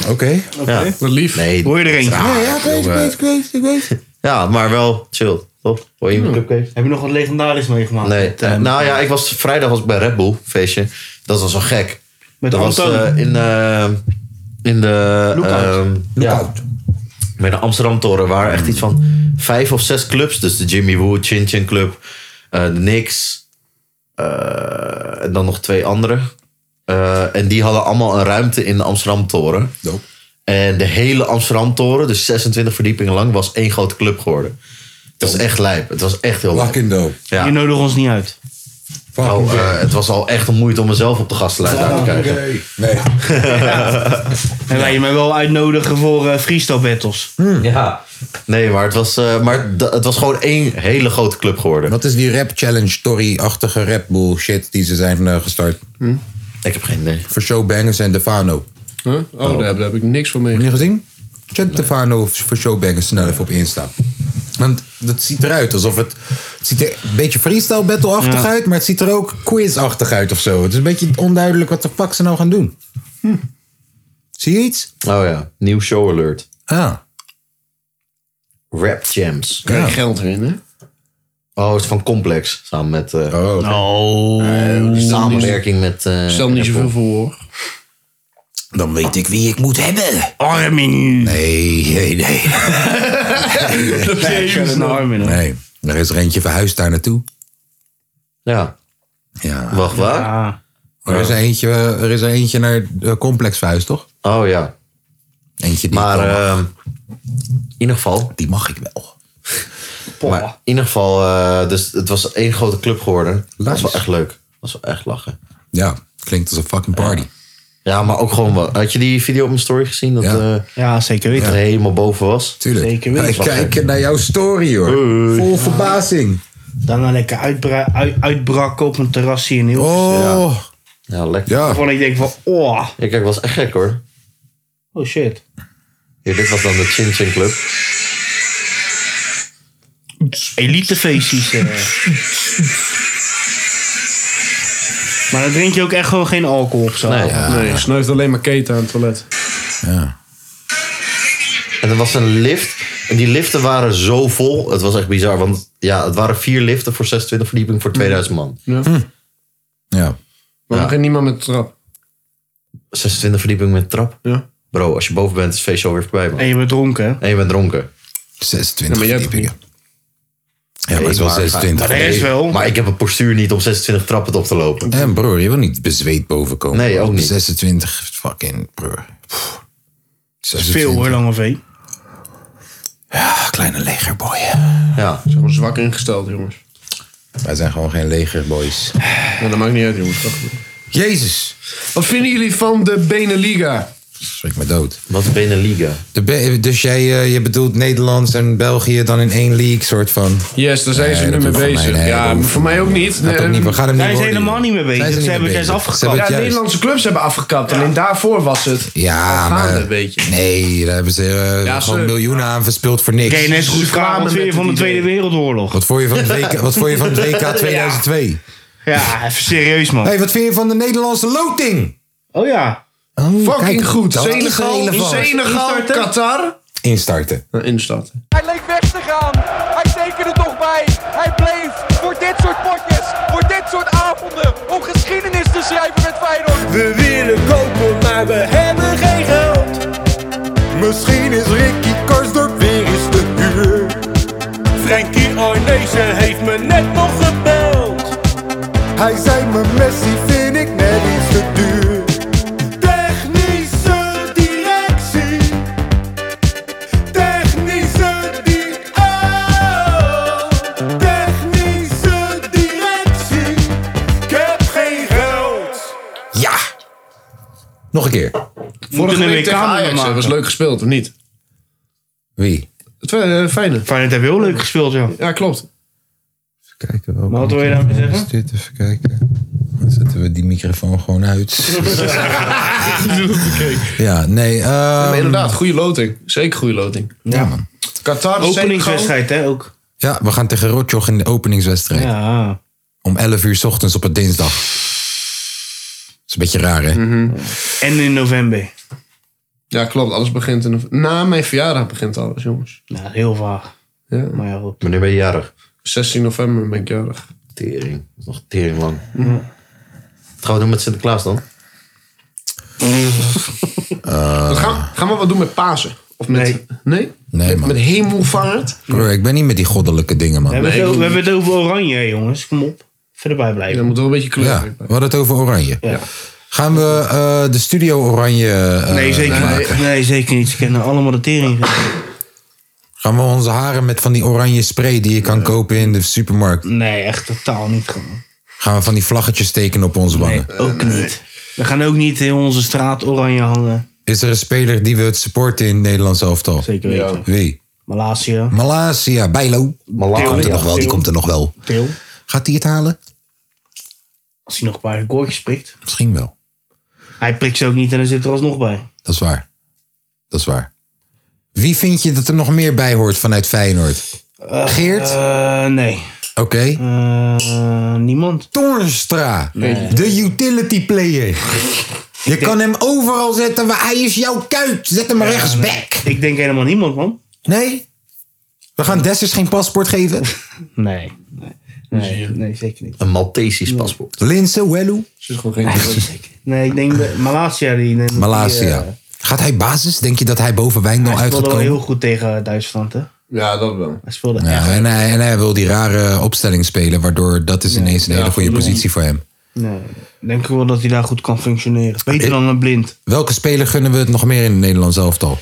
[SPEAKER 1] Oké.
[SPEAKER 3] Ja.
[SPEAKER 5] Wat lief.
[SPEAKER 3] Nee,
[SPEAKER 2] Hoor je er eentje?
[SPEAKER 1] Ja, ja, ik weet, ik weet, ik weet, ik weet.
[SPEAKER 3] Ja, maar wel chill, toch? Hoor je me cupcake?
[SPEAKER 2] Heb je nog wat legendarisch meegemaakt? (laughs)
[SPEAKER 3] Nee,
[SPEAKER 2] Met, eh,
[SPEAKER 3] nou ja, ik was, vrijdag was ik bij Red Bull feestje. Dat was wel gek.
[SPEAKER 2] Met
[SPEAKER 3] dat was
[SPEAKER 2] Anton.
[SPEAKER 3] eh, in, eh, in de...
[SPEAKER 2] Lookout.
[SPEAKER 3] ehm, ja, bij de Amsterdam-toren waren echt iets van vijf of zes clubs. Dus de Jimmy Woo, Chin Chin Club, eh, de Knicks. eh, en dan nog twee andere. Eh, en die hadden allemaal een ruimte in de Amsterdam-toren.
[SPEAKER 1] Dope.
[SPEAKER 3] En de hele Amsterdam-toren, dus 26 verdiepingen lang, was één grote club geworden. Het was echt lijp. Het was echt heel lijp.
[SPEAKER 1] Fucking dope.
[SPEAKER 3] Ja.
[SPEAKER 2] Je nodigt ons niet uit.
[SPEAKER 1] Fucking
[SPEAKER 3] Oh,
[SPEAKER 1] dope.
[SPEAKER 3] eh, het was al echt een moeite om mezelf op de gastenlijst uit te krijgen.
[SPEAKER 1] Oké. Nee.
[SPEAKER 2] (laughs) En wij je mij wel uitnodigen voor eh freestyle battles.
[SPEAKER 3] Ja. Hmm. Nee, maar, het was, eh, maar d- het was gewoon één hele grote club geworden.
[SPEAKER 1] Wat is die rap challenge, Tory-achtige rap bullshit die ze zijn eh, gestart?
[SPEAKER 3] Ik heb geen idee.
[SPEAKER 1] Voor Showbangers en Defano.
[SPEAKER 5] Hm? Huh? Oh, daar heb, daar heb ik niks van mee.
[SPEAKER 1] Heb je gezien? Check Defano voor Showbangers snel even op Insta. Want dat ziet eruit alsof het... Het ziet er een beetje freestyle battle-achtig
[SPEAKER 2] Ja.
[SPEAKER 1] uit, maar het ziet er ook quiz-achtig uit of zo. Het is een beetje onduidelijk wat de fuck ze nou gaan doen. Zie je iets?
[SPEAKER 3] Oh ja, nieuw show alert.
[SPEAKER 1] Ah,
[SPEAKER 3] Rap Jams.
[SPEAKER 5] Kan je geld winnen?
[SPEAKER 3] Oh, het is van Complex. Samen met... eh,
[SPEAKER 1] oh.
[SPEAKER 5] Nou.
[SPEAKER 3] samenwerking met... eh,
[SPEAKER 5] Stel niet
[SPEAKER 3] Apple.
[SPEAKER 5] zoveel voor. hoor.
[SPEAKER 1] Dan weet ik wie ik moet hebben.
[SPEAKER 2] Armin!
[SPEAKER 1] Nee, nee, nee.
[SPEAKER 2] Ik
[SPEAKER 3] dus
[SPEAKER 2] een Armin. hoor.
[SPEAKER 1] Nee, er is er eentje verhuisd daar naartoe.
[SPEAKER 3] Ja,
[SPEAKER 1] Ja.
[SPEAKER 3] wacht, waar?
[SPEAKER 2] Ah,
[SPEAKER 1] Er is er eentje, er is er eentje naar eh, complex verhuisd, toch?
[SPEAKER 3] Oh ja.
[SPEAKER 1] Eentje die
[SPEAKER 3] Maar
[SPEAKER 1] ik wel mag.
[SPEAKER 3] ehm, in ieder geval...
[SPEAKER 1] die mag ik wel.
[SPEAKER 3] (laughs) Maar in ieder geval, eh, dus het was één grote club geworden. Dat was wel
[SPEAKER 1] Nice.
[SPEAKER 3] echt leuk. Dat was wel echt lachen.
[SPEAKER 1] Ja, klinkt als een fucking party.
[SPEAKER 3] Ja, maar ook gewoon wel. Had je die video op mijn story gezien? Dat
[SPEAKER 1] Ja.
[SPEAKER 3] eh
[SPEAKER 2] ja, zeker
[SPEAKER 3] het
[SPEAKER 2] weten.
[SPEAKER 3] er helemaal boven was.
[SPEAKER 1] Tuurlijk.
[SPEAKER 2] Zeker weten.
[SPEAKER 1] Wij kijken naar jouw story, hoor. Vol verbazing.
[SPEAKER 2] Daarna lekker uitbra uit- uitbraken op een terrasje in heel.
[SPEAKER 1] Oh,
[SPEAKER 3] Ja, lekker.
[SPEAKER 1] ja.
[SPEAKER 2] Waarvan ik denk van, oh,
[SPEAKER 3] Ja, kijk, was echt gek hoor.
[SPEAKER 2] oh shit.
[SPEAKER 3] Hier, dit was dan de Chin Chin Club.
[SPEAKER 2] Elitefeestjes. eh. (laughs) Maar dan drink je ook echt gewoon geen alcohol op zo.
[SPEAKER 3] Nee, ja.
[SPEAKER 5] nee, je snuift alleen maar keten aan het toilet.
[SPEAKER 3] En er was een lift. En die liften waren zo vol. Het was echt bizar.
[SPEAKER 1] Hm.
[SPEAKER 3] Want ja, het waren vier liften voor 26 verdieping voor 2000 man.
[SPEAKER 1] Ja.
[SPEAKER 5] Waarom geen niemand met de trap?
[SPEAKER 3] 26 verdieping met trap.
[SPEAKER 5] Ja.
[SPEAKER 3] Bro, als je boven bent, is het feestje alweer voorbij, man.
[SPEAKER 2] En je bent dronken, hè?
[SPEAKER 3] En je bent dronken.
[SPEAKER 1] 26
[SPEAKER 5] Ja, maar jij hebt
[SPEAKER 1] verdiepingen. Ja, maar het is wel
[SPEAKER 3] maar-
[SPEAKER 1] 26.
[SPEAKER 2] Er is wel.
[SPEAKER 3] Maar ik heb een postuur niet om 26 trappen op te lopen.
[SPEAKER 1] En broer, je wil niet bezweet bovenkomen.
[SPEAKER 3] Nee, ook niet.
[SPEAKER 1] 26, fucking broer. Pff,
[SPEAKER 2] Veel
[SPEAKER 1] 26.
[SPEAKER 2] hoor, Lange V.
[SPEAKER 1] Ah, kleine legerboy.
[SPEAKER 3] Ja.
[SPEAKER 5] Gewoon zwak ingesteld, jongens.
[SPEAKER 1] Wij zijn gewoon geen legerboys.
[SPEAKER 5] Ja, dat maakt niet uit, jongens.
[SPEAKER 1] Jezus,
[SPEAKER 5] Wat vinden jullie van de Beneliga?
[SPEAKER 1] schrik me dood.
[SPEAKER 3] Wat is Beneliga?
[SPEAKER 1] De be- dus jij eh, je bedoelt Nederlands en België dan in één league, soort van.
[SPEAKER 5] Yes, daar zijn
[SPEAKER 1] Nee,
[SPEAKER 5] ze nu
[SPEAKER 1] dat
[SPEAKER 5] mee
[SPEAKER 1] hoeft voor mij-
[SPEAKER 5] bezig.
[SPEAKER 1] nee, dat
[SPEAKER 5] ja,
[SPEAKER 1] hoeft
[SPEAKER 5] voor mij ook niet.
[SPEAKER 1] Gaat ook niet, we gaan hem niet
[SPEAKER 2] Zij eh, is
[SPEAKER 1] worden.
[SPEAKER 2] helemaal niet mee bezig.
[SPEAKER 1] Zij is er niet
[SPEAKER 2] Ze hebben
[SPEAKER 1] mee
[SPEAKER 2] het
[SPEAKER 1] bezig.
[SPEAKER 2] eens
[SPEAKER 1] Ze hebben
[SPEAKER 5] Ja,
[SPEAKER 1] het juist-
[SPEAKER 5] Nederlandse clubs hebben afgekapt. Alleen daarvoor was het.
[SPEAKER 1] Ja,
[SPEAKER 5] Gaande
[SPEAKER 1] maar
[SPEAKER 5] een beetje.
[SPEAKER 1] nee, daar hebben ze eh,
[SPEAKER 5] Ja, ze-
[SPEAKER 1] gewoon miljoenen aan verspild voor niks.
[SPEAKER 2] Kijk, net zo goed
[SPEAKER 5] Ze
[SPEAKER 2] vragen
[SPEAKER 5] kwamen
[SPEAKER 2] wat weer
[SPEAKER 5] met
[SPEAKER 2] van de
[SPEAKER 5] het
[SPEAKER 2] Tweede
[SPEAKER 5] idee.
[SPEAKER 2] Wereldoorlog.
[SPEAKER 1] Wat vond je van het
[SPEAKER 2] (laughs)
[SPEAKER 1] WK, wat vond je van het WK 2002?
[SPEAKER 2] Ja, even serieus, man.
[SPEAKER 1] hey, wat vind je van de Nederlandse loting?
[SPEAKER 2] Oh ja.
[SPEAKER 5] Fucking
[SPEAKER 1] kijk,
[SPEAKER 5] goed.
[SPEAKER 1] dat is
[SPEAKER 5] Senegal,
[SPEAKER 1] relevant.
[SPEAKER 5] Senegal,
[SPEAKER 2] Instarten?
[SPEAKER 5] Qatar.
[SPEAKER 1] Instarten.
[SPEAKER 5] Instart.
[SPEAKER 6] Hij leek weg te gaan. Hij tekende toch bij. Hij bleef voor dit soort potjes, voor dit soort avonden, om geschiedenis te schrijven met Feyenoord.
[SPEAKER 10] We willen kopen, maar we hebben geen geld. Misschien is Ricky Karsdorp weer eens te huur. Frankie Arnezen heeft me net nog gebeld. Hij zei me Messi vind ik net iets te duur. Technische directie. Technische di- oh. Technische directie. Ik heb geen geld.
[SPEAKER 1] Ja! Nog een keer.
[SPEAKER 5] Vorige
[SPEAKER 2] een
[SPEAKER 5] week tegen
[SPEAKER 2] WK
[SPEAKER 5] Ajax
[SPEAKER 2] maken.
[SPEAKER 5] hè, was leuk gespeeld, of niet?
[SPEAKER 1] Wie?
[SPEAKER 5] Het was, eh, Feyenoord.
[SPEAKER 2] Feyenoord heeft heel leuk gespeeld, ja.
[SPEAKER 5] Ja, klopt.
[SPEAKER 1] Even kijken. welke
[SPEAKER 2] Maar wat wil je daarmee
[SPEAKER 1] microfoon
[SPEAKER 2] zeggen?
[SPEAKER 1] Is dit? Even kijken. Dan zetten we die microfoon gewoon
[SPEAKER 5] (laughs)
[SPEAKER 1] uit. ja, nee. ehm,
[SPEAKER 5] Maar inderdaad, goede loting. Zeker goede loting.
[SPEAKER 1] Ja, man.
[SPEAKER 5] Qatar, Senegal.
[SPEAKER 2] Openingswedstrijd, hè, ook.
[SPEAKER 1] Ja, we gaan tegen Rotjoch in de openingswedstrijd.
[SPEAKER 2] Ja.
[SPEAKER 1] Om 11 uur 's ochtends op een dinsdag. Dat is een beetje raar,
[SPEAKER 2] Mm.
[SPEAKER 1] hè?
[SPEAKER 2] En in november.
[SPEAKER 5] Mhm. Ja, klopt. Alles begint in de... Na mijn verjaardag begint alles, jongens.
[SPEAKER 2] Nou, heel vaag.
[SPEAKER 5] Ja.
[SPEAKER 2] Maar ja, goed.
[SPEAKER 3] Wanneer ben je jarig?
[SPEAKER 5] 16 november ben ik jarig.
[SPEAKER 3] Tering. Dat is nog tering lang. Wat gaan we doen met
[SPEAKER 5] (laughs)
[SPEAKER 3] Sinterklaas dan?
[SPEAKER 5] Dan gaan, gaan we wat doen met Pasen? Of met...
[SPEAKER 2] Nee.
[SPEAKER 5] Eh, Nee?
[SPEAKER 1] Nee,
[SPEAKER 5] Met-
[SPEAKER 1] man.
[SPEAKER 5] Met hemelvaart?
[SPEAKER 1] Bro, ik ben niet met die goddelijke dingen,
[SPEAKER 2] We
[SPEAKER 1] man.
[SPEAKER 2] hebben,
[SPEAKER 5] Nee,
[SPEAKER 2] het
[SPEAKER 5] ik
[SPEAKER 2] over, we hebben het over oranje, hè, jongens. Kom op. Verder bij
[SPEAKER 5] Ja,
[SPEAKER 2] blijven.
[SPEAKER 5] dan moet wel een beetje kleur
[SPEAKER 1] Ja,
[SPEAKER 5] bij.
[SPEAKER 1] we hadden het over Oranje. Gaan we eh, de Studio Oranje eh,
[SPEAKER 2] Nee, zeker
[SPEAKER 1] maken?
[SPEAKER 2] niet. Nee, zeker niet. Ze kennen allemaal de tering.
[SPEAKER 1] Gaan we onze haren met van die oranje spray die je kan kopen in de supermarkt...
[SPEAKER 2] Nee, echt totaal niet gewoon.
[SPEAKER 1] Gaan we van die vlaggetjes tekenen op onze wangen?
[SPEAKER 2] Nee, ook niet. We gaan ook niet in onze straat oranje hangen.
[SPEAKER 1] Is er een speler die we het supporten in het Nederlands elftal?
[SPEAKER 2] Zeker weten.
[SPEAKER 1] Wie?
[SPEAKER 2] Malaysia.
[SPEAKER 1] Malasia, Bijlo. Komt er nog wel, die komt er nog wel.
[SPEAKER 2] Til.
[SPEAKER 1] Gaat hij het halen?
[SPEAKER 2] Als hij nog een paar koortjes prikt.
[SPEAKER 1] Misschien wel.
[SPEAKER 2] Hij prikt ze ook niet en dan zit er alsnog bij.
[SPEAKER 1] Dat is waar. Dat is waar. Wie vind je dat er nog meer bij hoort vanuit Feyenoord? Geert?
[SPEAKER 2] Eh, nee.
[SPEAKER 1] Oké.
[SPEAKER 2] Eh, niemand.
[SPEAKER 1] Toornstra. De utility player. Je kan hem overal zetten, maar hij is jouw kuit. Zet hem rechtsback.
[SPEAKER 2] Ik denk helemaal niemand, man.
[SPEAKER 1] Nee? We gaan Dessers geen paspoort geven.
[SPEAKER 2] Nee. Nee, nee, nee, zeker niet.
[SPEAKER 3] Een Maltesisch paspoort.
[SPEAKER 1] Linse, Wellu.
[SPEAKER 2] Nee, ik denk de Malasia. Die, die,
[SPEAKER 1] Malasia.
[SPEAKER 2] eh,
[SPEAKER 1] Gaat hij basis? Denk je dat hij boven Wijndal
[SPEAKER 2] hij
[SPEAKER 1] uit gaat
[SPEAKER 2] speelde wel
[SPEAKER 1] komen?
[SPEAKER 2] heel goed tegen Duitsland, hè?
[SPEAKER 5] Ja, dat wel.
[SPEAKER 2] Hij speelde echt.
[SPEAKER 1] Ja, en, hij, en hij wil die rare opstelling spelen, waardoor dat is ineens een hele goede positie voor hem.
[SPEAKER 2] Nee. Ik Denk ik wel dat hij daar goed kan functioneren. Beter
[SPEAKER 1] Ik-
[SPEAKER 2] dan een blind.
[SPEAKER 1] Welke speler gunnen we het nog meer in het Nederlands elftal?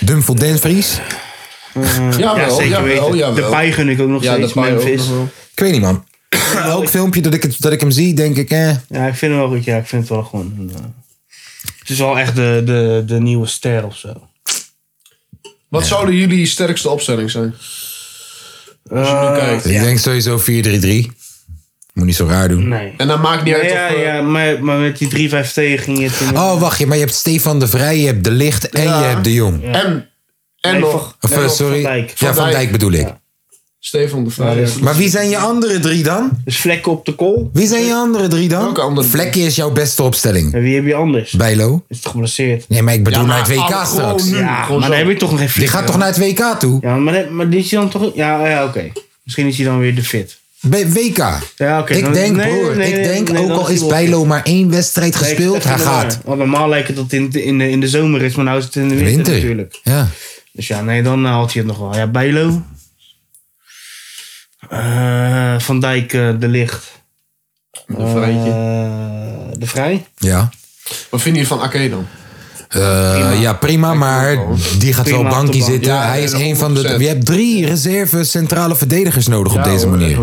[SPEAKER 1] Dumfel Denvries?
[SPEAKER 5] Ja, wel.
[SPEAKER 2] Eh, zeker
[SPEAKER 5] Ja, wel.
[SPEAKER 2] weten.
[SPEAKER 5] Ja,
[SPEAKER 2] de pij gun ik ook nog
[SPEAKER 5] Ja,
[SPEAKER 2] steeds.
[SPEAKER 5] de Pai ook
[SPEAKER 2] Memphis.
[SPEAKER 5] nog wel.
[SPEAKER 1] Ik weet niet, man. Elk filmpje dat ik, het, dat ik hem zie, denk ik, eh.
[SPEAKER 2] Ja, ik vind hem wel goed. Ja, ik vind het wel gewoon. een, eh, het is wel echt de, de, de nieuwe ster of zo.
[SPEAKER 5] Wat zouden jullie sterkste opstelling zijn? Als je
[SPEAKER 2] Eh,
[SPEAKER 5] nu kijkt.
[SPEAKER 1] Ik denk sowieso 4-3-3. Moet niet zo raar doen.
[SPEAKER 2] Nee.
[SPEAKER 5] En dat maakt niet uit
[SPEAKER 2] ja,
[SPEAKER 5] of... eh,
[SPEAKER 2] ja maar, maar met die 3-5 tegen ging het. in-
[SPEAKER 1] Oh, wacht je, maar je hebt Stefan de Vrij, je hebt De Licht en
[SPEAKER 5] Ja.
[SPEAKER 1] je hebt De Jong.
[SPEAKER 5] En, en
[SPEAKER 2] Nee,
[SPEAKER 5] nog
[SPEAKER 1] Of, eh,
[SPEAKER 5] nog
[SPEAKER 1] sorry.
[SPEAKER 2] Van Dijk.
[SPEAKER 1] ja, Van
[SPEAKER 5] Dijk.
[SPEAKER 1] Dijk bedoel ik.
[SPEAKER 5] Stefan de Vrij.
[SPEAKER 1] Maar wie zijn je andere drie dan?
[SPEAKER 2] Dus vlekken op de kool.
[SPEAKER 1] Wie zijn je andere drie dan?
[SPEAKER 5] Welke andere drie?
[SPEAKER 1] Vlekje is jouw beste opstelling.
[SPEAKER 2] En wie heb je anders?
[SPEAKER 1] Bijlo?
[SPEAKER 2] Is het geblesseerd?
[SPEAKER 1] Nee, maar ik bedoel
[SPEAKER 5] Ja, maar
[SPEAKER 1] naar het WK
[SPEAKER 5] alle-
[SPEAKER 1] straks.
[SPEAKER 5] gewoon nu.
[SPEAKER 2] Ja,
[SPEAKER 5] gewoon
[SPEAKER 2] maar
[SPEAKER 5] zo.
[SPEAKER 2] dan heb je toch nog geen fit.
[SPEAKER 1] Die gaat toch naar het WK toe?
[SPEAKER 2] Ja, maar, maar die is hij dan toch... Ja, ja oké. Misschien is hij dan weer de fit.
[SPEAKER 1] Bij WK.
[SPEAKER 2] Ja, oké.
[SPEAKER 1] ik
[SPEAKER 2] dan-
[SPEAKER 1] denk,
[SPEAKER 2] nee,
[SPEAKER 1] broer,
[SPEAKER 2] nee,
[SPEAKER 1] ik
[SPEAKER 2] nee,
[SPEAKER 1] denk
[SPEAKER 2] nee,
[SPEAKER 1] ook
[SPEAKER 2] dan
[SPEAKER 1] al
[SPEAKER 2] die
[SPEAKER 1] is
[SPEAKER 2] wel-
[SPEAKER 1] Bijlo maar één wedstrijd
[SPEAKER 2] Nee,
[SPEAKER 1] gespeeld,
[SPEAKER 2] even
[SPEAKER 1] hij
[SPEAKER 2] door.
[SPEAKER 1] gaat.
[SPEAKER 2] Want normaal lijkt het dat het in, de- in, de, in de zomer is, maar nou is het in de winter,
[SPEAKER 1] Winter,
[SPEAKER 2] natuurlijk.
[SPEAKER 1] Ja.
[SPEAKER 2] Dus ja, nee, dan haalt hij het nog wel. Ja, Bijlo. Eh, Van Dijk, eh, De Licht. De
[SPEAKER 5] Vrijtje.
[SPEAKER 2] Eh, de Vrij.
[SPEAKER 1] Ja.
[SPEAKER 5] Wat vind je van Ake dan?
[SPEAKER 1] Eh, ja, prima, maar die gaat
[SPEAKER 5] Prima
[SPEAKER 1] wel
[SPEAKER 5] op de
[SPEAKER 1] bankie
[SPEAKER 5] bank.
[SPEAKER 1] zitten.
[SPEAKER 5] Ja,
[SPEAKER 1] hij is
[SPEAKER 5] ja,
[SPEAKER 1] een van de.
[SPEAKER 5] 100%.
[SPEAKER 1] Je hebt drie reserve centrale verdedigers nodig op deze manier.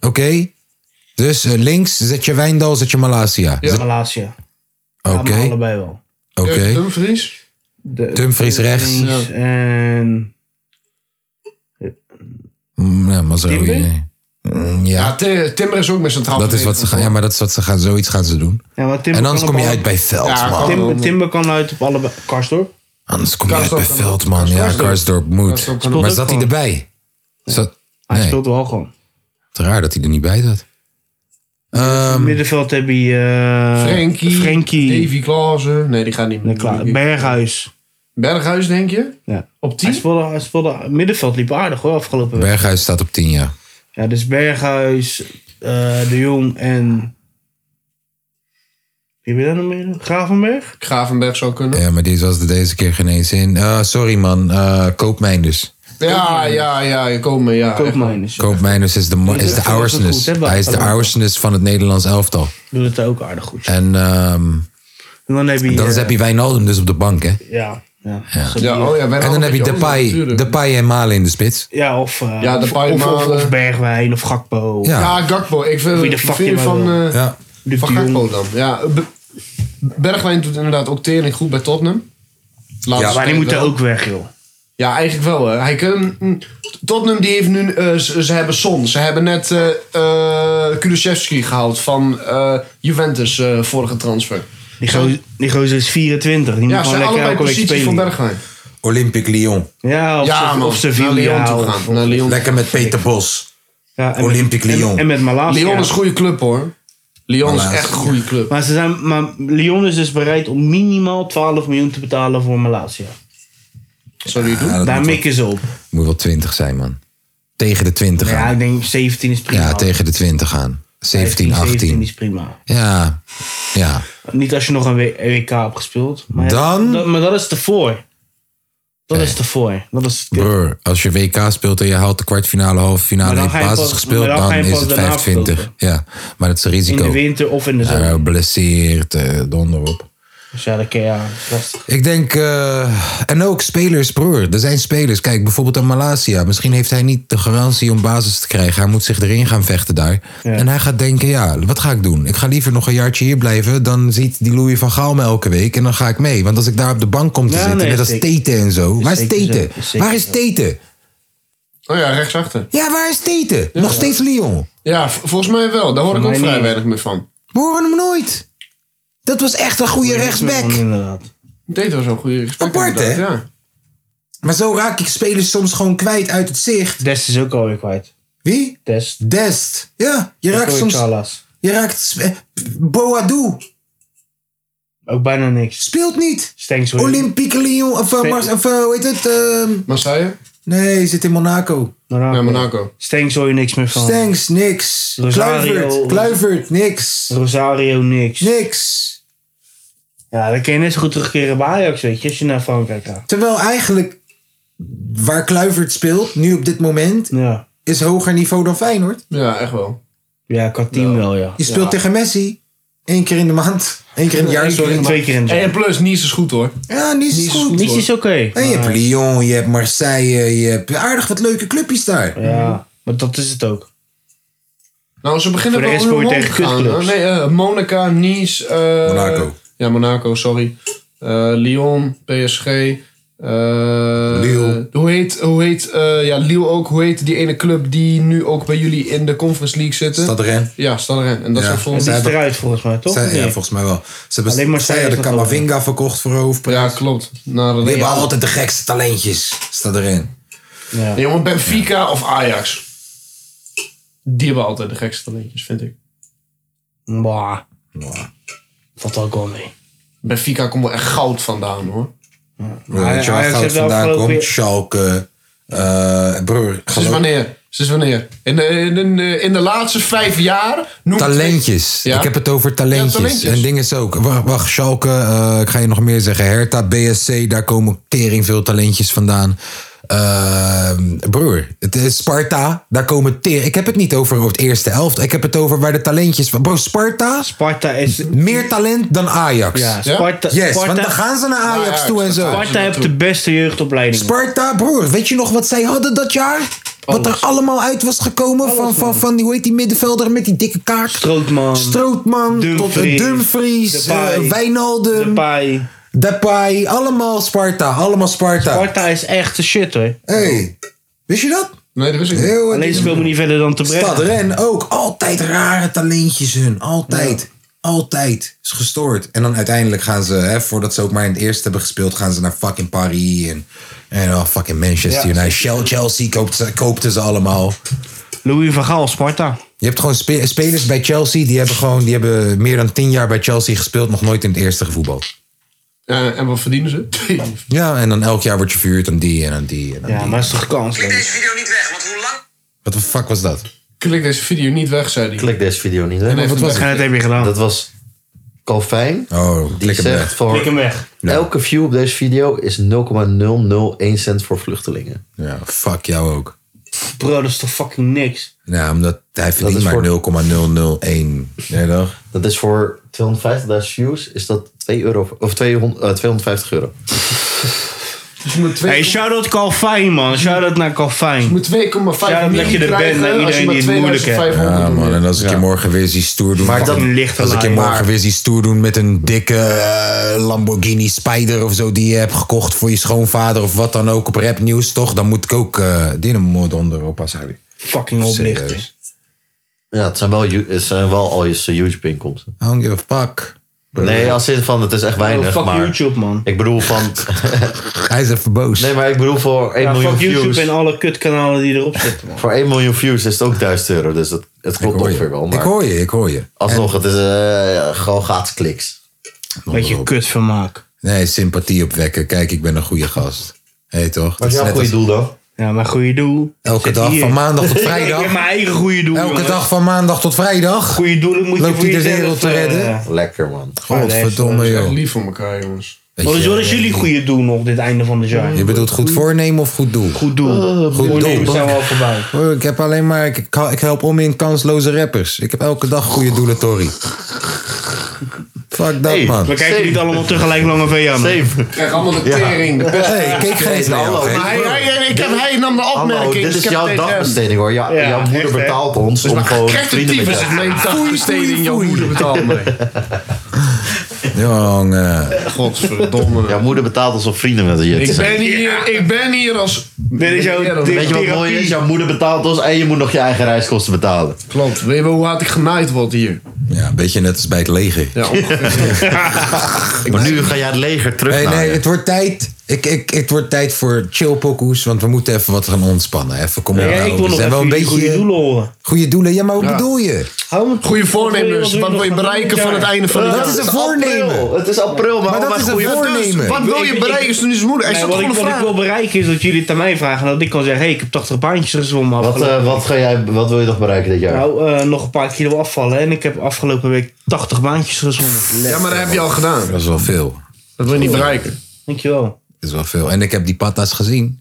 [SPEAKER 1] Oké? Dus eh, links zet je Wijndal, zet je Malasia.
[SPEAKER 2] Ja.
[SPEAKER 1] Zet-
[SPEAKER 2] Malasia.
[SPEAKER 1] Oké.
[SPEAKER 2] Ja, maar allebei wel.
[SPEAKER 1] Oké.
[SPEAKER 5] Dumfries?
[SPEAKER 2] De,
[SPEAKER 1] Dumfries rechts.
[SPEAKER 2] Dumfries En...
[SPEAKER 1] Mm, Ja, maar zo. nee. Mm, Ja.
[SPEAKER 5] Ja, Ti- Timber is ook met centraal
[SPEAKER 1] dat is wat ze gaan, ja, maar dat is wat ze gaan, zoiets gaan ze doen.
[SPEAKER 2] Ja, maar Timber
[SPEAKER 1] en anders
[SPEAKER 2] kan
[SPEAKER 1] kom je
[SPEAKER 2] op
[SPEAKER 1] uit
[SPEAKER 2] alle-
[SPEAKER 1] bij Veld, man.
[SPEAKER 2] Timber, Timber kan uit op allebei. Karsdorp.
[SPEAKER 1] Anders kom je uit bij Veld, man. Ja,
[SPEAKER 2] Karsdorp.
[SPEAKER 1] Karsdorp moet.
[SPEAKER 2] Karsdorp kan
[SPEAKER 1] Maar
[SPEAKER 2] ook
[SPEAKER 1] zat hij
[SPEAKER 2] gewoon.
[SPEAKER 1] erbij? Zat,
[SPEAKER 2] Hij
[SPEAKER 1] nee,
[SPEAKER 2] speelt wel gewoon.
[SPEAKER 1] het raar dat hij er niet bij zat. Ehm,
[SPEAKER 2] Middenveld heb je... eh,
[SPEAKER 5] Frenkie,
[SPEAKER 2] Frenkie.
[SPEAKER 5] Davy Klaassen. Nee, die gaat niet meer.
[SPEAKER 2] Klaar. Berghuis.
[SPEAKER 5] Berghuis, denk je?
[SPEAKER 2] Ja.
[SPEAKER 5] Op
[SPEAKER 2] 10? Hij speelde, hij speelde, middenveld liep aardig hoor, afgelopen week.
[SPEAKER 1] Berghuis staat op 10, ja.
[SPEAKER 2] Ja, dus Berghuis, eh, De Jong en... Wie ben je dan nog meer? Gravenberg?
[SPEAKER 5] Gravenberg zou kunnen.
[SPEAKER 1] Ja, maar die was er deze keer geen eens in. Eh, sorry, man. eh Koopmijnders.
[SPEAKER 5] Ja, ja, ja, ja, kom maar, ja.
[SPEAKER 2] Koopmijners.
[SPEAKER 1] Koopmijnders is de, ma-
[SPEAKER 2] Die
[SPEAKER 1] is de
[SPEAKER 2] doet het
[SPEAKER 1] oursness.
[SPEAKER 2] goed, hè, bij-
[SPEAKER 1] Hij is de
[SPEAKER 2] bij-
[SPEAKER 1] oursness van het Nederlands elftal.
[SPEAKER 2] Doet het ook aardig goed.
[SPEAKER 1] En ehm,
[SPEAKER 2] En dan heb je...
[SPEAKER 1] dan
[SPEAKER 2] eh,
[SPEAKER 1] heb je Wijnaldum dus op de bank, hè?
[SPEAKER 2] Ja. Ja,
[SPEAKER 1] Ja.
[SPEAKER 5] Ja, oh ja,
[SPEAKER 1] En dan heb je Depay, Depay en Malen in de spits.
[SPEAKER 2] Ja, of, eh,
[SPEAKER 5] Ja, de
[SPEAKER 2] of,
[SPEAKER 5] Bayern
[SPEAKER 2] of, of,
[SPEAKER 5] Malen.
[SPEAKER 2] of Bergwijn of Gakpo.
[SPEAKER 1] Ja.
[SPEAKER 5] Ja, Gakpo. Ik vind,
[SPEAKER 2] Wie de
[SPEAKER 5] wat
[SPEAKER 2] fuck
[SPEAKER 5] vind
[SPEAKER 2] je
[SPEAKER 5] je
[SPEAKER 2] maar
[SPEAKER 5] van,
[SPEAKER 2] wil.
[SPEAKER 5] eh,
[SPEAKER 1] Ja.
[SPEAKER 2] De
[SPEAKER 5] van
[SPEAKER 2] Jong.
[SPEAKER 5] Gakpo dan. Ja, Be- Bergwijn doet inderdaad ook tering goed bij Tottenham. Laatste
[SPEAKER 2] Ja, maar die
[SPEAKER 5] tijd
[SPEAKER 2] moeten
[SPEAKER 5] wel.
[SPEAKER 2] ook weg, joh.
[SPEAKER 5] Ja, eigenlijk wel. Hè. Hij kan, mm, Tottenham die heeft nu... eh, ze, ze hebben Son. Ze hebben net eh eh, Kulusevski gehaald van eh, Juventus eh, vorige transfer.
[SPEAKER 2] Die gozer, die gozer is 24. Die
[SPEAKER 5] Ja,
[SPEAKER 2] moet gewoon
[SPEAKER 5] ze zijn
[SPEAKER 2] lekker
[SPEAKER 5] allebei
[SPEAKER 2] elke week
[SPEAKER 5] positie
[SPEAKER 2] spelen.
[SPEAKER 5] van Bergwijn.
[SPEAKER 1] Olympique Lyon.
[SPEAKER 2] Ja, of,
[SPEAKER 5] Ja,
[SPEAKER 2] Sev-
[SPEAKER 5] man.
[SPEAKER 2] of Sevilla.
[SPEAKER 5] Naar Lyon toe
[SPEAKER 2] of-
[SPEAKER 5] gaan. Naar Lyon.
[SPEAKER 1] Lekker met Peter Bos.
[SPEAKER 2] Ja, en
[SPEAKER 1] Olympique
[SPEAKER 2] met- en-
[SPEAKER 1] Lyon.
[SPEAKER 2] En, met Malasia.
[SPEAKER 5] Lyon is een goede club hoor. Lyon is
[SPEAKER 1] Helaas.
[SPEAKER 5] echt een goede club.
[SPEAKER 2] Maar, ze zijn, maar Lyon is dus bereid om minimaal 12 miljoen te betalen voor Malasia.
[SPEAKER 5] Zou die het doen?
[SPEAKER 1] Ja, dat
[SPEAKER 2] Daar
[SPEAKER 1] moet, wel,
[SPEAKER 2] mikken ze op.
[SPEAKER 1] moet wel 20 zijn, man. Tegen de 20
[SPEAKER 2] Nou Ja,
[SPEAKER 1] aan.
[SPEAKER 2] ik denk 17 is prima.
[SPEAKER 1] Ja, tegen de 20 aan. 17,
[SPEAKER 2] 17
[SPEAKER 1] 18.
[SPEAKER 2] is prima.
[SPEAKER 1] Ja, ja.
[SPEAKER 2] Niet als je nog een W- WK hebt gespeeld. Maar ja,
[SPEAKER 1] Dan-
[SPEAKER 2] dat- maar dat is tevoor. Dat is tevoor. Dat is
[SPEAKER 1] Broer, als je WK speelt en je haalt de kwartfinale, halve
[SPEAKER 2] Maar
[SPEAKER 1] finale
[SPEAKER 2] dan
[SPEAKER 1] heeft
[SPEAKER 2] ga je
[SPEAKER 1] basis
[SPEAKER 2] pas-
[SPEAKER 1] gespeeld,
[SPEAKER 2] maar
[SPEAKER 1] dan,
[SPEAKER 2] dan ga je
[SPEAKER 1] is
[SPEAKER 2] pas
[SPEAKER 1] het
[SPEAKER 2] daarna
[SPEAKER 1] 25. Ja, maar dat is een
[SPEAKER 2] in
[SPEAKER 1] risico.
[SPEAKER 2] de winter of in de zomer.
[SPEAKER 1] Eh, Blesseert, eh, donder op.
[SPEAKER 2] Dus ja, dat kan- ja, dat is lastig.
[SPEAKER 1] Ik denk, eh, en ook spelers, broer. Er zijn spelers. Kijk, bijvoorbeeld aan Malasia. Misschien heeft hij niet de garantie om basis te krijgen. Hij moet zich erin gaan vechten daar. En hij gaat denken, ja, wat ga ik doen? Ik ga liever nog een jaartje hier blijven. Dan ziet die Louis van Gaal me elke week. En dan ga ik mee. Want als ik daar op de bank kom te
[SPEAKER 2] Ja,
[SPEAKER 1] zitten,
[SPEAKER 2] nee,
[SPEAKER 1] net als
[SPEAKER 2] zeker.
[SPEAKER 1] Tete en zo. Waar is
[SPEAKER 2] zeker
[SPEAKER 1] Tete?
[SPEAKER 2] zo, is zeker
[SPEAKER 1] Waar is
[SPEAKER 2] zo.
[SPEAKER 1] Tete?
[SPEAKER 5] Oh ja, rechtsachter.
[SPEAKER 1] Ja, waar is Tete? Nog steeds Lyon.
[SPEAKER 5] Ja, v- volgens mij wel. Daar hoor ik ook
[SPEAKER 2] mij
[SPEAKER 5] vrij
[SPEAKER 2] niet.
[SPEAKER 5] weinig meer van.
[SPEAKER 1] We horen hem nooit. Dat was echt een goede rechtsback.
[SPEAKER 2] Inderdaad.
[SPEAKER 5] Dit was een goede gesprek.
[SPEAKER 1] Apart,
[SPEAKER 5] inderdaad,
[SPEAKER 1] hè?
[SPEAKER 5] Ja.
[SPEAKER 1] Maar zo raak ik spelers soms gewoon kwijt uit het zicht.
[SPEAKER 2] Dest is ook alweer kwijt.
[SPEAKER 1] Wie?
[SPEAKER 2] Dest.
[SPEAKER 1] Dest. Ja, je raakt
[SPEAKER 2] Koy
[SPEAKER 1] soms...
[SPEAKER 2] Chalas.
[SPEAKER 1] Je raakt. eh, Boadu
[SPEAKER 2] Ook bijna niks.
[SPEAKER 1] speelt niet.
[SPEAKER 2] Stengs hoor.
[SPEAKER 1] Olympique Lyon. Of, eh,
[SPEAKER 2] Nee.
[SPEAKER 1] Mars, of eh, hoe heet het? ehm,
[SPEAKER 5] Marseille?
[SPEAKER 1] nee, zit in Monaco.
[SPEAKER 2] Monaco.
[SPEAKER 5] Ja, Monaco.
[SPEAKER 2] Stengs hoor je niks meer van.
[SPEAKER 1] Stanks, niks.
[SPEAKER 2] Rosario.
[SPEAKER 1] Kluivert, Kluivert, niks.
[SPEAKER 2] Rosario niks.
[SPEAKER 1] Niks.
[SPEAKER 2] Ja, dan kun je net zo goed terugkeren bij Ajax, weet je, als je naar Frankrijk gaat.
[SPEAKER 1] Terwijl eigenlijk waar Kluivert speelt, nu op dit moment,
[SPEAKER 2] Ja,
[SPEAKER 1] is hoger niveau dan Feyenoord.
[SPEAKER 5] Ja, echt wel.
[SPEAKER 2] ja qua team wel, ja.
[SPEAKER 1] Je speelt tegen Messi. Eén keer in de maand. Eén keer in het jaar, sorry.
[SPEAKER 2] Twee keer in de
[SPEAKER 5] En plus, Nice is goed hoor.
[SPEAKER 1] Ja, niet zo goed.
[SPEAKER 2] Niets is oké.
[SPEAKER 1] En je hebt Lyon, je hebt Marseille, je hebt aardig wat leuke clubjes daar.
[SPEAKER 2] Ja, maar dat is het ook.
[SPEAKER 5] Nou, ze beginnen
[SPEAKER 2] Voor de
[SPEAKER 5] wel
[SPEAKER 2] rest
[SPEAKER 5] onder
[SPEAKER 2] speel je
[SPEAKER 5] de
[SPEAKER 2] tegen
[SPEAKER 5] mond te gaan,
[SPEAKER 2] kutclubs.
[SPEAKER 5] hoor. Nee, eh, Monaca, Nice. eh,
[SPEAKER 1] Monaco.
[SPEAKER 5] Ja, Monaco, sorry. Eh, Lyon, PSG. eh,
[SPEAKER 1] Lille.
[SPEAKER 5] Hoe heet, hoe heet eh, ja, Lille ook, hoe heet die ene club die nu ook bij jullie in de Conference League zitten?
[SPEAKER 1] Stad Rennes.
[SPEAKER 5] Ja, Stadren. En dat
[SPEAKER 1] Ja.
[SPEAKER 5] zijn
[SPEAKER 2] En
[SPEAKER 5] volgens
[SPEAKER 2] die
[SPEAKER 1] Zij
[SPEAKER 2] is
[SPEAKER 1] hebben-
[SPEAKER 2] eruit volgens mij, toch?
[SPEAKER 1] Zij-
[SPEAKER 2] Nee.
[SPEAKER 1] ja, volgens mij wel. Ze hebben,
[SPEAKER 2] Alleen Marseille
[SPEAKER 1] zij hebben de
[SPEAKER 2] heeft dat
[SPEAKER 1] Camavinga verkocht voor hoofdprijs.
[SPEAKER 5] Ja, klopt. Na de
[SPEAKER 1] Die hebben altijd de gekste talentjes. Staat erin.
[SPEAKER 2] Ja.
[SPEAKER 5] Nee, jongen, Benfica of Ajax? Die hebben altijd de gekste talentjes, vind ik.
[SPEAKER 2] Maar, valt ook wel mee.
[SPEAKER 5] Benfica komt wel echt goud vandaan, hoor.
[SPEAKER 1] Weet je waar
[SPEAKER 2] Ajax
[SPEAKER 1] goud
[SPEAKER 2] heeft wel
[SPEAKER 1] vandaan
[SPEAKER 2] afgelopen
[SPEAKER 1] komt?
[SPEAKER 2] weer-
[SPEAKER 1] Schalke. eh broer,
[SPEAKER 5] Sinds
[SPEAKER 1] geloof,
[SPEAKER 5] wanneer? Sinds wanneer? In, de- in, in, de- in de laatste vijf jaar noem
[SPEAKER 1] Talentjes.
[SPEAKER 5] Ja.
[SPEAKER 1] Ik heb het over talentjes.
[SPEAKER 5] Ja, talentjes.
[SPEAKER 1] En dingen is ook. Wacht, wacht Schalke, eh, ik ga je nog meer zeggen. Hertha, BSC, daar komen tering veel talentjes vandaan. Ehm, broer, het is Sparta, daar komen tering. Ik heb het niet over het eerste helft. Ik heb het over waar de talentjes van. Bro, Sparta.
[SPEAKER 2] Sparta is.
[SPEAKER 1] Meer talent dan Ajax.
[SPEAKER 2] Ja, Sparta-
[SPEAKER 1] Yes,
[SPEAKER 2] Sparta-
[SPEAKER 1] want dan gaan ze naar Ajax,
[SPEAKER 2] Ajax,
[SPEAKER 1] toe en zo.
[SPEAKER 2] Sparta heeft de beste jeugdopleiding.
[SPEAKER 1] Sparta, broer, weet je nog wat zij hadden dat jaar? Wat er allemaal uit was gekomen van, van, van die, hoe heet die middenvelder met die dikke kaak?
[SPEAKER 2] Strootman.
[SPEAKER 1] Strootman, tot een
[SPEAKER 2] Dumfries,
[SPEAKER 1] Dumfries,
[SPEAKER 2] Depay,
[SPEAKER 1] eh, Wijnaldum.
[SPEAKER 2] Depay.
[SPEAKER 1] Depay, allemaal Sparta, allemaal Sparta.
[SPEAKER 2] Sparta is echt de shit hoor.
[SPEAKER 1] hey, wist je dat?
[SPEAKER 5] Nee, dat wist ik
[SPEAKER 1] Heel-
[SPEAKER 2] Alleen speel me niet verder dan te brengen.
[SPEAKER 1] Stad Ren ook, altijd rare talentjes hun, altijd. Altijd. Is gestoord. En dan uiteindelijk gaan ze, hè, voordat ze ook maar in het eerste hebben gespeeld, gaan ze naar fucking Paris en, en oh, fucking Manchester United. Chel- Chelsea koopt ze, koopten ze allemaal.
[SPEAKER 2] Louis van Gaal, Sparta.
[SPEAKER 1] Je hebt gewoon spe- spelers bij Chelsea, die hebben gewoon die hebben meer dan tien jaar bij Chelsea gespeeld, nog nooit in het eerste gevoetbald.
[SPEAKER 5] Eh, en wat verdienen ze? (laughs)
[SPEAKER 1] Ja, en dan elk jaar word je verhuurd aan die en aan die en aan die.
[SPEAKER 2] maar is toch kansloos?
[SPEAKER 1] Wat de fuck was dat?
[SPEAKER 5] Klik deze video niet weg, zei hij.
[SPEAKER 3] Klik deze video niet weg.
[SPEAKER 5] Nee, wat was het?
[SPEAKER 2] heb je gedaan.
[SPEAKER 3] Dat was Calvijn.
[SPEAKER 1] Oh,
[SPEAKER 3] Die
[SPEAKER 1] klik hem
[SPEAKER 3] zegt
[SPEAKER 1] weg.
[SPEAKER 3] voor
[SPEAKER 2] Klik hem weg.
[SPEAKER 3] elke view op deze video is 0,001 cent voor vluchtelingen.
[SPEAKER 1] Ja, fuck jou ook.
[SPEAKER 2] Bro, dat is toch fucking niks?
[SPEAKER 1] Ja, omdat hij verdient
[SPEAKER 3] is
[SPEAKER 1] maar
[SPEAKER 3] voor-
[SPEAKER 1] 0,001. Nee, toch?
[SPEAKER 3] Dat is voor 250.000 views is dat 2 euro, of 200, eh, 250 euro.
[SPEAKER 5] Dus je moet twee-
[SPEAKER 2] Hey, shout-out Calvijn, man. Shout-out naar
[SPEAKER 5] je
[SPEAKER 2] Calvijn.
[SPEAKER 5] moet 2,5
[SPEAKER 2] Ja, dat
[SPEAKER 5] miljoen
[SPEAKER 2] je er bent
[SPEAKER 5] krijgen
[SPEAKER 2] naar
[SPEAKER 5] als je
[SPEAKER 2] iedereen
[SPEAKER 5] maar
[SPEAKER 2] die het moeilijk heeft.
[SPEAKER 5] 2500
[SPEAKER 1] Ja, man.
[SPEAKER 5] doet.
[SPEAKER 1] En als ik je morgen weer zie stoer doen.
[SPEAKER 2] Maak dat
[SPEAKER 1] fucking-
[SPEAKER 2] een lichte
[SPEAKER 1] Als ik je
[SPEAKER 2] laai.
[SPEAKER 1] morgen weer zie stoer doen met een dikke eh, Lamborghini Spider of zo. die je hebt gekocht voor je schoonvader of wat dan ook. op rapnieuws, toch? Dan moet ik ook eh Dynamo onder oppassen.
[SPEAKER 2] Fucking
[SPEAKER 1] Serieus.
[SPEAKER 2] oplichten.
[SPEAKER 3] Ja, het zijn wel, ju- het zijn wel al je YouTube-inkomsten.
[SPEAKER 1] I don't give a fuck.
[SPEAKER 3] Nee, als in van het is echt
[SPEAKER 2] Oh,
[SPEAKER 3] weinig,
[SPEAKER 2] fuck
[SPEAKER 3] maar...
[SPEAKER 2] YouTube, man.
[SPEAKER 3] Ik bedoel van...
[SPEAKER 1] Hij is even boos.
[SPEAKER 3] Nee, maar ik bedoel voor 1
[SPEAKER 2] Ja,
[SPEAKER 3] miljoen
[SPEAKER 2] fuck
[SPEAKER 3] views...
[SPEAKER 2] YouTube en alle kutkanalen die erop zitten, man.
[SPEAKER 3] Voor 1 miljoen views is het ook 1000 euro, dus dat, het
[SPEAKER 1] ik
[SPEAKER 3] klopt
[SPEAKER 1] hoor
[SPEAKER 3] ongeveer wel.
[SPEAKER 1] je. Ik
[SPEAKER 3] Maar
[SPEAKER 1] hoor je, ik hoor je.
[SPEAKER 3] alsnog, het is eh, ja, gewoon gratis kliks.
[SPEAKER 1] (laughs)
[SPEAKER 2] Beetje kutvermaak.
[SPEAKER 1] Nee, sympathie opwekken. Kijk, ik ben een goede gast. Hé, toch?
[SPEAKER 3] Wat
[SPEAKER 1] Dat
[SPEAKER 3] is jouw
[SPEAKER 1] net
[SPEAKER 3] goede
[SPEAKER 1] als
[SPEAKER 3] doel dan?
[SPEAKER 2] Ja, maar goede doel.
[SPEAKER 1] Elke
[SPEAKER 2] Zit
[SPEAKER 1] dag,
[SPEAKER 2] hier.
[SPEAKER 1] van maandag
[SPEAKER 2] (laughs)
[SPEAKER 1] tot
[SPEAKER 2] Ik
[SPEAKER 1] vrijdag.
[SPEAKER 2] heb mijn eigen goede doel.
[SPEAKER 1] Elke
[SPEAKER 2] jongen.
[SPEAKER 1] dag van maandag tot vrijdag.
[SPEAKER 2] Goede doelen moet
[SPEAKER 1] Loopt
[SPEAKER 2] je
[SPEAKER 1] hij
[SPEAKER 2] voor
[SPEAKER 1] de
[SPEAKER 2] jezelf,
[SPEAKER 1] wereld te
[SPEAKER 2] eh,
[SPEAKER 1] redden?
[SPEAKER 3] Lekker, man.
[SPEAKER 1] Godverdomme,
[SPEAKER 5] Echt
[SPEAKER 1] joh.
[SPEAKER 5] lief voor elkaar, jongens.
[SPEAKER 1] Weet
[SPEAKER 2] Wat is,
[SPEAKER 1] je, eh,
[SPEAKER 2] wat is jullie goede doel nog dit einde van het jaar?
[SPEAKER 1] je bedoelt goed voornemen of goed doel?
[SPEAKER 2] Goed doel.
[SPEAKER 1] goed
[SPEAKER 2] Voornemens
[SPEAKER 1] doel.
[SPEAKER 2] zijn we al voorbij.
[SPEAKER 1] Hoor, Ik heb alleen maar. Ik, ik hel- ik help om in kansloze rappers. Ik heb elke dag goede doelen, Tori. Fuck dat,
[SPEAKER 3] Hey,
[SPEAKER 1] man.
[SPEAKER 2] We kijken
[SPEAKER 3] Zeven.
[SPEAKER 2] niet allemaal tegelijk lange VA. man.
[SPEAKER 3] Zeven.
[SPEAKER 5] Ik krijg allemaal de tering. De pest.
[SPEAKER 1] Hey, ik keek geen eens naar jou,
[SPEAKER 3] hallo,
[SPEAKER 1] gek.
[SPEAKER 3] maar-
[SPEAKER 5] Hij, hij- hij- ik heb, hij nam de opmerking.
[SPEAKER 3] Hallo, dit
[SPEAKER 5] dus
[SPEAKER 3] is
[SPEAKER 5] ik heb
[SPEAKER 3] jouw
[SPEAKER 5] tegen hem.
[SPEAKER 3] dagbesteding hoor. Ja,
[SPEAKER 2] Ja,
[SPEAKER 3] jouw moeder
[SPEAKER 2] echt, hè?
[SPEAKER 3] betaalt ons om
[SPEAKER 5] Maar
[SPEAKER 1] Oh,
[SPEAKER 3] gewoon vrienden
[SPEAKER 5] Creatief
[SPEAKER 3] met
[SPEAKER 5] is
[SPEAKER 3] jou.
[SPEAKER 5] het mijn dagbesteding. Jouw moeder
[SPEAKER 1] (laughs)
[SPEAKER 5] betaalt mij.
[SPEAKER 1] Jongen.
[SPEAKER 3] Jouw
[SPEAKER 5] Godverdomme.
[SPEAKER 3] moeder betaalt ons om vrienden met je te
[SPEAKER 5] Ik
[SPEAKER 3] zijn.
[SPEAKER 5] ben hier, ik ben hier als...
[SPEAKER 2] Dit is jouw
[SPEAKER 5] Ja,
[SPEAKER 2] dit-
[SPEAKER 3] Weet je wat mooi is? Jouw moeder betaalt ons en je moet nog je eigen reiskosten betalen.
[SPEAKER 5] Klopt. Weet je wel hoe hard ik genaaid word hier?
[SPEAKER 1] Ja, een beetje net als bij het leger.
[SPEAKER 5] Ja, ongeveer.
[SPEAKER 3] (laughs) Maar nu ga jij het leger terug
[SPEAKER 1] Nee,
[SPEAKER 3] naar
[SPEAKER 1] nee,
[SPEAKER 3] je.
[SPEAKER 1] het wordt tijd. Ik, ik, het wordt tijd voor chillpokoes, want we moeten even wat gaan ontspannen. Even, kom op.
[SPEAKER 2] Ja,
[SPEAKER 1] nou,
[SPEAKER 2] ik wil
[SPEAKER 1] we
[SPEAKER 2] nog
[SPEAKER 1] zijn wel
[SPEAKER 2] even
[SPEAKER 1] een beetje
[SPEAKER 2] goede doelen horen.
[SPEAKER 1] Goede doelen. Ja, maar wat bedoel je?
[SPEAKER 2] Hou me-
[SPEAKER 5] Goede
[SPEAKER 2] Wat
[SPEAKER 5] voornemens.
[SPEAKER 2] wil je
[SPEAKER 5] Wat wil je
[SPEAKER 2] nog
[SPEAKER 5] bereiken
[SPEAKER 2] van
[SPEAKER 5] van het
[SPEAKER 2] dit
[SPEAKER 5] einde van het
[SPEAKER 1] Dat
[SPEAKER 5] jaar?
[SPEAKER 1] is een voornemen.
[SPEAKER 3] April, Het is april, maar,
[SPEAKER 1] Maar dat
[SPEAKER 3] allemaal
[SPEAKER 1] is een
[SPEAKER 3] goede-
[SPEAKER 1] voornemen.
[SPEAKER 5] Dus wat wil je bereiken? Is er niet zo moeilijk? Hij
[SPEAKER 2] Nee,
[SPEAKER 5] staat
[SPEAKER 2] wat,
[SPEAKER 5] gewoon
[SPEAKER 2] ik,
[SPEAKER 5] een
[SPEAKER 2] wat ik
[SPEAKER 5] vraag.
[SPEAKER 2] wil bereiken is dat jullie het aan mij vragen. En dat ik kan zeggen, hey, ik heb 80 baantjes gezwommen.
[SPEAKER 3] Wat,
[SPEAKER 2] afgelopen-
[SPEAKER 3] eh, wat, ga jij, wat wil je nog bereiken dit jaar?
[SPEAKER 2] Nou, eh, nog een paar kilo afvallen. En ik heb afgelopen week 80 baantjes gezwommen.
[SPEAKER 5] Ja, maar dat heb je al gedaan.
[SPEAKER 1] Dat is wel veel.
[SPEAKER 5] Dat wil je niet bereiken.
[SPEAKER 2] Dankjewel.
[SPEAKER 1] Dat is wel veel. En ik heb die patas gezien.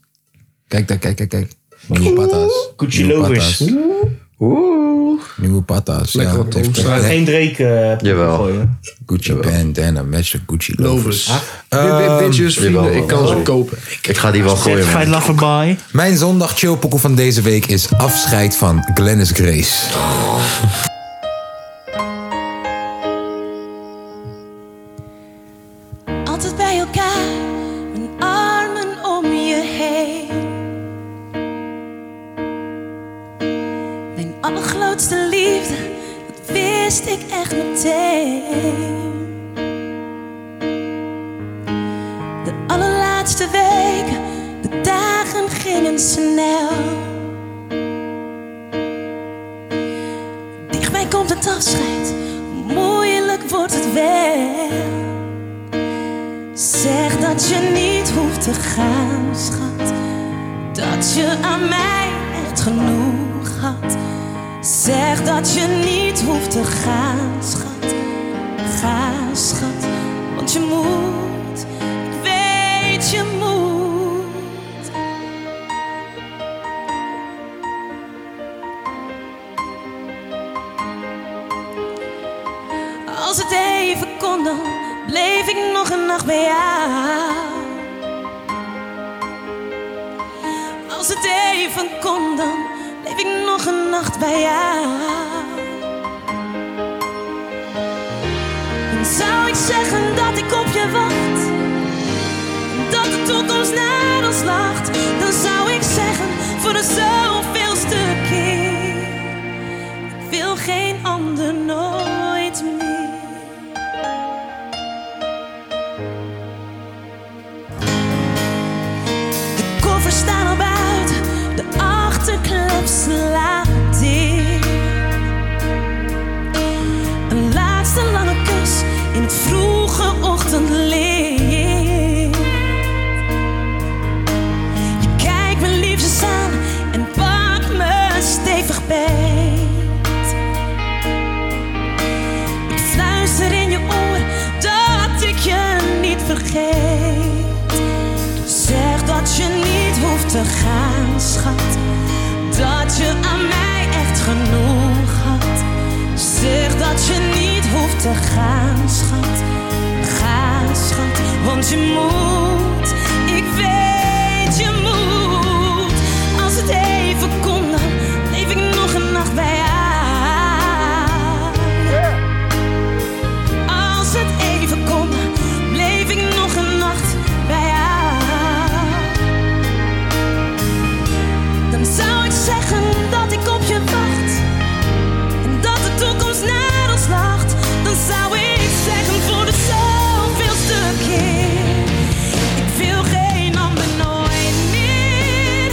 [SPEAKER 1] Kijk daar, kijk, kijk, kijk. Nieuwe patas.
[SPEAKER 2] Gucci
[SPEAKER 1] Nieuwe
[SPEAKER 2] Lovers.
[SPEAKER 1] patas. Nieuwe patas. Ja,
[SPEAKER 5] Lekker
[SPEAKER 1] het heeft
[SPEAKER 5] opgeslagen.
[SPEAKER 1] echt-
[SPEAKER 2] Geen Drake eh
[SPEAKER 3] Jawel.
[SPEAKER 2] gooien.
[SPEAKER 1] Gucci bandana match de Gucci Ehm, lovers.
[SPEAKER 5] Lovers. Dit- dit- Bitches, vrienden. Ik kan ze kopen.
[SPEAKER 3] Oh. Ik ga die wel gooien,
[SPEAKER 2] Certified
[SPEAKER 3] man.
[SPEAKER 2] Lover Boy.
[SPEAKER 1] Mijn zondag chillpokoe van deze week is afscheid van Glennis Grace.
[SPEAKER 11] altijd bij elkaar, mijn armen om je heen. Mijn allergrootste liefde, dat wist ik echt meteen. De allerlaatste weken, de dagen gingen snel. Dichtbij komt het afscheid, moeilijk wordt het wel. Zeg dat je niet hoeft te gaan, schat. Dat je aan mij hebt genoeg gehad. Zeg dat je niet hoeft te gaan, schat. Ga, schat, want je moet. Ik weet je moet. Als het even kon, dan bleef ik nog een nacht bij jou. Als het even kon, dan bleef ik nog een nacht bij jou. Dan zou ik zeggen dat ik op je wacht, dat de toekomst naar ons lacht. Dan zou ik zeggen voor de zoveelste keer. Ik wil geen ander nooit meer. De koffers staan al buiten, de achterklep slaat dicht. Een laatste lange kus in het vroege ochtendlicht. Je kijkt me liefjes aan en pakt me stevig beet. Ik fluister in je oor dat ik je niet vergeet. Zeg dat je niet hoeft te gaan, schat. Dat je aan mij echt genoeg had. Zeg dat je niet hoeft te gaan, schat. Ga, schat, want je moet. Ik weet je moet. Als het even kon, dan leef ik nog een nacht bij haar. Als het even kon, bleef ik nog een nacht bij haar. Dan zou ik zeggen dat ik op je wacht. En dat de toekomst naar ons lacht. Dan zou ik zeggen voor de zoveelste keer. Ik wil geen ander nooit meer.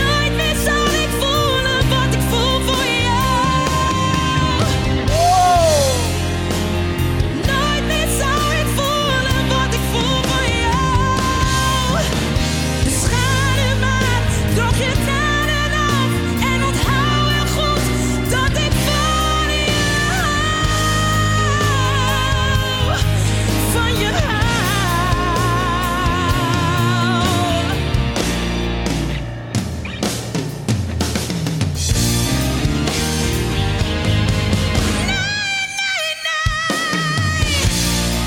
[SPEAKER 11] Nooit meer zal ik voelen wat ik voel voor jou. Nooit meer zou ik voelen wat ik voel voor jou. Dus ga nu maar, droog je tranen af en onthoud heel goed dat ik van je hou. Van je hou.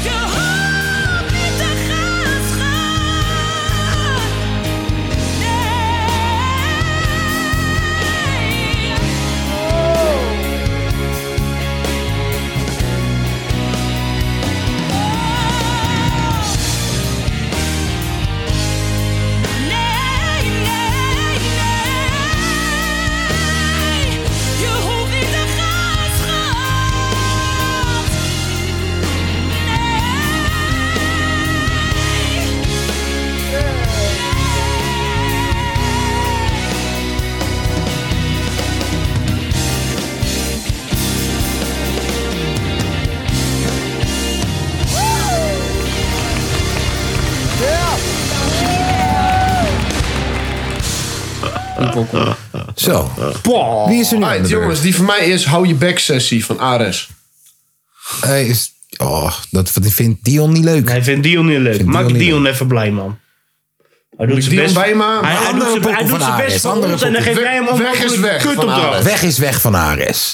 [SPEAKER 11] Je hoeft niet te gaan schaam. Nee. Nee, nee, nee. Je hoeft niet te gaan schaam.
[SPEAKER 6] (laughs)
[SPEAKER 1] Zo.
[SPEAKER 5] Wie
[SPEAKER 1] is er nu aan de beurt?
[SPEAKER 5] jongens, die van mij is Hou je back sessie van Ares.
[SPEAKER 1] Hey, is, oh, dat vindt Dion niet leuk.
[SPEAKER 2] Hij vindt Dion niet leuk. Maak Dion even blij, man. Hij doet zijn
[SPEAKER 5] Dion
[SPEAKER 2] best.
[SPEAKER 5] bij maar-
[SPEAKER 2] Hij, hij doet
[SPEAKER 5] Andere
[SPEAKER 2] zijn- hij
[SPEAKER 5] poppen
[SPEAKER 2] doet
[SPEAKER 5] van
[SPEAKER 2] zijn best
[SPEAKER 5] Ares,
[SPEAKER 2] voor
[SPEAKER 5] andere
[SPEAKER 2] ons en dan
[SPEAKER 5] poppen.
[SPEAKER 2] geef jij hem
[SPEAKER 5] Weg- weg is weg
[SPEAKER 2] kut
[SPEAKER 5] van
[SPEAKER 2] op
[SPEAKER 5] Ares.
[SPEAKER 1] Weg is weg van Ares.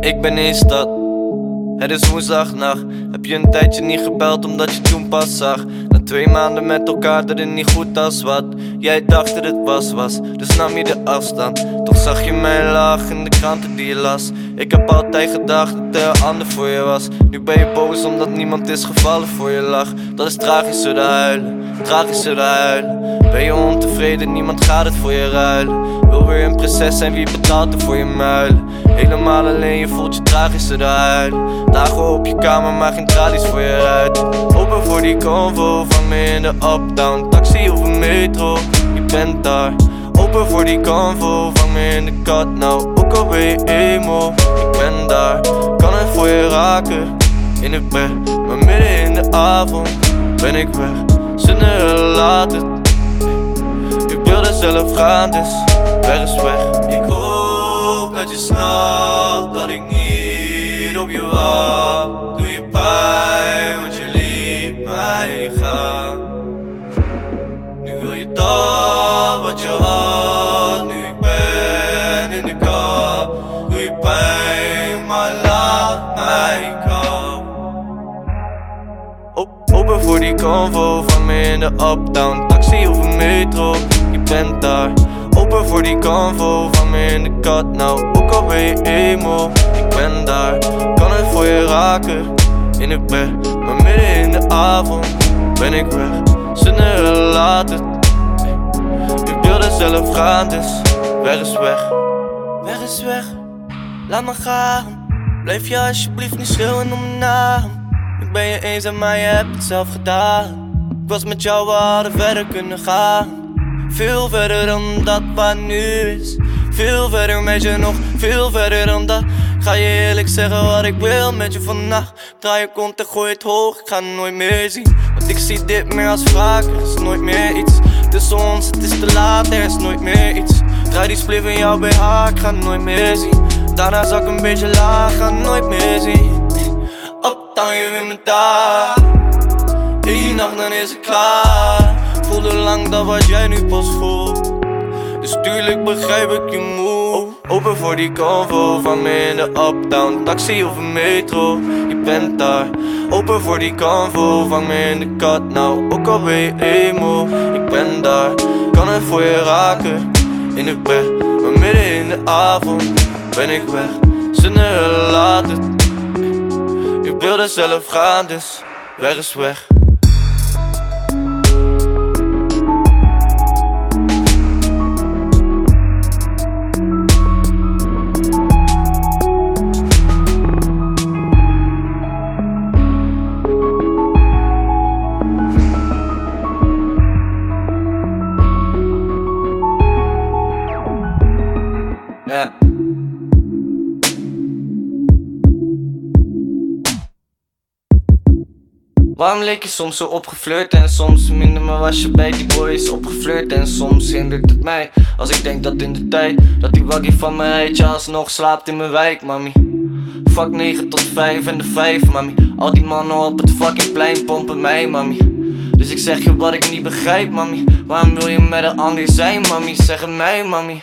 [SPEAKER 12] Ik ben in stad. Het is woensdagnacht. Heb je een tijdje niet gebeld omdat je toen pas zag? Na twee maanden met elkaar erin niet goed als wat. Jij dacht dat het was was, dus nam je de afstand. Toch zag je mijn lach in de kranten die je las. Ik heb altijd gedacht dat er een ander voor je was. Nu ben je boos omdat niemand is gevallen voor je lach. Dat is tragisch zullen huilen, tragisch zullen huilen. Ben je ontevreden, niemand gaat het voor je ruilen. Wil weer een prinses zijn, wie betaalt er voor je muilen? Helemaal alleen, je voelt je tragische eruit. Dagen op je kamer, maar geen tralies voor je uit. Open voor die convo van me in de uptown. Taxi of een metro, je bent daar. Open voor die convo, vang me in de kat nou Ook al ben je emo, ik ben daar Kan het voor je raken, in de bed Maar midden in de avond, ben ik weg Zinnen laat het Ik wilde zelf gaan, dus weg is weg Ik hoop dat je snapt dat ik niet op je wacht Doe je pijn, want je liet mij gaan wil je dat wat je had? Nu ik ben in de kap, doe je pijn, maar laat mij kalm. Op, open voor die convo, vang me in de uptown, taxi of een metro, je bent daar. Open voor die convo, vang me in de kat, nou ook al ben je emo, ik ben daar. Kan het voor je raken, in de bed, maar midden in de avond ben ik weg. Zinnen laat het. Ik wilde zelf gaan, dus weg is weg. Weg is weg, laat me gaan. Blijf je alsjeblieft niet schreeuwen om mijn naam. Ik ben je eenzaam, maar je hebt het zelf gedaan. Ik was met jou, we hadden verder kunnen gaan. Veel verder dan dat wat nu is. Veel verder met je nog, veel verder dan dat. Ik Ga je eerlijk zeggen wat ik wil met je vannacht. Draai je kont en gooi het hoog, ik ga het nooit meer zien. Want ik zie dit meer als wraak, er is nooit meer iets. Tussen ons, het is te laat, er is nooit meer iets. Draai die spliff in jouw BH, ik ga het nooit meer zien. Daarna zak ik een beetje laag, ga het nooit meer zien. Uptown, je in mijn daar. Die nacht, dan is het klaar. Voelde lang dat wat jij nu pas voelt. Dus tuurlijk begrijp ik je moe Open voor die convo van me in de uptown Taxi of een metro, je bent daar Open voor die convo, vang me in de kat Nou, ook al ben je emo, ik ben daar Kan het voor je raken, in de bed Maar midden in de avond, ben ik weg Zinnen laat het Ik wilde zelf gaan, dus weg is weg Ja. Waarom leek je soms zo opgeflirt en soms minder, maar was je bij die boys opgeflirt en soms hindert het mij als ik denk dat in de tijd dat die waggie van mijn heidje alsnog slaapt in mijn wijk, mami. Fuck 9 tot 5 en de 5, mami. Al die mannen op het fucking plein pompen mij, mami. Dus ik zeg je wat ik niet begrijp, mami. Waarom wil je met een ander zijn, mami? Zeg het mij, mami.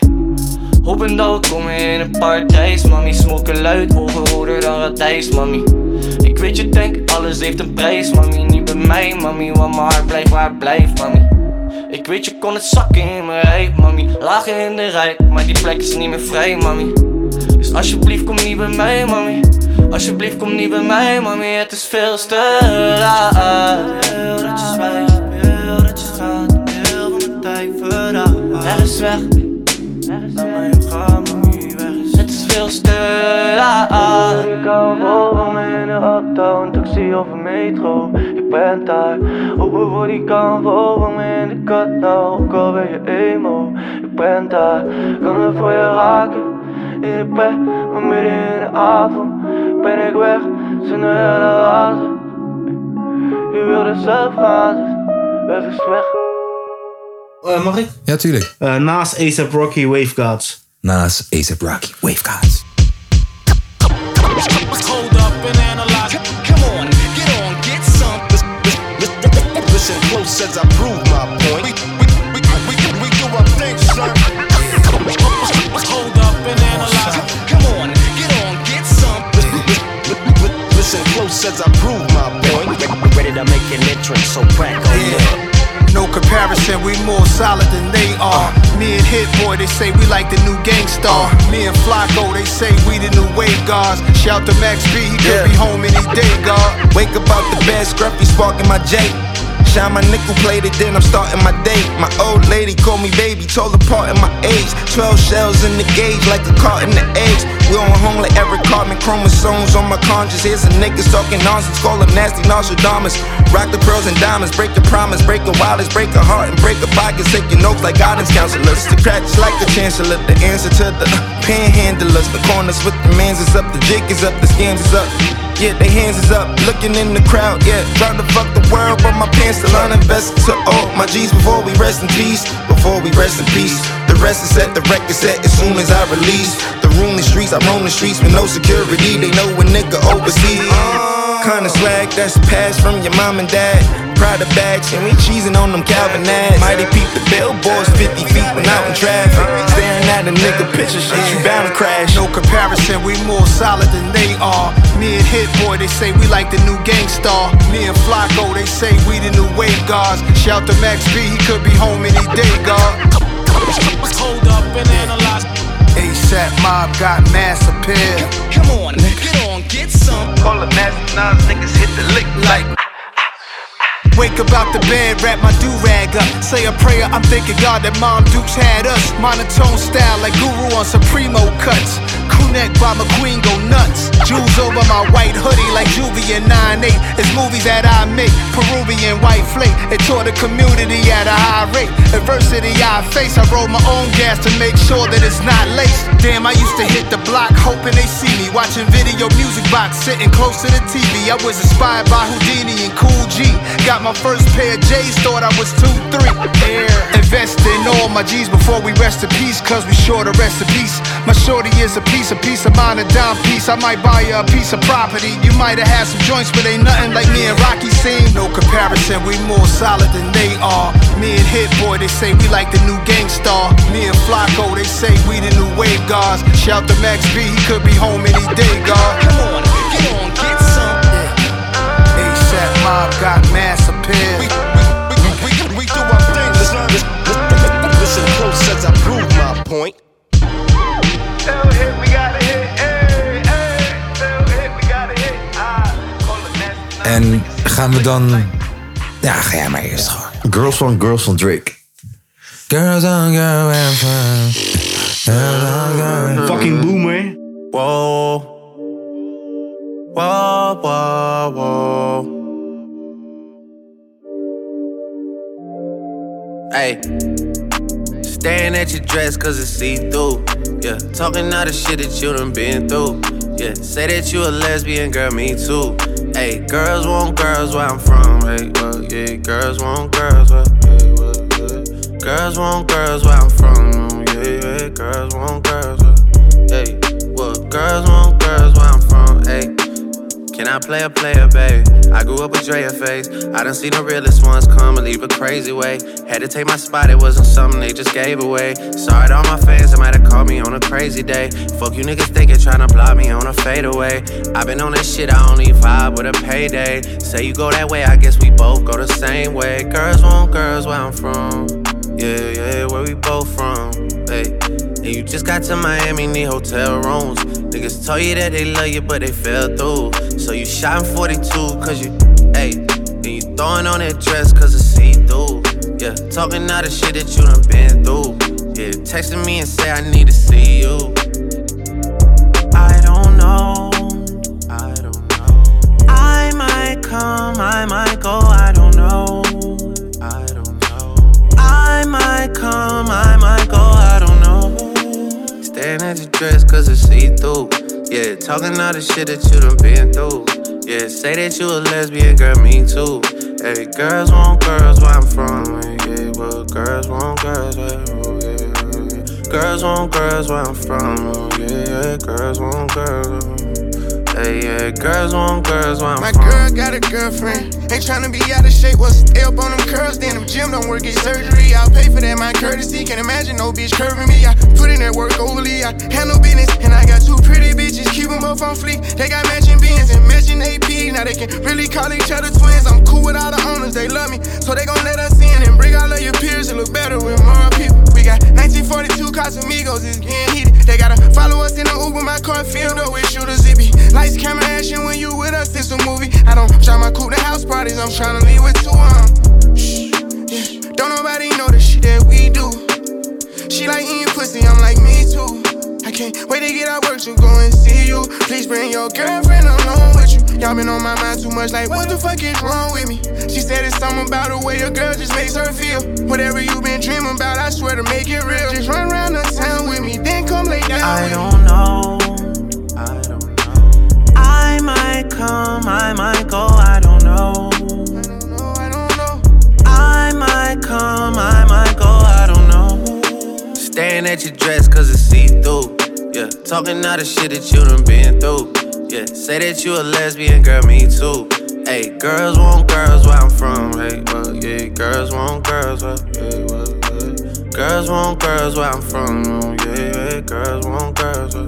[SPEAKER 12] Op en dag kom je in een paradijs, mami. Smokken luid, ogen roder dan radijs, mami. Ik weet je denk, alles heeft een prijs, mami. Niet bij mij, mami, want mijn hart blijft waar het blijft, mami. Ik weet je kon het zakken in mijn rij, mami. Lagen in de rij, maar die plek is niet meer vrij, mami. Dus alsjeblieft kom niet bij mij, mami. Alsjeblieft kom niet bij mij, mami. Het is veel te raar. Wil dat je zwijgt, wil dat je gaat. Deel van de tijd verraad. Weg is weg. Laat mij gaan, mami, weg is Het is veel te laat. Ik hou vol van me in de uptown, taxi of een metro. Ik ben daar. Open voor die kanvo, van me in de kat nou. Ook al ben je emo, ik ben daar. Kan er voor je raken. In de bed, maar midden in de avond ben ik weg. Zonder hele hazen. Je wilde zelf gaan, dus weg is weg.
[SPEAKER 2] Eh, mag ik?
[SPEAKER 1] Ja, tuurlijk.
[SPEAKER 2] Eh, naast ASAP Rocky Wave Gods.
[SPEAKER 1] Naast ASAP Rocky Wave Gods.
[SPEAKER 13] Hold up and analyze. C- Come on, get on, get some. Listen close as I prove my point. We, we, we, we, we do our thing, son. Hold up and analyze. C- Come on, get on, get some. Listen close as I prove my point. Ready to make an entrance, so crack on yeah.
[SPEAKER 14] No comparison, we more solid than they are. Me and Hit Boy, they say we like the new gang star. Me and Flocko, they say we the new wave guards. Shout to Max B, he could be home any day, God.
[SPEAKER 15] Wake up out the bed, scruffy sparking my J.
[SPEAKER 14] Shine my nickel plated, then I'm starting my day. My old lady called me baby, told apart in my age. Twelve shells in the gauge, like a cart in the eggs. We on home like every carbon chromosomes on my conscience. Here's some niggas talking nonsense, call them nasty Nostradamus. Rock the pearls and diamonds, break your promise, break your wallets, break your heart, and break your pockets. Take your notes like guidance counselors. The crack's like the chancellor, the answer to the (laughs) uh, panhandlers. The corners with the mans is up, the jig is up, the scams is up. Yeah, they hands is up, looking in the crowd, yeah. Trying to fuck the world, but my pants still uninvested to all my G's before we rest in peace. Before we rest in peace, the rest is set, the record set as soon as I release. The room, the streets, I roam the streets with no security. They know a nigga overseas. Kinda slag that's passed from your mom and dad. Pride of bags, and we cheesing on them Calvin ads. Mighty peep the billboards 50 feet when out in traffic. Staring at a nigga picture shit, you bound to crash. No comparison, we more solid than they are. Me and Hit Boy, they say we like the new gang star. Me and Flocko, they say we the new wave guards. Shout to Max B, he could be home any day, God. Hold up and analyze. ASAP Mob got mass appeal. Come on, get on, get some. Call the mass nines, niggas hit the lick like. Wake up out the bed, wrap my do-rag up. Say a prayer, I'm thanking God that Mom Dukes had us. Monotone style like Guru on Supremo cuts. Kunek by McQueen go nuts. Jewels over my white hoodie like Juvia 9-8. It's movies that I make, Peruvian white flake. It tore the community at a high rate. Adversity I face, I roll my own gas to make sure that it's not laced. Damn, I used to hit the block hoping they see me. Watching video music box, sitting close to the TV. I was inspired by Houdini and Cool G. Got my first pair of J's, thought I was 2-3. Invest in all my G's before we rest in peace, cause we sure to rest in peace. My shorty is a piece, a piece of mine, a dime piece. I might buy you a piece of property. You might have had some joints, but ain't nothing like me and Rocky seen. No comparison, we more solid than they are. Me and Hit Boy, they say we like the new gang star. Me and Flocko, they say we the new wave guards. Shout to Max B, he could be home any day, God. Come on, get on, get some. ASAP Mob got mass appeal.
[SPEAKER 13] We, we, we, we, we do our thing. Listen, listen, listen, listen close as I prove my point.
[SPEAKER 1] En gaan we dan... Ja, ga jij maar eerst gewoon.
[SPEAKER 3] Girls van Girls van Drake.
[SPEAKER 1] Girls on girl and fun.
[SPEAKER 2] Fucking boomer.
[SPEAKER 15] Wow. Wow, wow, wow. Hey. Staring at your dress cause it's see-through. Yeah. Talking all the shit that you done been through. Yeah. Say that you a lesbian, girl, me too. Hey, girls want girls where I'm from. Hey, well, yeah, girls want girls where, yeah, well, yeah. Girls want girls where I'm from. Yeah, yeah, girls want girls where, hey, well, girls want girls where I'm from. Hey, can I play a player, babe? I grew up with Drea face. I done seen the realest ones come and leave a crazy way. Had to take my spot, it wasn't something they just gave away. Sorry to all my fans that might have called me on a crazy day. Fuck you niggas thinking tryna block me on a fadeaway. i been on this shit, I only vibe with a payday. Say you go that way, I guess we both go the same way. Girls want girls where I'm from. Yeah, yeah, where we both from. Hey. And you just got to Miami, need hotel rooms. Niggas tell you that they love you, but they fell through. So you shot in 42, cause you, hey, and you throwing on that dress, cause it's see through. Yeah, talking all the shit that you done been through. Yeah, texting me and say, I need to see you. I don't know. I don't know. I might come, I might go, I don't know. I don't know. I might come, I might go, I don't know. Staring at your dress cause it's see through. Yeah, talking all the shit that you done been through. Yeah, say that you a lesbian, girl, me too. Hey, girls want girls where I'm from. Yeah, well, girls want girls where, oh, yeah, yeah, yeah. Girls want girls where I'm from. Oh, yeah, yeah, girls want girls. Hey, yeah, girls want girls where I'm
[SPEAKER 16] My
[SPEAKER 15] from.
[SPEAKER 16] girl got a girlfriend. Ain't tryna be out of shape. What's the help on them curls? Then them gym don't work, get surgery. I'll pay for that, my courtesy. Can't imagine no bitch curving me. I put in that work overly. I handle business. And I got two pretty bitches. Keep them both on fleek. They got matching beans and matching AP. Now they can really call each other twins. I'm cool with all the owners. They love me. So they gon' let us in and bring all of your peers. It look better with more people. We got 1942 Casamigos. It's getting heated. They gotta follow us in the Uber. My car filled up with shooters. It be lights, camera, action when you with us. It's a movie. I don't try my cool to house parties. I'm tryna leave with two of 'em. Don't nobody know the shit that we do. She like eating pussy, I'm like me too. I can't wait to get out work to go and see you. Please bring your girlfriend along with you. Y'all been on my mind too much, like what the fuck is wrong with me? She said it's something about the way a girl just makes her feel. Whatever you been dreaming about, I swear to make it real. Just run around the town with me, then come lay down.
[SPEAKER 7] I
[SPEAKER 16] with me.
[SPEAKER 7] don't know. I might come, I might go, I don't know. I might come, I might go, I don't know.
[SPEAKER 15] Staring at your dress cause it's see through. Yeah, talking all the shit that you done been through. Yeah, say that you a lesbian, girl, me too. Hey, girls want girls where I'm from. Hey, well, yeah, girls want girls where, yeah, well, yeah. Girls want girls where I'm from. Oh, yeah, yeah, girls want girls where,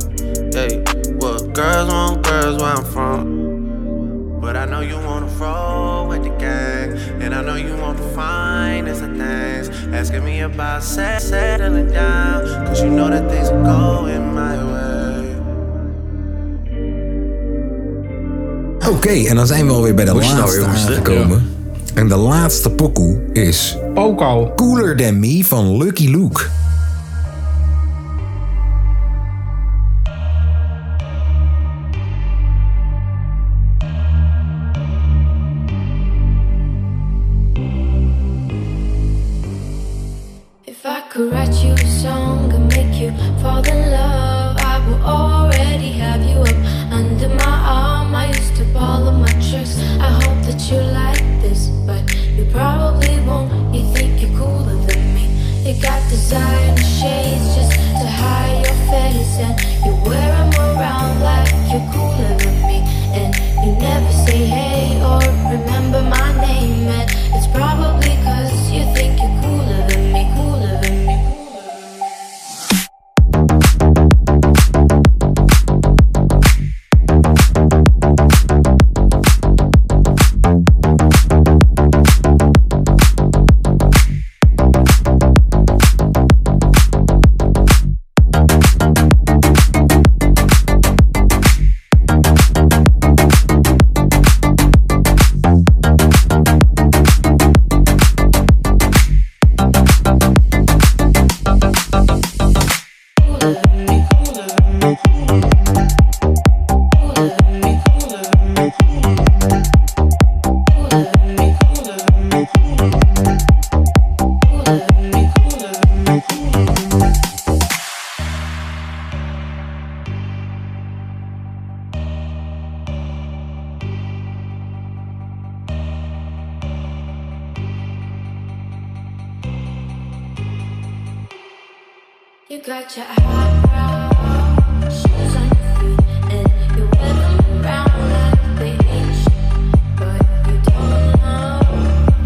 [SPEAKER 15] hey, well, girls want girls where I'm from. But I know you wanna roll with the gang, and I know you want the finest of things. Asking me about set- settling down, cause you know that things are going my way.
[SPEAKER 1] Oké, en dan zijn we alweer bij de
[SPEAKER 3] Moest je nou
[SPEAKER 1] laatste
[SPEAKER 3] weer hoesten?
[SPEAKER 1] aangekomen. En de laatste pokoe is... Poco. Cooler Than Me van Lucky Luke.
[SPEAKER 17] If I could write you a song and make you fall in love, I would already have you up under my arm. I used to ball of my tricks. I hope that you like this, but you probably won't. You think you're cooler than me. You got designer shades just to hide your face, and you wear 'em around like you're cooler than me. And you never say hey or remember my name, and it's probably 'cause you think you're cooler than me, cooler than me. You got your eyebrow shoes on your feet, and you wear them around like they ain't shit. But you don't know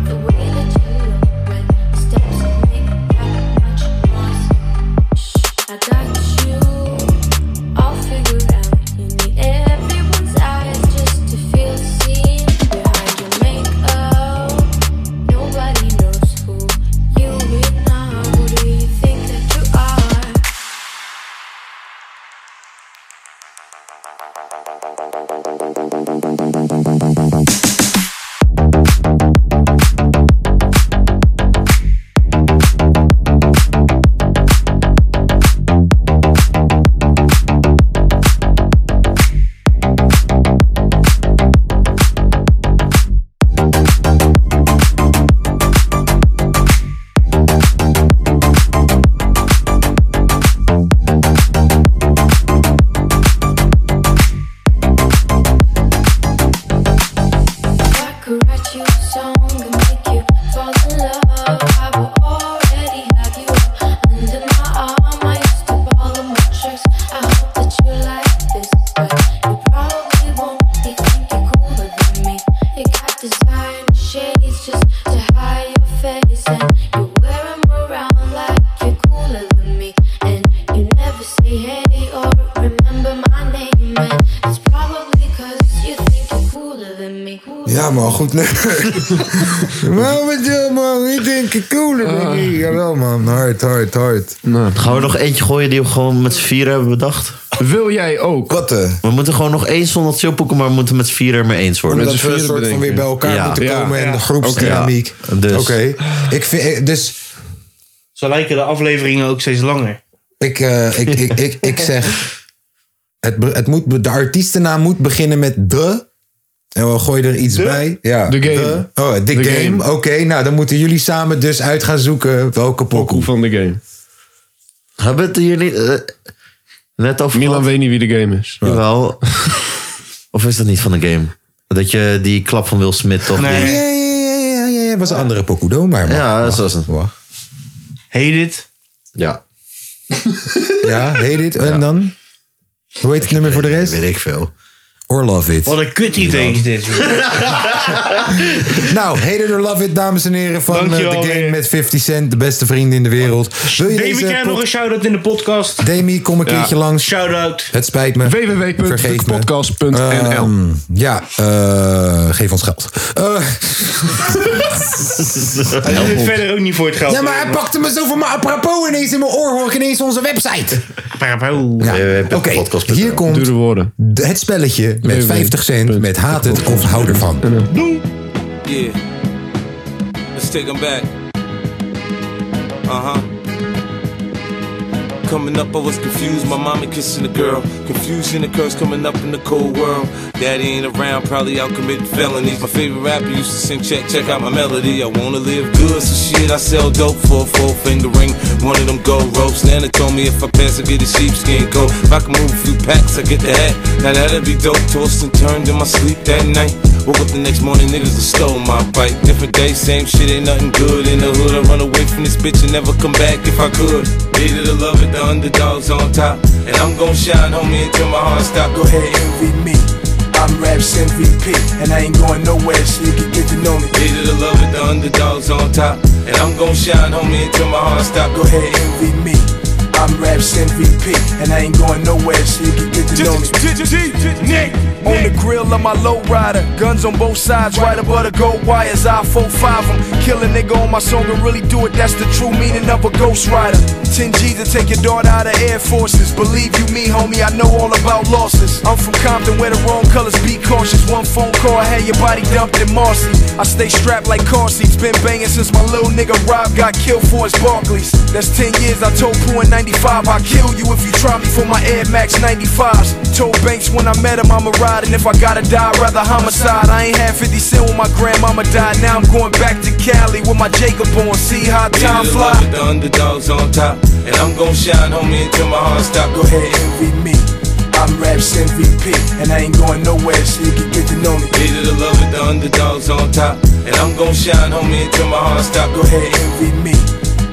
[SPEAKER 17] the way that you look when your steps make that much noise. Shh, I got you all figured out. You need everyone's eyes just to feel seen. Behind your makeup, nobody knows who you really are. Who do you think that you are? If I could write you a song and make you fall in love, I would already have you up under my arm. I used to follow my tricks. I hope that you like this, but you probably won't. You think you're cooler than me. You got designer shades just to hide your face, and you wear 'em around like you're cooler than me. And you never say hey or remember my name, and it's probably 'cause you think you're cooler than me.
[SPEAKER 1] Ja, man, goed (laughs) nummer. Waarom met jou, man? Ik denk ik cooler dan ik. Jawel, man. Hard, hard, hard.
[SPEAKER 3] Gaan we nog eentje gooien die we gewoon met z'n vier hebben bedacht?
[SPEAKER 5] Wil jij ook?
[SPEAKER 1] Wat
[SPEAKER 3] We moeten gewoon nog eens zonder chillpoeken, maar we moeten met z'n vier er maar eens worden.
[SPEAKER 1] Omdat we een soort van weer bij elkaar moeten komen en de groepsdynamiek.
[SPEAKER 3] Ja. Dus.
[SPEAKER 1] Oké. Ik vind, dus
[SPEAKER 2] Zo lijken de afleveringen ook steeds langer.
[SPEAKER 1] Ik, eh, ik, ik, ik, ik zeg. Het, be- het moet, de artiestennaam moet beginnen met de. En we gooien er iets bij. Ja,
[SPEAKER 5] The Game.
[SPEAKER 1] de. oh, The,
[SPEAKER 5] The
[SPEAKER 1] Game. Oké, nou dan moeten jullie samen dus uit gaan zoeken welke pokoe.
[SPEAKER 5] van The Game.
[SPEAKER 3] Hebben het hier niet... eh, net over Milan
[SPEAKER 5] weet niet wie de game is.
[SPEAKER 3] Jawel. of is dat niet van de game? Dat je die klap van Will Smith toch...
[SPEAKER 1] Ja,
[SPEAKER 3] die-
[SPEAKER 1] ja, ja, ja, ja, ja, was een andere pokoe. Doe maar. maar.
[SPEAKER 3] Ja, dat was een...
[SPEAKER 2] Hate it.
[SPEAKER 3] Ja.
[SPEAKER 1] (laughs) Ja, hate it. En dan? Hoe heet het nummer voor de rest? Weet
[SPEAKER 3] ik veel.
[SPEAKER 1] Or love it.
[SPEAKER 2] Wat een kut idee is dit.
[SPEAKER 1] Nou, Hater or Love It, dames en heren van eh,
[SPEAKER 2] Dankjewel
[SPEAKER 1] The Game met 50 Cent, de beste vrienden in de wereld. Wil je
[SPEAKER 2] Demi,
[SPEAKER 1] deze
[SPEAKER 2] krijg
[SPEAKER 1] pod-
[SPEAKER 2] nog een shout-out in de podcast.
[SPEAKER 1] Demi, kom een keertje langs.
[SPEAKER 2] Shout-out.
[SPEAKER 1] Het spijt me.
[SPEAKER 5] www.podcast.nl
[SPEAKER 1] Ehm, ja, eh, geef ons geld.
[SPEAKER 2] Hij doet het verder ook niet voor het geld.
[SPEAKER 1] Ja, maar hij pakte me zo van mijn apropos ineens in mijn oor. Hoor ik ineens onze website.
[SPEAKER 5] Eh,
[SPEAKER 3] Ja.
[SPEAKER 1] Oké, hier komt de- het spelletje met 50 cent met haat het of hou ervan.
[SPEAKER 18] Yeah. Let's take them back. Uh huh. Coming up, I was confused. My mama kissing a girl. Confusion occurs coming up in the cold world. Daddy ain't around, probably out committing felonies. My favorite rapper used to sing, check, check out my melody. I wanna live good, so shit, I sell dope for a four finger ring. One of them gold ropes. Nana told me if I pass, I get a sheepskin coat. If I can move a few packs, I get the hat. Now that'd be dope. Tossed and turned in my sleep that night. Woke up the next morning, niggas done stole my bike. Different day, same shit, ain't nothing good in the hood. I run away from this bitch and never come back if I could. Needed to love it, the underdogs on top. And I'm gon' shine, homie, until my heart stop. Go ahead, envy me. I'm Raps MVP, and I ain't going nowhere, so you can get to know me. Needed to love it, the underdogs on top. And I'm gon' shine, homie, until my heart stop. Go ahead, envy me. I'm Raps MVP, and I ain't going nowhere, so you can get to know me.
[SPEAKER 10] Nick, on the grill of my lowrider, guns on both sides, right above the gold wires. I 4-5 them, kill a nigga on my song and really do it. That's the true meaning of a ghost rider. 10 G to take your daughter out of Air Forces. Believe you me, homie, I know all about losses. I'm from Compton, where the wrong colors be cautious. One phone call, I had your body dumped in Marcy. I stay strapped like car seats, been banging since my little nigga Rob got killed for his Barclays. That's 10 years, I told Pooh in 95, I'll kill you if you try me for my Air Max 95s. Told Banks when I met him, I'ma ride, and if I gotta die, I'd rather homicide. I ain't had 50 cent when my grandmama died, now I'm going back to Cali with my Jacob on, see how time
[SPEAKER 18] Needed to
[SPEAKER 10] fly.
[SPEAKER 18] love it, the underdogs on top. And I'm gon' shine, homie, until my heart stop. Go ahead, envy me. I'm Raps MVP, and I ain't going nowhere, so you can get to know me. Needed to love it, the underdogs on top. And I'm gon' shine, homie, until my heart stop. Go ahead, envy me.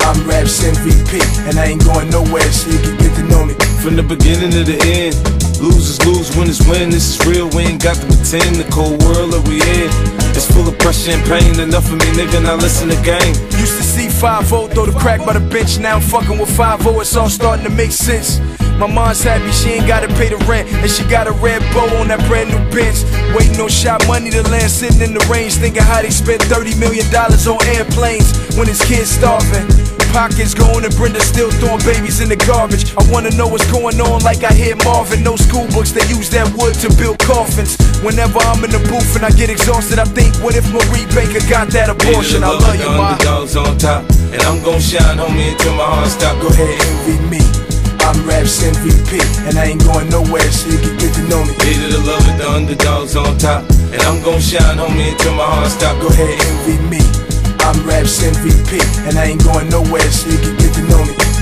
[SPEAKER 18] I'm Raps MVP, and I ain't going nowhere, so you can get to know me. From the beginning to the end, lose is lose, win is win. This is real, we ain't got to pretend. The cold world that we in, it's full of pressure and pain. Enough of me, nigga, now listen to game.
[SPEAKER 10] Used to see 5-0 throw the crack by the bench, now I'm fucking with 5-0, it's all starting to make sense. My mom's happy she ain't gotta pay the rent, and she got a red bow on that brand new bench. Waiting on shot money to land, sitting in the range, thinking how they spent 30 million dollars on airplanes when his kids starving. Pockets going and Brenda still throwing babies in the garbage. I wanna know what's going on, like I hear Marvin. No school books, they use that wood to build coffins. Whenever I'm in the booth and I get exhausted, I think, what if Marie Baker got that
[SPEAKER 18] Nigga,
[SPEAKER 10] abortion? I
[SPEAKER 18] the
[SPEAKER 10] love you,
[SPEAKER 18] the
[SPEAKER 10] ma.
[SPEAKER 18] underdogs on top, and I'm gon' shine, homie, until my heart stop. Go ahead, envy me. I'm Raps MVP, and I ain't going nowhere, so you can get to know me. Needed to love it, the underdogs on top, and I'm gon' shine, homie, until my heart stop. Go ahead, envy me. I'm Raps MVP, and I ain't going nowhere, so you can get to know me.